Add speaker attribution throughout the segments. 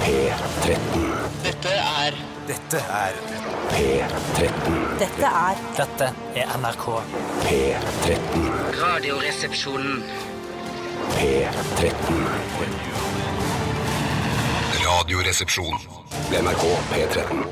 Speaker 1: P13.
Speaker 2: Dette er
Speaker 3: Dette er
Speaker 1: P13.
Speaker 4: Dette er
Speaker 5: Dette er NRK.
Speaker 1: P13.
Speaker 2: Radioresepsjonen.
Speaker 1: P13.
Speaker 6: Radioresepsjon.
Speaker 1: NRK P13.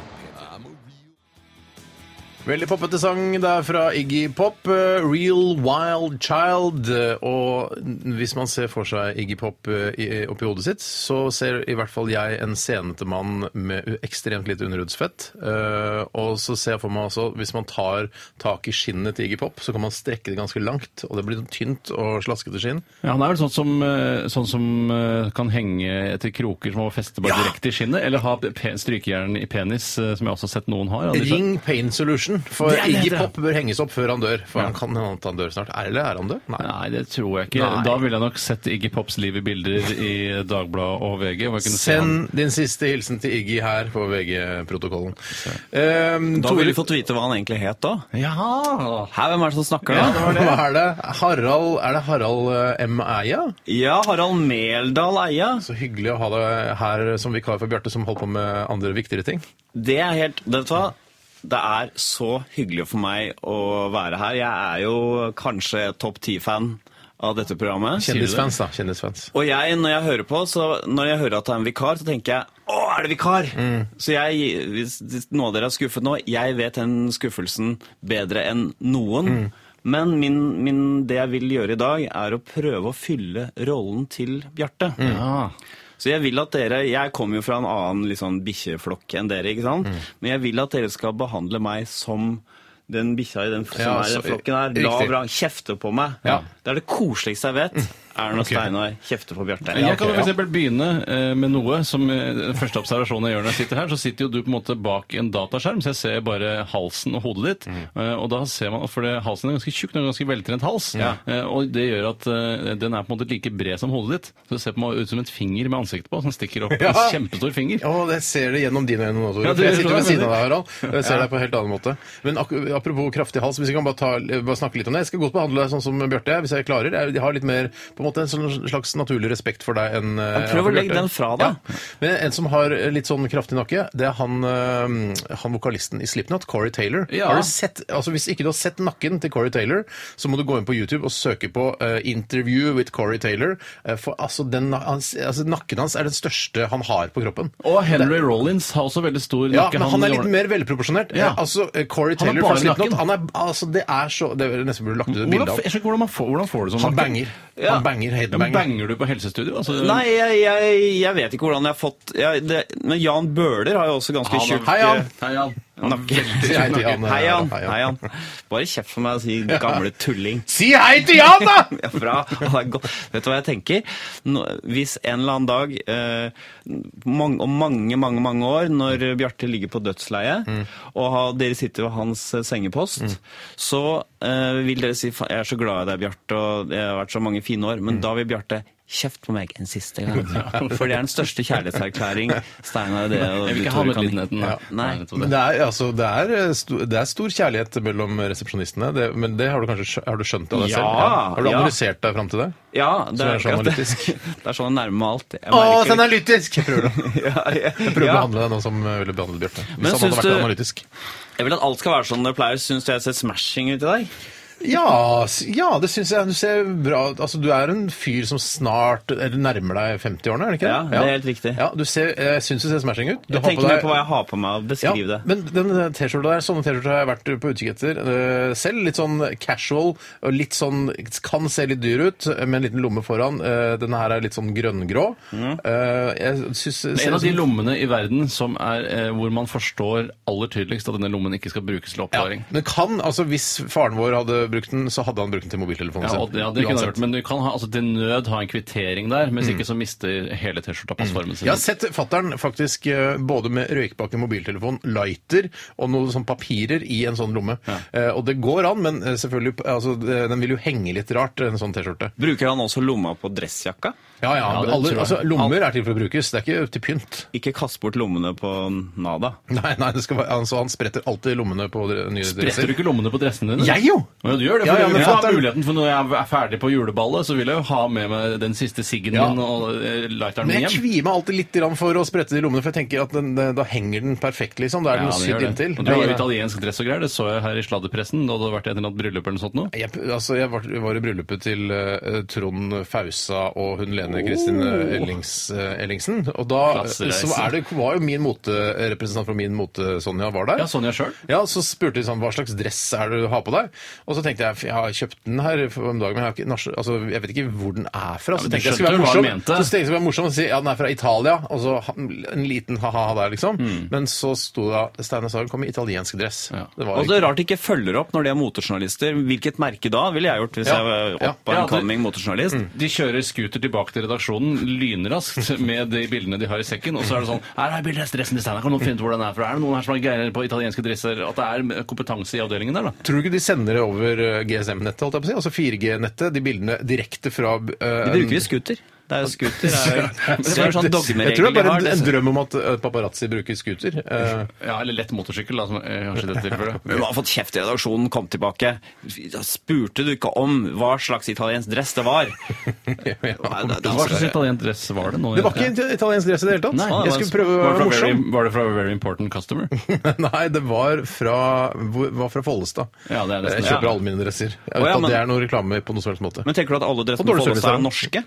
Speaker 7: Veldig poppete sang der fra Iggy Pop, eh, 'Real Wild Child'. eh, Og n- hvis man ser for seg Iggy Pop eh, i- oppi hodet sitt, så ser i hvert fall jeg en senete mann med u- ekstremt lite underhudsfett. Eh, Og så ser jeg for meg også, hvis man tar tak i skinnet til Iggy Pop, så kan man strekke det ganske langt, og det blir sånn tynt og slaskete skinn.
Speaker 8: Ja, han er vel sånn som, eh, sånn som eh, kan henge etter kroker som må feste bare direkte i skinnet, eller ha pe- strykejern i penis, eh, som jeg også har sett noen har. Anders.
Speaker 7: Ring Pain Solution, for
Speaker 8: Det er det
Speaker 7: Iggy
Speaker 8: det er.
Speaker 7: Pop bør henges opp før han dør. For han kan hende at han dør snart. Er, eller er han død?
Speaker 8: Nei, det tror jeg ikke.
Speaker 7: Nei.
Speaker 8: Da ville jeg nok sett Iggy Pops liv i bilder i Dagbladet og VG. Hvor jeg kunne se han.
Speaker 7: Send din siste hilsen til Iggy her på VG-protokollen. Um,
Speaker 9: Da ville vi fått vite hva han egentlig het da.
Speaker 8: Ja!
Speaker 9: Hæ, hvem er det som snakker
Speaker 7: ja,
Speaker 9: nå?
Speaker 7: hva er det? Harald, er det Harald eh, M. Eia?
Speaker 9: Ja, Harald Meldal Eia.
Speaker 7: Så hyggelig å ha deg her som vikar for Bjarte, som holdt på med andre viktigere ting.
Speaker 9: Det er helt Vet du hva? Det er så hyggelig for meg å være her. Jeg er jo kanskje topp ti-fan av dette programmet.
Speaker 7: Kjendisfans, da. Kjendisfans.
Speaker 9: Og jeg, når jeg hører på, så når jeg hører at det er en vikar, så tenker jeg Å, er det vikar? Så jeg, hvis hvis noen av dere er skuffet nå, jeg vet den skuffelsen bedre enn noen. Men min, min, det jeg vil gjøre i dag, er å prøve å fylle rollen til Bjarte.
Speaker 8: Ja.
Speaker 9: Så jeg vil at dere Jeg kommer jo fra en annen litt sånn bikkjeflokk enn dere, ikke sant? Men jeg vil at dere skal behandle meg som den bikkja i den som
Speaker 7: Ja,
Speaker 9: er i den
Speaker 7: så-
Speaker 9: flokken her.
Speaker 7: riktig.
Speaker 9: La vrang kjefte på meg.
Speaker 7: Ja.
Speaker 9: Det er det koseligste jeg vet. Er når Steinar kjefter på Bjarte.
Speaker 8: Jeg kan jo for eksempel begynne eh, med noe som eh, den første observasjonen jeg gjør når jeg sitter her, så sitter jo du på en måte bak en dataskjerm, så jeg ser bare halsen og hodet ditt. eh, Og da ser man, for det, halsen er ganske tjukk, den er ganske veltrent hals, eh, og det gjør at eh, den er på en måte like bred som hodet ditt. Så det ser på meg ut som et finger med ansiktet på, som stikker opp.
Speaker 7: Ja.
Speaker 8: En kjempestor finger.
Speaker 7: Å, det ser det gjennom dine øyne nå, Tore.
Speaker 8: Ja, det
Speaker 7: For jeg sitter
Speaker 8: gjør
Speaker 7: jo ved
Speaker 8: det,
Speaker 7: siden
Speaker 8: men-
Speaker 7: av deg, Harald. Jeg ser deg på en helt annen måte. Men ak apropos kraftig hals, hvis vi kan bare, ta, bare snakke litt om det. Jeg skal godt behandle deg sånn som Bjarte, hvis jeg klarer. Jeg har litt mer på en måte en sånn slags naturlig respekt for deg enn eh,
Speaker 9: Ja, prøv å
Speaker 7: for
Speaker 9: legge
Speaker 7: Bjarte.
Speaker 9: den fra deg.
Speaker 7: Ja. Men en som har litt sånn kraftig nakke, det er han, eh, han vokalisten i Slipknot, Corey Taylor.
Speaker 8: Ja.
Speaker 7: Har du sett, altså Hvis ikke du har sett nakken til Corey Taylor, så må du gå inn på YouTube og søke på eh, 'Interview with Corey Taylor'. eh, for altså, den, na- hans, altså Nakken hans er den største han har på kroppen.
Speaker 8: Og Henry Rollins har også veldig stor
Speaker 7: Ja,
Speaker 8: nakke.
Speaker 7: men han er litt
Speaker 8: gjorde-
Speaker 7: mer velproporsjonert.
Speaker 8: Ja.
Speaker 7: Eh, Altså, eh, Corey
Speaker 8: Han er
Speaker 7: Taylor
Speaker 8: bare
Speaker 7: fra Slipknot
Speaker 8: nakken.
Speaker 7: han er, altså, Det er så Det er nesten burde du lagt ut et
Speaker 8: hvordan,
Speaker 7: bilde
Speaker 8: jeg
Speaker 7: av.
Speaker 8: skjønner ikke hvordan, man får, hvordan får du sånn
Speaker 7: Han
Speaker 8: nakke?
Speaker 7: banger.
Speaker 9: Ja.
Speaker 7: Han banger,
Speaker 8: Ja, men
Speaker 7: headbanger.
Speaker 8: banger du på helsestudio? Altså,
Speaker 9: Nei, jeg, jeg, jeg vet ikke hvordan jeg har fått jeg, det, Men Jan Bøhler har jo også ganske
Speaker 8: Han har-
Speaker 9: tjukk
Speaker 7: Hei, Jan.
Speaker 8: Hei, Jan.
Speaker 9: nakke.
Speaker 7: Si hei til Jan.
Speaker 9: Hei, Jan.
Speaker 7: Hei, Jan.
Speaker 9: Hei, Jan. Bare kjeft for meg og si 'gamle tulling'.
Speaker 7: Si hei til Jan, da!
Speaker 9: Ja, bra. Han er god. Vet du hva jeg tenker? Nå, hvis en eller annen dag, eh, mang- om mange, mange mange år, når Bjarte ligger på dødsleiet,
Speaker 8: Mm.
Speaker 9: og ha, dere sitter ved hans eh, sengepost, så eh, vil dere si "Fa- 'jeg er så glad i deg, Bjarte, og det har vært så mange fine år',
Speaker 8: Mm.
Speaker 9: men da vil Bjarte Kjeft på meg en siste gang. For det er den største kjærlighetserklæring Steinar og det og
Speaker 8: Jeg vil
Speaker 9: du,
Speaker 8: ikke ha
Speaker 9: Tore,
Speaker 8: med
Speaker 9: kan-
Speaker 8: lidenheten. da.
Speaker 9: Nei.
Speaker 8: jeg tror det.
Speaker 7: Men det er, altså, det, er stor, det er stor kjærlighet mellom resepsjonistene, det, men det har du kanskje skjø- har du skjønt av deg
Speaker 9: Ja,
Speaker 7: selv? Har du
Speaker 9: ja.
Speaker 7: analysert deg fram til det?
Speaker 9: Ja, det
Speaker 7: Så det
Speaker 9: er,
Speaker 7: er sånn
Speaker 9: akkurat det.
Speaker 7: analytisk.
Speaker 9: Det er sånn jeg nærmer meg alt. Jeg merker-
Speaker 7: analytisk! Jeg prøver, å-
Speaker 9: Ja, jeg,
Speaker 7: jeg prøver å
Speaker 9: ja.
Speaker 7: behandle deg nå som jeg ville behandle Bjarte.
Speaker 9: Men
Speaker 7: Hvis han
Speaker 9: syns
Speaker 7: hadde vært
Speaker 9: du-
Speaker 7: analytisk.
Speaker 9: Jeg vil at alt skal være sånn det pleier. Syns du jeg ser smashing ut i dag?
Speaker 7: Ja, s- ja, det syns jeg. Du ser bra ut. Altså, du er en fyr som snart eller nærmer deg 50-årene, er det ikke
Speaker 9: Ja, det er helt riktig.
Speaker 7: Ja, du ser, jeg syns du ser smashing ut. Du
Speaker 9: Jeg
Speaker 7: har
Speaker 9: tenker
Speaker 7: deg-
Speaker 9: mer på hva jeg har på meg, og
Speaker 7: Ja,
Speaker 9: beskriv det.
Speaker 7: men den eh, t-skjorta der, sånne t-skjorter har jeg vært på utkikk etter eh, selv. Litt sånn casual, og litt sånn kan se litt dyr ut, eh, med en liten lomme foran. Eh, denne her er litt sånn grønngrå.
Speaker 9: Mm.
Speaker 7: Eh, jeg syns
Speaker 8: Det er en av de
Speaker 7: sånn
Speaker 8: lommene i verden som er, eh, hvor man forstår aller tydeligst at denne lommen ikke skal brukes til
Speaker 7: ja,
Speaker 8: oppbevaring. Ja.
Speaker 7: men kan, altså Hvis faren vår hadde brukt den, så hadde han brukt den til mobiltelefonen
Speaker 8: og- ja, det kunne jeg hørt, men du kan ha, altså, til nød ha en kvittering der, mens ikke så mister hele T-skjorta passformen sin.
Speaker 7: Jeg har Mm. sett fattern faktisk eh, både med røykpakke, mobiltelefon, lighter og noen sånn papirer i en sånn lomme. Eh, Og det går an, men eh, selvfølgelig, altså, det- den vil jo henge litt rart, en sånn T-skjorte.
Speaker 9: Bruker han også lomma på dressjakka?
Speaker 7: Ja, ja.
Speaker 8: Ja, det
Speaker 7: alle,
Speaker 8: tror jeg.
Speaker 7: altså, lommer er til for å brukes, det er ikke til pynt.
Speaker 9: Ikke kast bort lommene på Nada.
Speaker 7: Nei, nei, det skal være, altså, Han spretter alltid lommene på dre- nye
Speaker 8: Bretter du
Speaker 7: dresser.
Speaker 8: ikke lommene på dressene dine?
Speaker 7: Jeg jo!
Speaker 8: Å, ja, jo du gjør det.
Speaker 7: Ja,
Speaker 8: For
Speaker 7: ja, men
Speaker 8: jeg har
Speaker 7: fatter'n-
Speaker 8: muligheten for Når jeg er ferdig på juleballet, så vil jeg jo ha med meg den siste siggen
Speaker 7: Ja.
Speaker 8: min og eh,
Speaker 7: Men
Speaker 8: lighteren min
Speaker 7: jeg
Speaker 8: hjem.
Speaker 7: kvier meg alltid litt grann for å sprette det i lommene, for jeg tenker at den, den- da henger den perfekt, liksom. Da er
Speaker 8: Ja,
Speaker 7: den
Speaker 8: det gjør
Speaker 7: sydd
Speaker 8: det.
Speaker 7: inntil.
Speaker 8: Og du har jo italiensk dress og greier, det så jeg her i sladderpressen da det hadde vært et eller annet bryllup eller noe sånt nå.
Speaker 7: Jeg, altså, jeg var, var i bryllupet til eh, Trond Fausa og hun Lene
Speaker 8: Oh.
Speaker 7: Kristine Ellings, eh, Ellingsen. Og da eh,
Speaker 8: Klassereise.
Speaker 7: så er det, var jo min moterepresentant fra min mote, Sonja, var der.
Speaker 8: Ja, Sonja selv?
Speaker 7: Ja, så spurte de sånn, hva slags dress er det du har på deg? Og så tenkte jeg, jeg har kjøpt den her for en dag, men jeg, har ikke, nas- altså, jeg vet ikke hvor den er fra. Så
Speaker 8: men du
Speaker 7: tenkte jeg skulle
Speaker 8: skjønte
Speaker 7: være
Speaker 8: jo hva
Speaker 7: morsom.
Speaker 8: hun mente.
Speaker 7: Så tenkte jeg skulle være morsom og si, ja, den er fra Italia. Og så ha- en liten ha-ha der, liksom. Men så sto det, Steinar Sagen kom i italiensk dress.
Speaker 8: Mm. Ja.
Speaker 7: Det var
Speaker 9: Og det er rart de ikke følger opp når de er motorjournalister. Hvilket merke da ville jeg gjort hvis
Speaker 7: Ja,
Speaker 9: jeg var
Speaker 7: ja. Mm.
Speaker 9: opp av
Speaker 8: Ja,
Speaker 9: en
Speaker 8: det-
Speaker 9: coming motorjournalist?
Speaker 8: De kjører scooter tilbake til redaksjonen lynraskt med de bildene de har i sekken, og så er det sånn Her er bildet av dressen til Steinar, kan noen finne ut hvor den er fra? Er det noen her som er greiere på italienske dresser? At det er kompetanse i avdelingen der, da?
Speaker 7: Tror du ikke de sender det over eh, GSM-nettet, holdt jeg på å si? Altså 4G-nettet, de bildene direkte fra eh,
Speaker 9: De bruker jo scooter. Det er jo scooter. Det er jo
Speaker 7: Jeg
Speaker 9: det er
Speaker 7: tror
Speaker 9: en sånn
Speaker 7: det er
Speaker 9: dogmeregel de
Speaker 7: bare en,
Speaker 9: har. liksom.
Speaker 7: en
Speaker 9: det-
Speaker 7: drøm om at eh, paparazzi bruker scooter. Eh,
Speaker 8: Ja, eller lett motorsykkel, da, som eh, kanskje i dette
Speaker 9: Men
Speaker 8: tilfellet.
Speaker 9: Hun har fått kjeft i redaksjonen, kom tilbake. Da spurte du ikke om hva slags italiensk dress det var? Nei, det, det,
Speaker 8: Hva slags
Speaker 9: altså,
Speaker 8: italiensk dress var det nå?
Speaker 7: Det var ikke it- italiensk dress i det hele tatt.
Speaker 8: Nei, det
Speaker 7: jeg
Speaker 8: var-
Speaker 7: skulle prøve å
Speaker 8: var det
Speaker 7: være
Speaker 8: fra
Speaker 7: morsom.
Speaker 8: Very, var det fra Very Important Customer?
Speaker 7: Nei, det var fra, hvor- var fra Follestad. Eh,
Speaker 8: Ja, det er nesten-
Speaker 7: jeg kjøper
Speaker 9: ja.
Speaker 7: alle mine dresser. Jeg vet
Speaker 9: Å, ja,
Speaker 7: at
Speaker 9: men-
Speaker 7: det er noe reklame på noen som helst måte.
Speaker 9: men tenker du at alle
Speaker 7: Og
Speaker 9: dressene
Speaker 7: dårlig
Speaker 9: på Follestad
Speaker 7: service,
Speaker 9: er
Speaker 7: da.
Speaker 9: norske?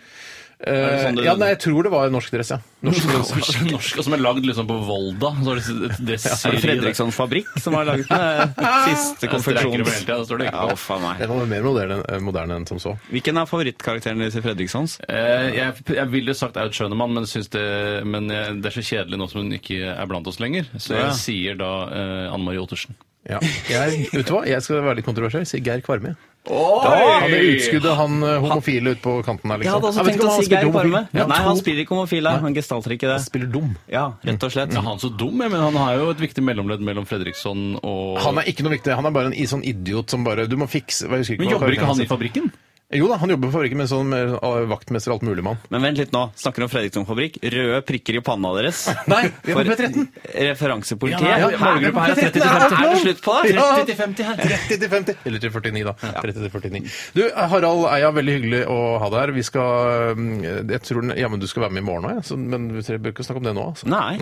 Speaker 7: Eh,
Speaker 9: sånn det-
Speaker 7: ja, nei, jeg tror det var en norsk dress, ja. Norsk dress.
Speaker 8: Norsk, og som er lagd liksom på Volda. Så er det et
Speaker 9: Er
Speaker 8: dresseri
Speaker 9: det Fredrikssons fabrikk som har laget den eh, siste
Speaker 8: strekker over hele
Speaker 9: konfeksjons...
Speaker 8: tiden, altså, det står det ikke
Speaker 9: Ja,
Speaker 8: på.
Speaker 9: uff a meg.
Speaker 7: Den var mer moderne, eh, moderne enn som så.
Speaker 9: Hvilken er favorittkarakteren deres i Fredrikssons?
Speaker 8: Eh, jeg, jeg ville sagt Aud Schønemann, men, syns det, men jeg, det er så kjedelig nå som hun ikke er blant oss lenger. Så jeg
Speaker 9: Ja.
Speaker 8: sier da eh, Anne Marie Ottersen.
Speaker 7: Ja. Jeg, vet du hva? jeg skal være litt kontroversiell. Jeg sier Geir Kvarme.
Speaker 8: Oi!
Speaker 7: Han er utskuddet, han eh, homofile ute på kanten her, liksom. vet ikke om han spiller homofil. Ja,
Speaker 9: Nei,
Speaker 7: to-
Speaker 9: han spiller ikke homofil, han gestalter ikke det.
Speaker 7: spiller dum.
Speaker 9: Ja, rett og slett.
Speaker 8: Ja, han er så dum, jeg, men han har jo et viktig mellomledd mellom Fredriksson og
Speaker 7: Han er ikke noe viktig. Han er bare en i- sånn idiot som bare Du må fikse jeg husker
Speaker 8: Men
Speaker 7: hva
Speaker 8: jobber ikke han i
Speaker 7: karakteren
Speaker 8: fabrikken?
Speaker 7: heter. Jo da, han jobber på fabrikken med sånn med, uh, vaktmester alt mulig mann.
Speaker 9: Men vent litt nå. Snakker om Fredriksson fabrikk. Røde prikker i panna deres.
Speaker 7: Nei, vi er på
Speaker 9: For
Speaker 7: P13.
Speaker 9: Referansepolitiet.
Speaker 7: ja,
Speaker 8: Ja,
Speaker 9: Hæ?
Speaker 8: målgruppa her er 30 til 50.
Speaker 9: Er det slutt på det?
Speaker 7: Ja.
Speaker 9: 30 til 50 her.
Speaker 7: 30 til 50. Eller til 49, da. 30 til 49. Du, Harald Eia, veldig hyggelig å ha deg her. Vi skal um, Jeg tror den- ja, men du skal være med i morgen òg, ja. Så- men vi trenger- bør ikke snakke om det nå. Altså.
Speaker 9: Nei.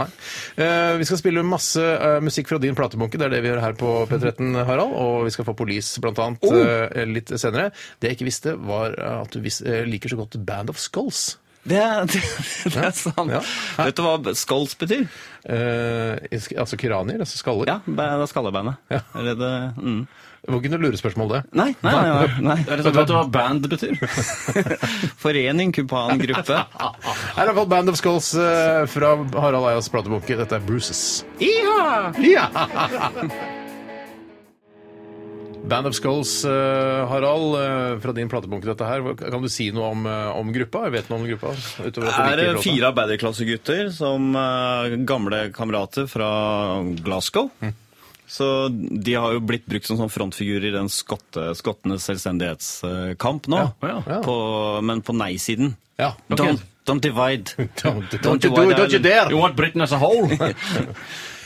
Speaker 7: Eh, vi skal spille masse eh, musikk fra din platebunke. Det er det vi gjør her på P13, Harald. Og vi skal få Police, blant annet,
Speaker 8: Oh!
Speaker 7: eh, litt senere. Det jeg ikke visste, var at du vis eh, liker så godt Band of Skulls.
Speaker 9: Det, det, det er sant.
Speaker 7: Ja.
Speaker 9: Vet du hva skulls betyr?
Speaker 7: Eh, sk- altså kiranier, altså skaller.
Speaker 9: Ja, det er skallebandet. Er det det? Mm.
Speaker 7: Det var ikke noe lurespørsmål, det.
Speaker 9: Nei, nei, nei. nei,
Speaker 8: Er det sånn at du hva band betyr?
Speaker 9: Forening, kumpan, gruppe.
Speaker 7: Her er i hvert fall Band of Skulls eh, fra Harald Eias platebunke. Dette er Bruces. Band of Skulls, eh, Harald, eh, fra din platebunke dette her. Hva- Kan du si noe om, eh, om gruppa? Jeg vet noe om gruppa. Utover at du
Speaker 9: er
Speaker 7: liker
Speaker 9: det
Speaker 7: låta.
Speaker 9: fire arbeiderklassegutter som eh, gamle kamerater fra Glasgow. Så de har jo blitt brukt som sånn frontfigurer i den skotte, skottenes selvstendighetskamp nå.
Speaker 8: Ja,
Speaker 7: ja.
Speaker 9: På, men på nei-siden.
Speaker 7: Ja, ok.
Speaker 9: Don't, don't divide.
Speaker 7: Don't, don't,
Speaker 9: Don't
Speaker 7: you do it, don't you dare!
Speaker 8: You want Britain as a whole?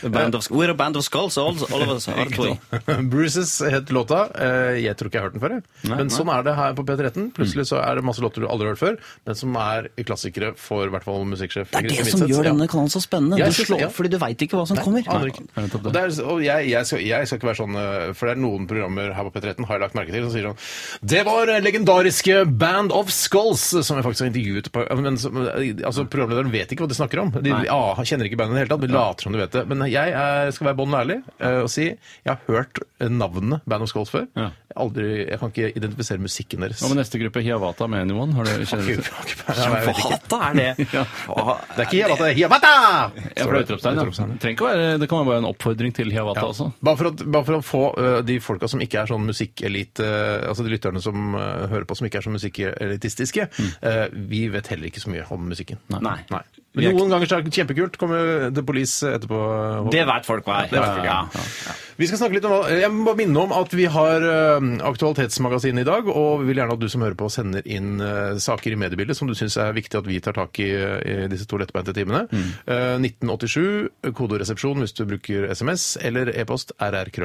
Speaker 9: A band of, we're a band of skulls, all, all of us are twin.
Speaker 7: Bruces het låta. Eh, Jeg tror ikke jeg har hørt den før. jeg. Men sånn er det her på
Speaker 9: Mm.
Speaker 7: P13. Plutselig så er det masse låter du aldri har hørt før, men som er klassikere for i hvert fall musikksjef.
Speaker 9: Det er
Speaker 7: Christian
Speaker 9: det som
Speaker 7: Midtseth.
Speaker 9: gjør
Speaker 7: Ja.
Speaker 9: denne kanalen så spennende.
Speaker 7: Jeg
Speaker 9: Du
Speaker 7: synes-
Speaker 9: slår,
Speaker 7: ja.
Speaker 9: Fordi du veit ikke hva som
Speaker 7: Nei,
Speaker 9: kommer.
Speaker 7: aner ikke.
Speaker 8: Nei, nettopp det.
Speaker 7: Og, det er, og jeg, jeg, skal, jeg skal ikke være sånn eh, For det er noen programmer her på P13 har jeg lagt merke til som sier sånn Det var legendariske Band of Skulls, som jeg faktisk har intervjuet på, men, som- altså, Programlederen vet ikke hva de snakker om. De ah, kjenner ikke bandet i det hele tatt, men later som de vet det. Men jeg er, skal være bånd ærlig eh, og si jeg har hørt navnet Band of Skulls før.
Speaker 8: Ja.
Speaker 7: Aldri, jeg kan ikke identifisere musikken deres.
Speaker 8: Hva med neste gruppe, Hiawatha med Anyone? Har du, kjenner du til?
Speaker 7: Jeg vet ikke.
Speaker 9: Hata er det.
Speaker 8: Ja.
Speaker 9: Hva-
Speaker 7: Det er ikke Hiawatha, det er Hiawatha!
Speaker 8: Ja, for det er utropstegn, ja. Det trenger ikke å være, det kan være bare en oppfordring til Hiawatha også.
Speaker 7: Bare for, at, bare for å få ø, de folka som ikke er sånn musikkelite, ø, altså de lytterne som ø, hører på som ikke er så musikkelitistiske, ø, vi vet heller ikke så mye om musikken.
Speaker 9: Nei.
Speaker 7: Men noen ganger så er det kjempekult. Kommer The Police etterpå. Håvard.
Speaker 9: Det veit folk hva er.
Speaker 7: det vet folk, ja.
Speaker 9: Ja.
Speaker 7: Vi skal snakke litt om hva- Jeg må bare minne om at vi har eh, Aktualitetsmagasinet i dag, og vi vil gjerne at du som hører på, sender inn eh, saker i mediebildet som du syns er viktig at vi tar tak i eh, i disse to lettbeinte timene. Eh, 1987, kodoresepsjon hvis du bruker SMS, eller e-post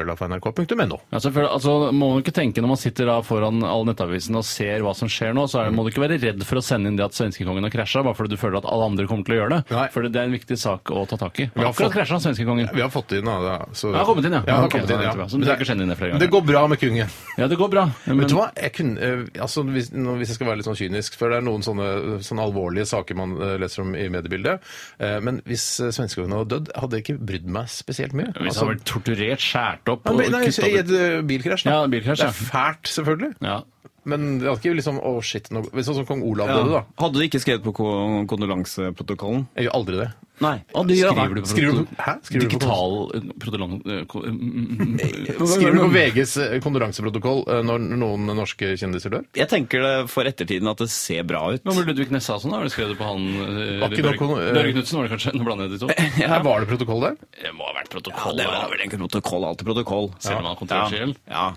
Speaker 7: rrkrøllafnrk.no.
Speaker 8: Ja, selvfølgelig. altså, må man ikke tenke Når man sitter da foran alle nettavisene og ser hva som skjer nå, så
Speaker 7: Mm.
Speaker 8: er, må du ikke være redd for å sende inn det at svenskekongen har krasja, bare fordi du føler at alle andre kommer til å gjøre det.
Speaker 7: Nei.
Speaker 8: For det er en viktig sak å ta tak i.
Speaker 7: har
Speaker 8: Akkurat
Speaker 7: fått-
Speaker 8: krasja svenskekongen.
Speaker 7: Vi har fått inn da, da, så-
Speaker 8: Jeg har kommet inn, ja.
Speaker 7: han har
Speaker 8: Ok,
Speaker 7: kommet inn,
Speaker 8: så er
Speaker 7: ja.
Speaker 8: det bra. Så du trenger ikke sende inn det flere ganger.
Speaker 7: Det går bra med kongen.
Speaker 8: Ja, det går bra. Men,
Speaker 7: Vet du hva? Jeg kunne, eh, altså, hvis, nå, hvis jeg skal være litt sånn kynisk, for det er noen sånne, sånne alvorlige saker man eh, leser om i mediebildet, eh, men hvis uh, svenskene hadde dødd, hadde jeg ikke brydd meg spesielt mye.
Speaker 8: Hvis han har vært torturert, skåret opp
Speaker 7: han
Speaker 8: og
Speaker 7: ble, nei,
Speaker 8: kuttet
Speaker 7: I
Speaker 8: opp-
Speaker 7: et eh, bilkrasj, da.
Speaker 8: Ja, bilkrasj,
Speaker 7: det
Speaker 8: ja.
Speaker 7: er fælt, selvfølgelig.
Speaker 8: ja.
Speaker 7: Men det hadde ikke liksom Å, shit. Nå, sånn som kong Olav
Speaker 9: Ja.
Speaker 7: døde, da.
Speaker 9: Hadde du ikke skrevet på ko- kondolanseprotokollen?
Speaker 7: Jeg gjør aldri det.
Speaker 9: Nei.
Speaker 8: Skriver du på
Speaker 7: Skriver du på- Hæ? Skriver du på-
Speaker 8: digital protolong... eh, mm,
Speaker 7: Skriver du på VGs kondolanseprotokoll eh, når noen norske kjendiser dør?
Speaker 9: Jeg tenker det for ettertiden at det ser bra ut.
Speaker 8: Hva med Ludvig Nesse og sånn? da? Har du skrevet det på han eh,
Speaker 7: Var ikke
Speaker 8: Børge-
Speaker 7: noe- eh,
Speaker 8: Børge Knutsen var det kanskje? Nå blander jeg de to.
Speaker 7: Her Var det protokoll der?
Speaker 8: Det må ha vært
Speaker 9: Ja,
Speaker 8: protokoll.
Speaker 9: det var vel egentlig protokoll. Alltid protokoll.
Speaker 8: Selv om han er kontroversiell?
Speaker 9: Ja. ja.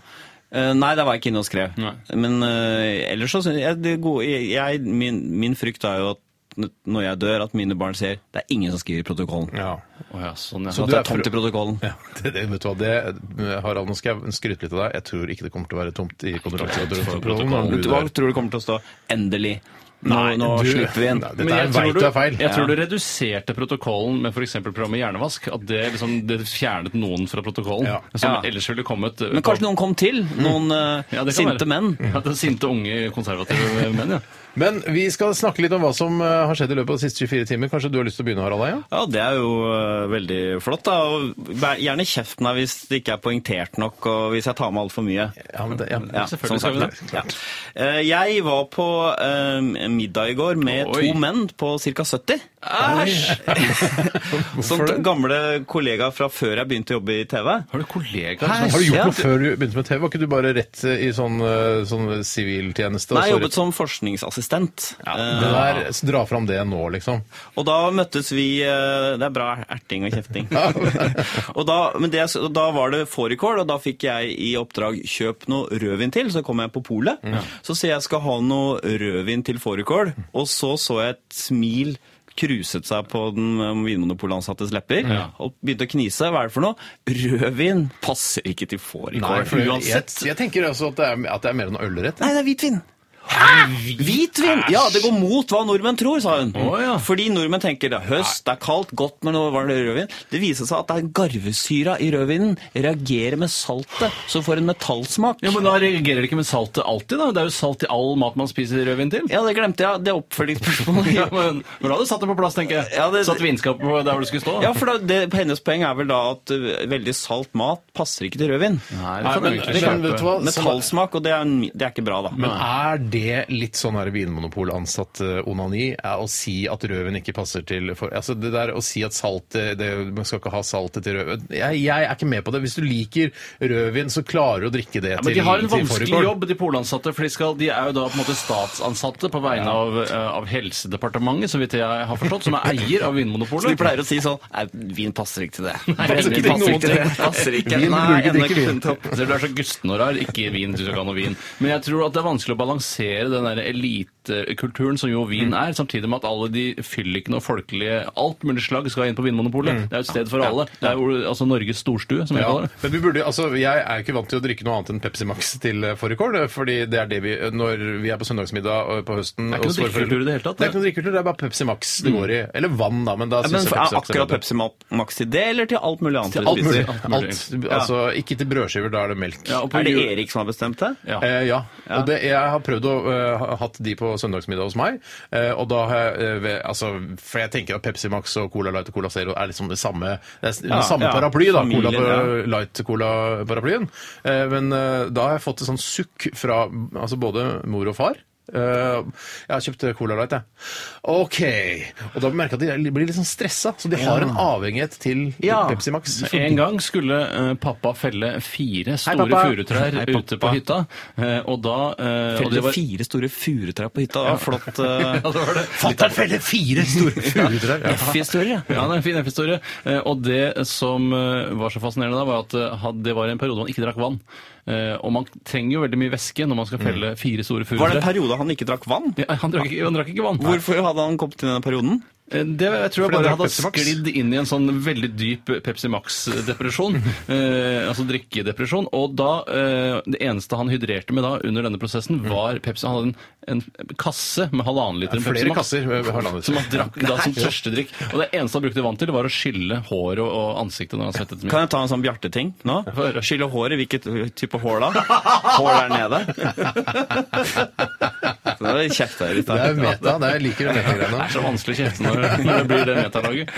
Speaker 9: Eh, nei, der var jeg ikke inne og skrev.
Speaker 8: Nei.
Speaker 9: Men eh, ellers så synes jeg, det gode, jeg min, min frykt er jo at n- når jeg dør, at mine barn ser det er ingen som skriver protokollen.
Speaker 7: Ja.
Speaker 8: Å ja, sånn, ja.
Speaker 9: Så
Speaker 7: du er
Speaker 9: at det er tomt i protokollen.
Speaker 7: ja det, det, vet du hva, det, Harald, nå skal jeg skryte litt av deg. Jeg tror ikke det kommer til å være tomt i kondolanseprotokollen. når du
Speaker 9: Hva
Speaker 7: dør.
Speaker 9: tror du kommer til å stå 'endelig'? Nå, nå
Speaker 7: du-
Speaker 9: slipper vi inn.
Speaker 7: Nei, det-
Speaker 8: Men
Speaker 7: der
Speaker 8: jeg tror
Speaker 7: vet
Speaker 8: du-
Speaker 7: du er feil.
Speaker 8: Jeg tror du reduserte protokollen med f.eks. programmet Hjernevask. At det, liksom, det fjernet noen fra protokollen
Speaker 7: Ja.
Speaker 8: som
Speaker 9: Ja.
Speaker 8: ellers ville kommet.
Speaker 9: Men kanskje noen kom til? Noen eh,
Speaker 8: Mm. Ja, det kan være.
Speaker 9: sinte menn?
Speaker 8: Ja, det er sinte unge konservative menn, ja.
Speaker 7: Men vi skal snakke litt om hva som eh, har skjedd i løpet av de siste 24 timer. Kanskje du har lyst til å begynne, Harald? Eia?
Speaker 9: Ja, det er jo eh, veldig flott, da. Og bæ- gjerne kjeft meg hvis det ikke er poengtert nok, og hvis jeg tar med altfor mye.
Speaker 7: Ja, men det, ja.
Speaker 9: Ja,
Speaker 8: selvfølgelig
Speaker 9: sånn
Speaker 8: skal
Speaker 9: sagt. Ja. Eh, Jeg var på eh, middag i går med
Speaker 8: Oi.
Speaker 9: to menn på ca. 70. Som
Speaker 7: Hvorfor det?
Speaker 9: gamle kollegaer fra før jeg begynte å jobbe i TV.
Speaker 8: Har du kollegaer
Speaker 9: Hæ?
Speaker 8: som
Speaker 7: Har du gjort
Speaker 9: Ja.
Speaker 7: noe før du begynte med TV? Var ikke du bare rett eh, i sånn, eh, sånn siviltjeneste?
Speaker 9: Nei,
Speaker 7: og
Speaker 9: jeg
Speaker 7: så
Speaker 9: jobbet som forskningsassistent.
Speaker 7: rett-
Speaker 9: Eh,
Speaker 7: det der, så dra fram det nå, liksom.
Speaker 9: Og da møttes vi eh, Det er bra erting og kjefting. og da, men det, og da var det fårikål, og da fikk jeg i oppdrag kjøp noe rødvin til. Så kom jeg på polet. Så sier jeg skal ha noe rødvin til fårikål, og så så jeg et smil kruset seg på den eh, vinmonopolansattes lepper og begynte å knise. Hva er det for noe? Rødvin passer ikke til fårikål.
Speaker 7: for jeg, jeg,
Speaker 9: uansett.
Speaker 7: jeg tenker altså at det er, at det er mer enn ølrett.
Speaker 9: Nei, det er hvitvin. Hvitvin! Ja, det går mot hva nordmenn tror, sa hun.
Speaker 8: Å, ja.
Speaker 9: Fordi nordmenn tenker det er høst, det er kaldt, godt med noe varm rødvin. Det viser seg at det er garvesyra i rødvinen reagerer med saltet, så får en metallsmak.
Speaker 8: Ja, men Da reagerer det ikke med saltet alltid, da. Det er jo salt i all mat man spiser rødvin til.
Speaker 9: Ja, det glemte jeg. Det er oppfølgingsspørsmålet.
Speaker 8: Ja, men, men da hadde du satt det på plass, tenker jeg.
Speaker 9: Ja, det-
Speaker 8: Satt vinskapet på der hvor det skulle stå.
Speaker 9: Ja, for da, det, hennes poeng er vel da at uh, veldig salt mat passer ikke til rødvin.
Speaker 8: Nei, det
Speaker 7: Nei,
Speaker 8: kan
Speaker 7: men
Speaker 8: du
Speaker 7: Sånn det
Speaker 8: egentlig
Speaker 7: kan- vet du
Speaker 8: kjøpe.
Speaker 7: hva, sånn-
Speaker 9: Metallsmak, og det er, det er ikke bra, da.
Speaker 7: Men er det litt sånn her vinmonopolansatt eh, onani? Er å si at rødvin ikke passer til for, altså Det der å si at saltet det, Man skal ikke ha saltet til rødvin jeg, jeg er ikke med på det. Hvis du liker rødvin, så klarer du å drikke det
Speaker 8: Ja,
Speaker 7: til
Speaker 8: men De har en
Speaker 7: til
Speaker 8: vanskelig
Speaker 7: fårikål.
Speaker 8: jobb, de polansatte. For de, skal, de er jo da på en måte statsansatte på vegne av, eh, av Helsedepartementet, så vidt jeg har forstått, som er eier av
Speaker 9: Så
Speaker 8: Vinmonopolet.
Speaker 9: de pleier å si sånn Nei, vin passer ikke til det.
Speaker 8: ikke
Speaker 9: Brenner passer
Speaker 7: noen
Speaker 9: ikke til det.
Speaker 7: ting.
Speaker 9: Passer ikke.
Speaker 7: Vin
Speaker 9: Nei,
Speaker 7: burde ikke
Speaker 9: ennå
Speaker 7: drikke vin.
Speaker 9: funnet opp.
Speaker 8: Så Du er så gusten og rar. Ikke vin, du skal ikke ha noe vin. Men jeg tror at det er vanskelig å balansere den der elitekulturen som jo vin
Speaker 9: Mm.
Speaker 8: er, samtidig med at alle de fyllikene og folkelige alt mulig slag skal inn på Vinmonopolet.
Speaker 9: Mm.
Speaker 8: Det er jo et sted for alle. Det er jo altså Norges storstue, som jeg
Speaker 7: Ja,
Speaker 8: kaller det.
Speaker 7: men vi burde, altså, jeg er ikke vant til å drikke noe annet enn Pepsi Max til eh, fårikål. eh, fordi det er det vi, når vi er på søndagsmiddag eh, på høsten
Speaker 8: Det er ikke
Speaker 7: hos våre
Speaker 8: noe drikkekultur
Speaker 7: foreldre-
Speaker 8: i det hele tatt,
Speaker 7: Det er ikke
Speaker 8: det. Mm.
Speaker 7: noe drikkekultur, det er bare Pepsi Max det går i. Eller vann, da. Men da
Speaker 9: Ja, men
Speaker 7: synes jeg
Speaker 9: er
Speaker 7: Pepsi Max er
Speaker 9: akkurat
Speaker 7: bedre.
Speaker 9: Pepsi Ma- Max til det, eller til alt mulig annet?
Speaker 7: Til
Speaker 9: dere
Speaker 7: alt mulig.
Speaker 9: spiser?
Speaker 8: Alt mulig.
Speaker 7: Alt, altså, ikke til brødskiver, da er det melk.
Speaker 8: Ja, og på
Speaker 9: Er det
Speaker 8: jul-
Speaker 9: Erik som har bestemt det?
Speaker 8: Ja.
Speaker 7: Eh, ja. Og det, jeg har prøvd å eh, ha hatt de på søndagsmiddag hos meg. eh, og da har jeg, eh, ved- altså, For jeg tenker at Pepsi Max og Cola Light og Cola Zero er liksom det samme, det er s-
Speaker 9: Ja,
Speaker 7: det samme
Speaker 9: ja.
Speaker 7: paraply. da,
Speaker 9: Familien,
Speaker 7: Cola ja. Light-Cola-paraplyen. Eh, men eh, da har jeg fått et sånn sukk fra altså, både mor og far. Eh, jeg har kjøpt Cola Light, jeg. OK. Og da merker jeg at de blir litt sånn stressa, så de har en avhengighet til
Speaker 9: Ja.
Speaker 7: Pepsi Max.
Speaker 8: En gang skulle eh, pappa felle fire store
Speaker 7: pappa.
Speaker 8: furutrær
Speaker 9: Hei, pappa.
Speaker 8: ute på hytta, eh, og da eh, og
Speaker 9: Feller
Speaker 8: det var-
Speaker 9: fire store furutrær på hytta. Det var flott.
Speaker 8: Ja,
Speaker 9: eh,
Speaker 8: det var det.
Speaker 7: Fatter'n feller fire store furutrær! Ja.
Speaker 9: F-historie.
Speaker 8: Ja, det er en fin F-historie. Eh, Og det som eh, var så fascinerende da, var at eh, had- det var en periode man ikke drakk vann. Eh, Og man trenger jo veldig mye væske når
Speaker 7: Mm.
Speaker 8: man skal felle fire store
Speaker 9: Var det en
Speaker 8: furutre.
Speaker 9: periode han ikke drakk vann?
Speaker 8: Ja, han, drakk, ikke- han drakk ikke vann.
Speaker 9: Hvorfor hadde han kommet inn i denne perioden?
Speaker 8: Eh, Det, jeg tror jeg
Speaker 7: Fordi han
Speaker 8: bare
Speaker 7: drakk
Speaker 8: hadde
Speaker 7: Pepsi Max.
Speaker 8: sklidd inn i en sånn veldig dyp Pepsi Max-depresjon. eh, altså drikkedepresjon. Og da eh, Det eneste han hydrerte med da under denne prosessen, var Pepsi. Han hadde en, en kasse med halvannen liter Pepsi
Speaker 7: Flere
Speaker 8: Max.
Speaker 7: kasser. eh, halvannen liter.
Speaker 8: Som han drakk da som tørstedrikk. Og det eneste han brukte vann til, var å skylle håret og- og ansiktet når han svettet mye.
Speaker 9: Kan jeg ta en sånn Bjarte-ting nå?
Speaker 8: Mm. Få høre.
Speaker 9: Skille håret. Hvilket type hår da? Hår der nede. Nå kjefter jeg litt
Speaker 7: Det er
Speaker 9: der.
Speaker 7: meta. Det er, jeg liker de
Speaker 8: Det er
Speaker 7: metagreiene.
Speaker 8: så vanskelig å kjefte når, når det blir det metalaget.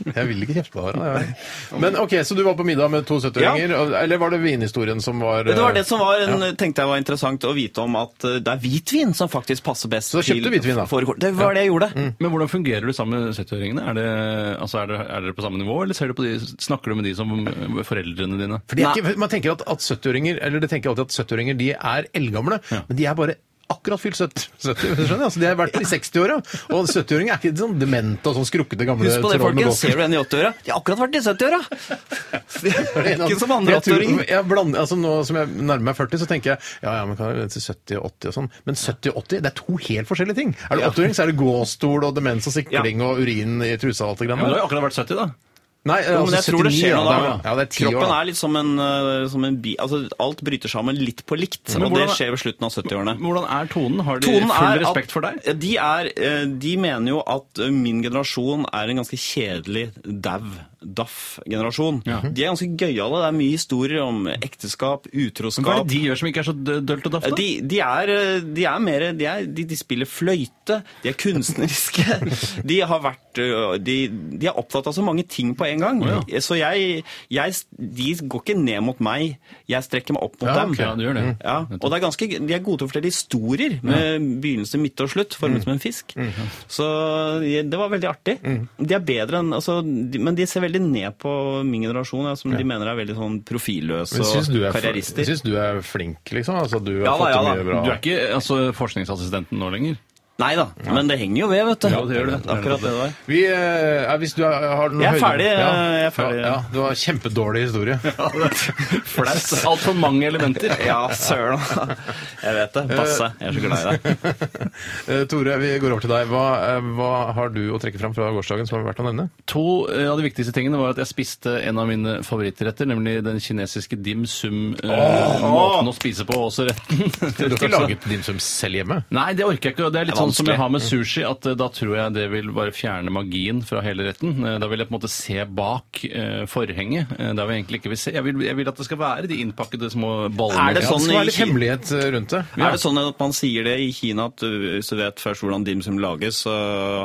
Speaker 7: Jeg vil ikke kjefte på deg. jeg. Men OK, så du var på middag med to 70-åringer. Eller var det vinhistorien som var
Speaker 9: Det var det
Speaker 7: eh,
Speaker 9: som var, en, tenkte jeg var interessant å vite om at eh, det er hvitvin som faktisk passer best.
Speaker 7: Så da kjøpte
Speaker 9: til-
Speaker 7: hvitvin, da?
Speaker 9: for- Det var det jeg gjorde.
Speaker 8: Men hvordan fungerer du sammen med 70-åringene? Er, det- altså er, det- er dere på samme nivå, eller ser du på de, snakker du med de som med foreldrene dine?
Speaker 7: For de er ikke, man tenker at, at 70-åringer eller det tenker alltid at 70-åringer de er eldgamle, men de er bare akkurat fylt 70. 70 hvis du skjønner, altså De har vært i 60-åra. Og 70-åringer er ikke sånn demente og sånn skrukkete gamle
Speaker 9: Husk på det,
Speaker 7: troll med
Speaker 9: folkens.
Speaker 7: golf.
Speaker 9: Ser du en i 80-åra? De har akkurat vært i 70-åra! De er Ikke som andre
Speaker 7: Jeg tror-
Speaker 9: 80-åringer.
Speaker 7: jeg blander- Altså nå som jeg nærmer meg 40, så tenker jeg ja, ja, men kan jeg til 70 og 80 og sånn. Men 70 og 80, det er to helt forskjellige ting. Er du 80-åring, så er det gåstol og demens og sikling og urin i trusa og alt det
Speaker 8: Ja, men du
Speaker 7: grann
Speaker 8: har
Speaker 7: der.
Speaker 8: jo akkurat vært 70, da.
Speaker 7: Nei,
Speaker 9: Jo, men
Speaker 7: altså
Speaker 9: jeg tror det
Speaker 7: 79,
Speaker 9: skjer
Speaker 7: ja,
Speaker 9: noe da.
Speaker 7: det er- Ja, det er ti år.
Speaker 9: Kroppen
Speaker 7: da.
Speaker 9: er litt som en, eh, som en bi... Altså, alt bryter sammen litt på likt,
Speaker 8: Men
Speaker 9: og det
Speaker 8: hvordan-
Speaker 9: skjer ved slutten av 70-årene.
Speaker 8: Hvordan er tonen? Har de
Speaker 9: Tonen
Speaker 8: full
Speaker 9: er
Speaker 8: respekt
Speaker 9: at
Speaker 8: for deg?
Speaker 9: De, er, eh, de mener jo at eh, min generasjon er en ganske kjedelig dau, daff-generasjon.
Speaker 8: Ja.
Speaker 9: De er ganske gøyale. Det er mye historier om ekteskap,
Speaker 8: Men Hva er
Speaker 9: utroskap.
Speaker 8: det de gjør som ikke er så dø- dølt og daft? da?
Speaker 9: De, de er, eh, de er mer de, er, de, de spiller fløyte, de er kunstneriske. De har vært ø, De, de er opptatt av så mange ting på en gang.
Speaker 8: Å,
Speaker 9: Så jeg, jeg De går ikke ned mot meg, jeg strekker meg opp mot
Speaker 7: Ja,
Speaker 9: dem.
Speaker 7: ok,
Speaker 8: Ja, du gjør det.
Speaker 9: Ja, og det er ganske, de er gode til å fortelle historier med begynnelse, midte og slutt, formet som en fisk. Så jeg- det var veldig artig. De er bedre enn, altså, de, Men de ser veldig ned på min generasjon, ja, som de mener er veldig sånn profilløse
Speaker 7: Men syns du,
Speaker 9: og
Speaker 7: er,
Speaker 9: karrierister.
Speaker 7: syns du er flink, liksom? Altså, du har
Speaker 9: Ja da,
Speaker 7: fått til
Speaker 9: ja da.
Speaker 7: mye bra.
Speaker 8: Du er ikke altså, forskningsassistenten nå lenger?
Speaker 9: Nei da, men det henger jo ved, vet du.
Speaker 8: Ja, det gjør det.
Speaker 9: Akkurat det der.
Speaker 7: Vi, eh, ja, hvis du har har noe
Speaker 9: Jeg er
Speaker 7: høyde-
Speaker 9: ferdig, eh,
Speaker 7: Ja.
Speaker 9: jeg er ferdig.
Speaker 7: Ja, ja, du har kjempedårlig historie.
Speaker 8: Flaut. Altfor mange elementer.
Speaker 9: Ja, søren. Jeg vet det. Basse. Jeg er så glad i deg.
Speaker 7: Eh, Tore, vi går over til deg. Hva, eh, hva har du å trekke fram fra gårsdagen som har vært å nevne?
Speaker 8: To eh, av de viktigste tingene var at jeg spiste en av mine favorittretter, nemlig den kinesiske dim sum eh, måten å spise på, også retten.
Speaker 7: Du har ikke laget din som selv hjemme?
Speaker 8: Nei, det orker jeg ikke. og Det er litt
Speaker 9: Det er
Speaker 8: sånn som jeg
Speaker 9: vanskelig.
Speaker 8: har med sushi, at eh, da tror jeg det vil bare fjerne magien fra hele retten. Eh, Da vil jeg på en måte se bak eh, forhenget. Eh, Da vil jeg egentlig ikke vil se. Jeg vil, jeg vil at det skal være de innpakkede små ballene.
Speaker 9: Er det
Speaker 7: Ja, det
Speaker 9: sånn
Speaker 7: skal være litt
Speaker 9: i-
Speaker 7: hemmelighet eh, rundt det.
Speaker 9: Er det sånn at man sier det i Kina at du, hvis du vet først hvordan dim sum lages, så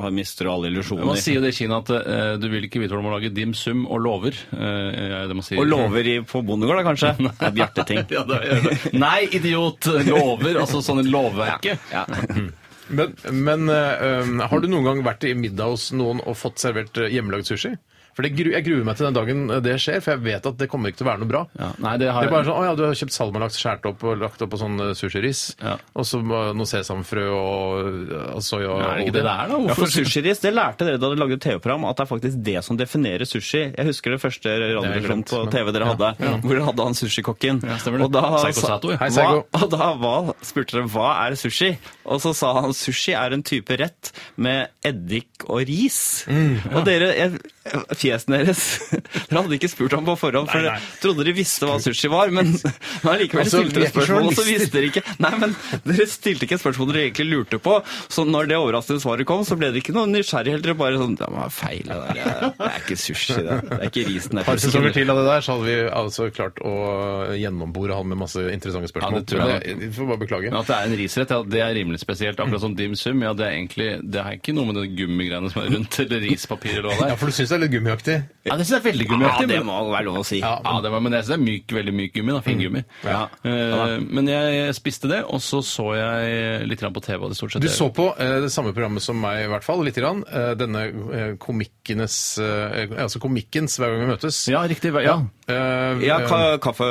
Speaker 9: har- mister du alle illusjoner?
Speaker 8: Man sier jo det i Kina at eh, du vil ikke vite hvordan man lager dim sum og lover. Eh, er det man sier.
Speaker 9: Og lover i, på bondegård, da, kanskje? Det er Bjarte-ting.
Speaker 8: Ja, det er det. Nei, idiot! Lover. Altså sånn i lovverket.
Speaker 7: Men, men eh, um, har du noen gang vært i middag hos noen og fått servert eh, hjemmelagd sushi? For det gru, Jeg gruer meg til den dagen eh, det skjer, for jeg vet at det kommer ikke til å være noe bra.
Speaker 8: Ja, nei, det har
Speaker 7: Det er bare
Speaker 8: jeg-
Speaker 7: sånn, Å ja, du har kjøpt salmalaks, skåret opp og lagt opp på sånn eh, sushiris.
Speaker 8: Ja.
Speaker 7: Og så eh, noe sesamfrø og eh, soya og
Speaker 8: Er det ikke det det er, da?
Speaker 9: For
Speaker 8: Hvorfor
Speaker 9: sushiris, det lærte dere da dere lagde TV-program, at det er faktisk det som definerer sushi. Jeg husker det første radioprogrammet
Speaker 7: glemt,
Speaker 9: på
Speaker 7: men-
Speaker 9: TV dere hadde, hvor dere hadde han sushikokken.
Speaker 8: Ja, stemmer det.
Speaker 9: Og da,
Speaker 8: Seiko
Speaker 9: sa-
Speaker 8: Sato, ja.
Speaker 7: Hei, Seiko.
Speaker 9: Hva, og da hva, spurte dere hva er sushi? Og så sa han sushi er en type rett med eddik og ris.
Speaker 7: Mm,
Speaker 9: Og dere, jeg, fjesene deres Dere hadde ikke spurt ham på forhånd, for dere trodde dere visste hva sushi var, men men allikevel
Speaker 7: Altså,
Speaker 9: stilte
Speaker 7: vi er
Speaker 9: dere
Speaker 7: ikke
Speaker 9: spørsmål, og så
Speaker 7: journalister.
Speaker 9: visste dere ikke Nei, men dere stilte ikke et spørsmål dere egentlig lurte på. Så når det overraskende svaret kom, så ble det ikke noe nysgjerrighet. Dere bare sånn Det var feil, det der. Det er- Det er ikke sushi, det. Det er ikke risen. Det
Speaker 7: Et par
Speaker 9: fisken."
Speaker 7: sesonger til av det der, så hadde vi altså klart å gjennombore han med masse interessante spørsmål.
Speaker 8: Ja, det tror jeg
Speaker 7: Men Vi får bare beklage.
Speaker 8: Men at det er en risrett, ja, det er rimelig spesielt. Akkurat sånn dim sum, ja, det er egentlig det er ikke noe med den gummigreiene som er rundt, eller rispapir eller hva det
Speaker 7: Ja,
Speaker 8: er.
Speaker 7: for du syns det er litt gummiaktig?
Speaker 8: Ja, det synes jeg er veldig
Speaker 9: Ja,
Speaker 8: gummiaktig.
Speaker 9: det
Speaker 8: men-
Speaker 9: må være lov å si.
Speaker 8: Ja, det var, men jeg synes det er myk, veldig myk gummi, da, fingummi.
Speaker 9: Mm. Ja.
Speaker 8: Eh, men jeg spiste det, og så så jeg litt grann på TV, og det er stort sett
Speaker 7: Du
Speaker 8: det.
Speaker 7: så på eh, det samme programmet som meg, i hvert fall, lite grann. Eh, denne eh, komikkenes eh, Altså komikkens Hver gang vi møtes.
Speaker 8: Ja, riktig. hva- Ja.
Speaker 7: Eh,
Speaker 9: Ja,
Speaker 7: eh,
Speaker 9: ka kaffe,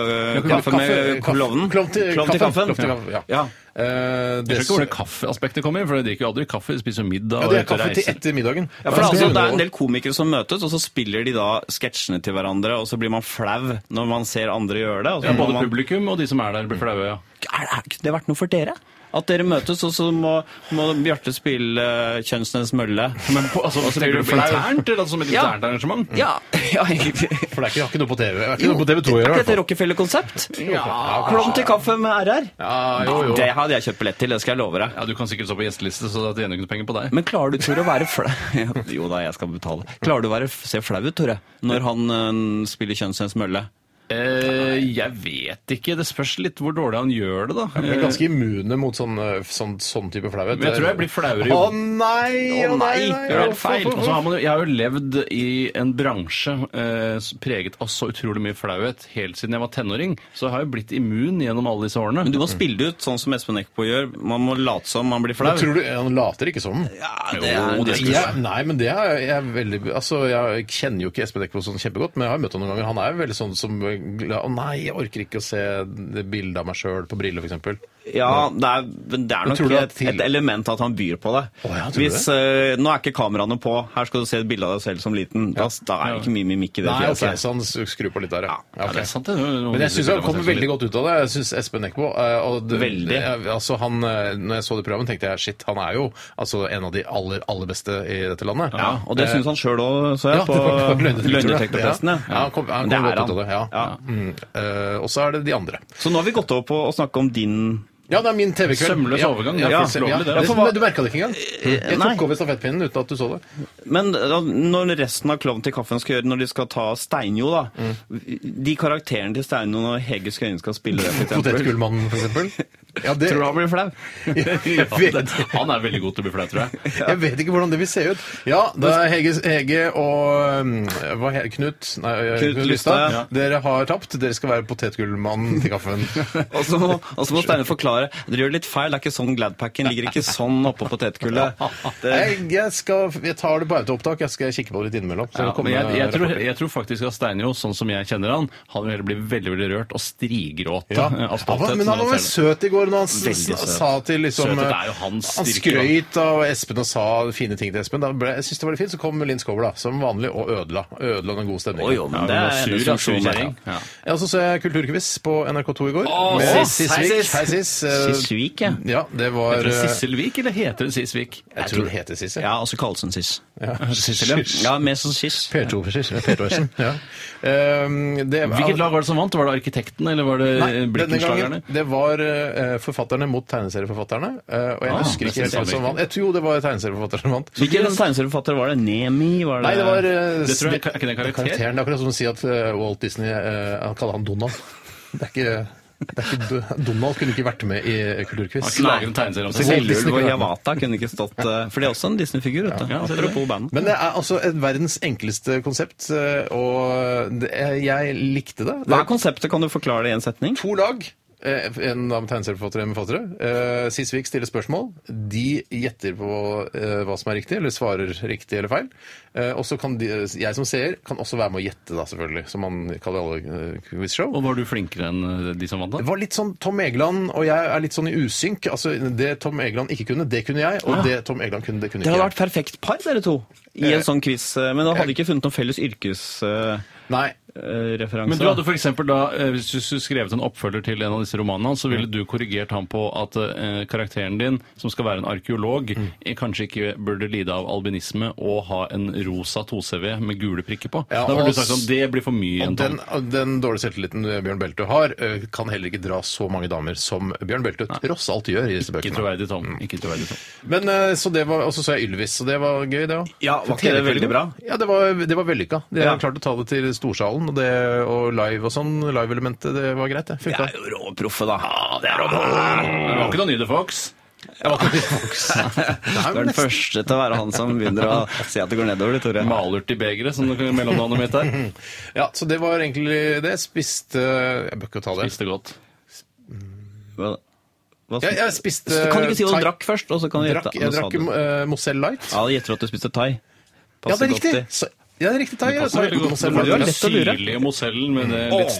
Speaker 9: kaffe med klovnen.
Speaker 7: Klovn til
Speaker 9: Klovn til kaffen.
Speaker 7: Klovn til kaffen, ja.
Speaker 9: Ja.
Speaker 7: Eh,
Speaker 8: Jeg
Speaker 7: det,
Speaker 8: skjønner ikke hvor det kaffeaspektet kommer inn, for jeg drikker jo aldri kaffe, jeg spiser jo middag
Speaker 7: ja,
Speaker 8: og
Speaker 7: det er
Speaker 8: ute og
Speaker 7: kaffe til
Speaker 8: reiser.
Speaker 7: etter middagen.
Speaker 9: Ja, for det, er altså, det er en
Speaker 7: Spiller
Speaker 9: del komikere som møtes, og så spiller de da sketsjene til hverandre, og så blir man flau når man ser andre gjøre det. Og så
Speaker 8: Ja,
Speaker 9: må
Speaker 8: både
Speaker 9: man,
Speaker 8: publikum og de som er der, blir flaue. Ja.
Speaker 9: er, er ikke det vært noe for dere? At dere møtes, og så må, må Bjarte spille eh, Kjønnsnes mølle.
Speaker 8: Men på, altså,
Speaker 9: så
Speaker 8: tenker
Speaker 9: blir
Speaker 8: du
Speaker 9: du
Speaker 8: på
Speaker 9: flau.
Speaker 8: internt, eller altså, som et
Speaker 9: Ja.
Speaker 8: internt arrangement?
Speaker 9: Ja, ja egentlig.
Speaker 7: for det er ikke, det har ikke noe på TV. Det er ikke noe på TV 2 å gjøre. i
Speaker 9: Er ikke
Speaker 7: hvert
Speaker 9: dette
Speaker 7: fall.
Speaker 9: Rockefeller-konsept?
Speaker 7: Ja,
Speaker 9: Klovn til kaffe med RR?
Speaker 7: Ja, jo, jo.
Speaker 9: Det hadde jeg kjøpt billett til, det skal jeg love deg.
Speaker 8: Ja, Du kan sikkert stå på gjesteliste, så da tjener du ikke noe penger på deg.
Speaker 9: Men klarer du, Tore, å være flau Ja, Jo da, jeg skal betale. Klarer du å være, se flau ut, Tore, når han eh, spiller Kjønnsnes mølle?
Speaker 8: Eh, jeg vet ikke. Det spørs litt hvor dårlig han gjør det, da.
Speaker 7: Vi er ganske immune mot sånn, eh, sånn, sånn type flauhet.
Speaker 8: Men jeg tror jeg blir flauere
Speaker 7: Å
Speaker 8: jo
Speaker 7: nei! Å nei! nei,
Speaker 8: Det er
Speaker 7: å,
Speaker 8: helt feil.
Speaker 7: få,
Speaker 8: Og
Speaker 7: få,
Speaker 8: så
Speaker 7: få.
Speaker 8: har man jo, jeg har jo levd i en bransje eh, s- preget av så utrolig mye flauhet helt siden jeg var tenåring, så jeg har jo blitt immun gjennom alle disse årene.
Speaker 9: Men du må spille det ut, sånn som Espen Eckbo gjør. Man må late som man blir flau.
Speaker 7: Men tror du, Han later ikke sånn. som.
Speaker 9: Ja,
Speaker 8: Jo, det
Speaker 9: det
Speaker 8: skal
Speaker 9: er,
Speaker 7: Ja, nei, men det er jeg er veldig Altså, jeg kjenner jo ikke Espen Eckbo sånn kjempegodt, men jeg har møtt ham noen ganger. Han er jo veldig sånn som eh, glad Å nei, jeg orker ikke å se det bildet av meg sjøl på briller, f.eks.
Speaker 9: ja, det er, men det er nok
Speaker 7: tror du at
Speaker 9: et,
Speaker 7: til-
Speaker 9: et element at han byr på det.
Speaker 7: Å ja, tror du
Speaker 9: Hvis, eh, nå er ikke kameraene på. Her skal du se et bilde av deg selv som liten. Da, da er det ikke mye mimikk i det
Speaker 7: Nei, ok, sånn,
Speaker 9: fjeset.
Speaker 7: så han skrur på litt der, ja. Ja,
Speaker 8: Ja,
Speaker 7: ok.
Speaker 8: det er sånn sant, det.
Speaker 7: Men jeg syns han kommer veldig godt ut av det. Jeg synes Espen Eckbo eh, og det-
Speaker 9: Veldig.
Speaker 7: det- altså han, eh, Når jeg så det programmet, tenkte jeg shit, han er jo altså, en av de aller, aller beste i dette landet.
Speaker 9: Ja, og det syns han sjøl òg, så jeg,
Speaker 7: Eh, Ja,
Speaker 9: på
Speaker 7: det var- det var
Speaker 9: løgndetektortesten.
Speaker 7: Ja, Ja, han kom, han
Speaker 9: Det
Speaker 7: kom
Speaker 9: er
Speaker 7: godt ut av
Speaker 9: han.
Speaker 7: det. Ja.
Speaker 9: Ja.
Speaker 7: Mm. Eh, og så er det de andre.
Speaker 9: Så nå har vi gått over på å snakke om din
Speaker 7: Ja, det er min TV-kveld.
Speaker 8: Sømløs
Speaker 7: ja.
Speaker 8: overgang,
Speaker 7: Ja,
Speaker 8: det er
Speaker 7: ja,
Speaker 8: faktisk lovlig,
Speaker 7: ja.
Speaker 8: det.
Speaker 7: Ja, for,
Speaker 9: hva-
Speaker 7: hva- du merka det ikke engang? Jeg
Speaker 9: nei.
Speaker 7: tok over stafettpinnen uten at du så det.
Speaker 9: Men da, når resten av Klovn til kaffen skal gjøre, når de skal ta Steinjo, da
Speaker 7: Mm.
Speaker 9: De karakterene til Steinjo når Hege Skøyen skal spille det, for eksempel.
Speaker 7: Potetgullmannen, for eksempel. Ja, det,
Speaker 9: Tror du han blir flau?
Speaker 7: jeg, vet,
Speaker 8: Han er veldig god til å bli flau, tror jeg.
Speaker 7: jeg vet ikke hvordan det vil se ut. Ja, det er Hege, Hege og um, hva he, Knut nei, eh,
Speaker 9: Knut
Speaker 7: Knut
Speaker 9: Lystad,
Speaker 7: Lystad.
Speaker 9: ja.
Speaker 7: Dere har tapt. Dere skal være potetgullmannen til kaffen.
Speaker 9: Og så må, og så må Steinar forklare. Dere gjør litt feil. Det er ikke sånn Gladpacken ligger ikke sånn oppå potetgullet. Det,
Speaker 7: Jeg, jeg, skal, jeg tar det på autoopptak. Jeg skal kikke på det litt innimellom. så
Speaker 8: Ja,
Speaker 7: det kommer
Speaker 8: men jeg, jeg, tror,
Speaker 7: rapporter.
Speaker 8: jeg tror faktisk at Steinjo, sånn som jeg kjenner han, han vil heller bli veldig veldig rørt og strigråte
Speaker 7: Ja.
Speaker 8: eh,
Speaker 7: Han
Speaker 8: av
Speaker 7: var,
Speaker 8: stolthet.
Speaker 7: men han
Speaker 8: når
Speaker 7: var vel
Speaker 8: ser det.
Speaker 7: søt i går når han s-
Speaker 9: Veldig søt.
Speaker 7: s- sa til liksom
Speaker 8: Søthet er jo hans
Speaker 7: Han
Speaker 8: styrke, da.
Speaker 7: skrøyt av Espen og sa fine ting til Espen. Da ble, jeg synes det var litt fint, så kom Linn Skåber, da, som vanlig, og ødela. Ødela den gode stemningen.
Speaker 9: Å jo, men
Speaker 8: Ja,
Speaker 9: det
Speaker 8: hun var
Speaker 9: er
Speaker 8: sur,
Speaker 9: hennes
Speaker 8: ja,
Speaker 9: funksjon,
Speaker 8: sur
Speaker 9: det,
Speaker 8: kjerring. Ja.
Speaker 7: Ja, så så jeg Kulturquiz på NRK2 i går.
Speaker 8: Å,
Speaker 7: med
Speaker 8: Sis!
Speaker 7: Sisvik.
Speaker 8: Hei, Sis!
Speaker 7: Hei, Sis. Eh,
Speaker 9: Sisvik, ja.
Speaker 7: Ja, det var
Speaker 8: Heter det
Speaker 7: eh,
Speaker 8: Sisselvik, eller heter det Sisvik?
Speaker 7: Jeg tror det heter Sis,
Speaker 9: Ja, altså Karlsen-siss.
Speaker 8: Sissel, ja.
Speaker 9: Ja, mer sånn som siss.
Speaker 7: P2-Sis. P2-Sis. Ja. Um, det-
Speaker 8: Hvilket lag var det som vant? Var det Arkitekten, eller var det
Speaker 7: Nei,
Speaker 8: eh,
Speaker 7: denne gangen
Speaker 8: Blikkenslagerne?
Speaker 7: det var eh, forfatterne mot tegneserieforfatterne. eh, og jeg
Speaker 8: Ah,
Speaker 7: husker
Speaker 8: nesten
Speaker 7: ikke helt hvem
Speaker 8: samme
Speaker 7: som vant. Jeg tror det var tegneserieforfatteren som vant.
Speaker 9: Hvilken tegneserieforfatter var det? Nemi? Var det
Speaker 7: Nei, det var eh,
Speaker 8: Det tror jeg, Er ikke det en karakter?
Speaker 7: karakteren. Det er akkurat som å si at eh, Walt Disney eh, Han kaller han Donald. Det er ikke, det er ikke Do- Donald kunne ikke vært med i
Speaker 8: Har
Speaker 7: Kulturquiz.
Speaker 8: ikke laget en tegneserie om
Speaker 9: Så
Speaker 8: seg selv.
Speaker 7: Walt Disney
Speaker 9: Gullulv og
Speaker 7: kunne vært med.
Speaker 9: Yamata kunne ikke stått eh, For det er også en Disney-figur, vet du.
Speaker 8: Ja, ser du det?
Speaker 9: Apropos bandet.
Speaker 7: Men det er altså et verdens enkleste konsept, eh, og det, jeg likte det.
Speaker 9: Hva
Speaker 7: det
Speaker 9: er konseptet? Kan du forklare det i en setning?
Speaker 7: to lag. eh, En av tegneserieforfattere med forfattere. Eh, Sisvik stiller spørsmål. De gjetter på eh, hva som er riktig, eller svarer riktig eller feil. Eh, Og så kan de, jeg som seer kan også være med å gjette, da, selvfølgelig. Som man kaller alle eh, quizshow.
Speaker 8: Og var du flinkere enn eh, de som vant,
Speaker 7: Det
Speaker 8: da?
Speaker 7: var litt sånn Tom Egeland og jeg er litt sånn i usynk. Altså, det Tom Egeland ikke kunne, det kunne jeg. Og det Tom Egeland kunne, det kunne ikke
Speaker 9: Ah. Det hadde
Speaker 7: jeg.
Speaker 9: vært perfekt par, dere to, i en sånn quiz. eh, Men da hadde vi ikke funnet noen felles
Speaker 7: Nei.
Speaker 8: Men
Speaker 9: yrkesreferanse.
Speaker 8: du hadde for eksempel da, eh, Hvis du skulle skrevet en oppfølger til en av disse romanene hans, så ville du korrigert ham på at eh, karakteren din, som skal være en arkeolog,
Speaker 7: Mm.
Speaker 8: eh, kanskje ikke burde lide av albinisme og ha en rosa 2CV med gule prikker på.
Speaker 7: Ja,
Speaker 8: da ville
Speaker 7: og
Speaker 8: du sagt sånn Det blir for mye.
Speaker 7: Og
Speaker 8: Anton.
Speaker 7: den, og den dårlige selvtilliten Bjørn Belte har, eh, kan heller ikke dra så mange damer som Bjørn Belte tross alt gjør i disse
Speaker 8: Ikke
Speaker 7: bøkene.
Speaker 8: troverdig, Tom. Ikke troverdig, Tom.
Speaker 7: Men eh, så det var, Og så så jeg Ylvis, og det var gøy, det òg.
Speaker 9: Ja, var ikke det veldig bra?
Speaker 7: Ja, det var, det var vellykka. De
Speaker 9: Ja.
Speaker 7: har klart å ta det til storsalen, og, det, og live og sånn. Live-elementet, det var greit, det.
Speaker 9: Det
Speaker 7: Funka.
Speaker 9: er jo råproffe, da.
Speaker 8: Det var ikke noe Nydefox.
Speaker 9: Du er den første til å være han som begynner å si at det går nedover, du, Tore.
Speaker 8: Malurt i begeret, som det mellomnavnet mitt er.
Speaker 7: Ja, så det var egentlig det. Jeg Spiste Jeg bør ikke ta det.
Speaker 8: Visste godt.
Speaker 9: Hva- hva-
Speaker 7: Ja, jeg spiste
Speaker 9: Kan du ikke si hva
Speaker 7: thai.
Speaker 9: du drakk først, og så kan du
Speaker 7: Drakk,
Speaker 9: gjette?
Speaker 7: jeg
Speaker 9: Nå sa
Speaker 7: drakk
Speaker 9: du-
Speaker 7: eh, Mozell Light.
Speaker 9: Ja, jeg gjetter at du spiste thai.
Speaker 7: Ja, det
Speaker 9: Passer
Speaker 7: er
Speaker 9: godt
Speaker 7: riktig! Så, ja, det er riktig. Thai, ja,
Speaker 8: Passer
Speaker 7: thai,
Speaker 8: veldig godt.
Speaker 7: Moselle
Speaker 8: Det var
Speaker 9: Du har
Speaker 8: den
Speaker 7: Light.
Speaker 9: lett å lure.
Speaker 8: syrlige mozellen med det litt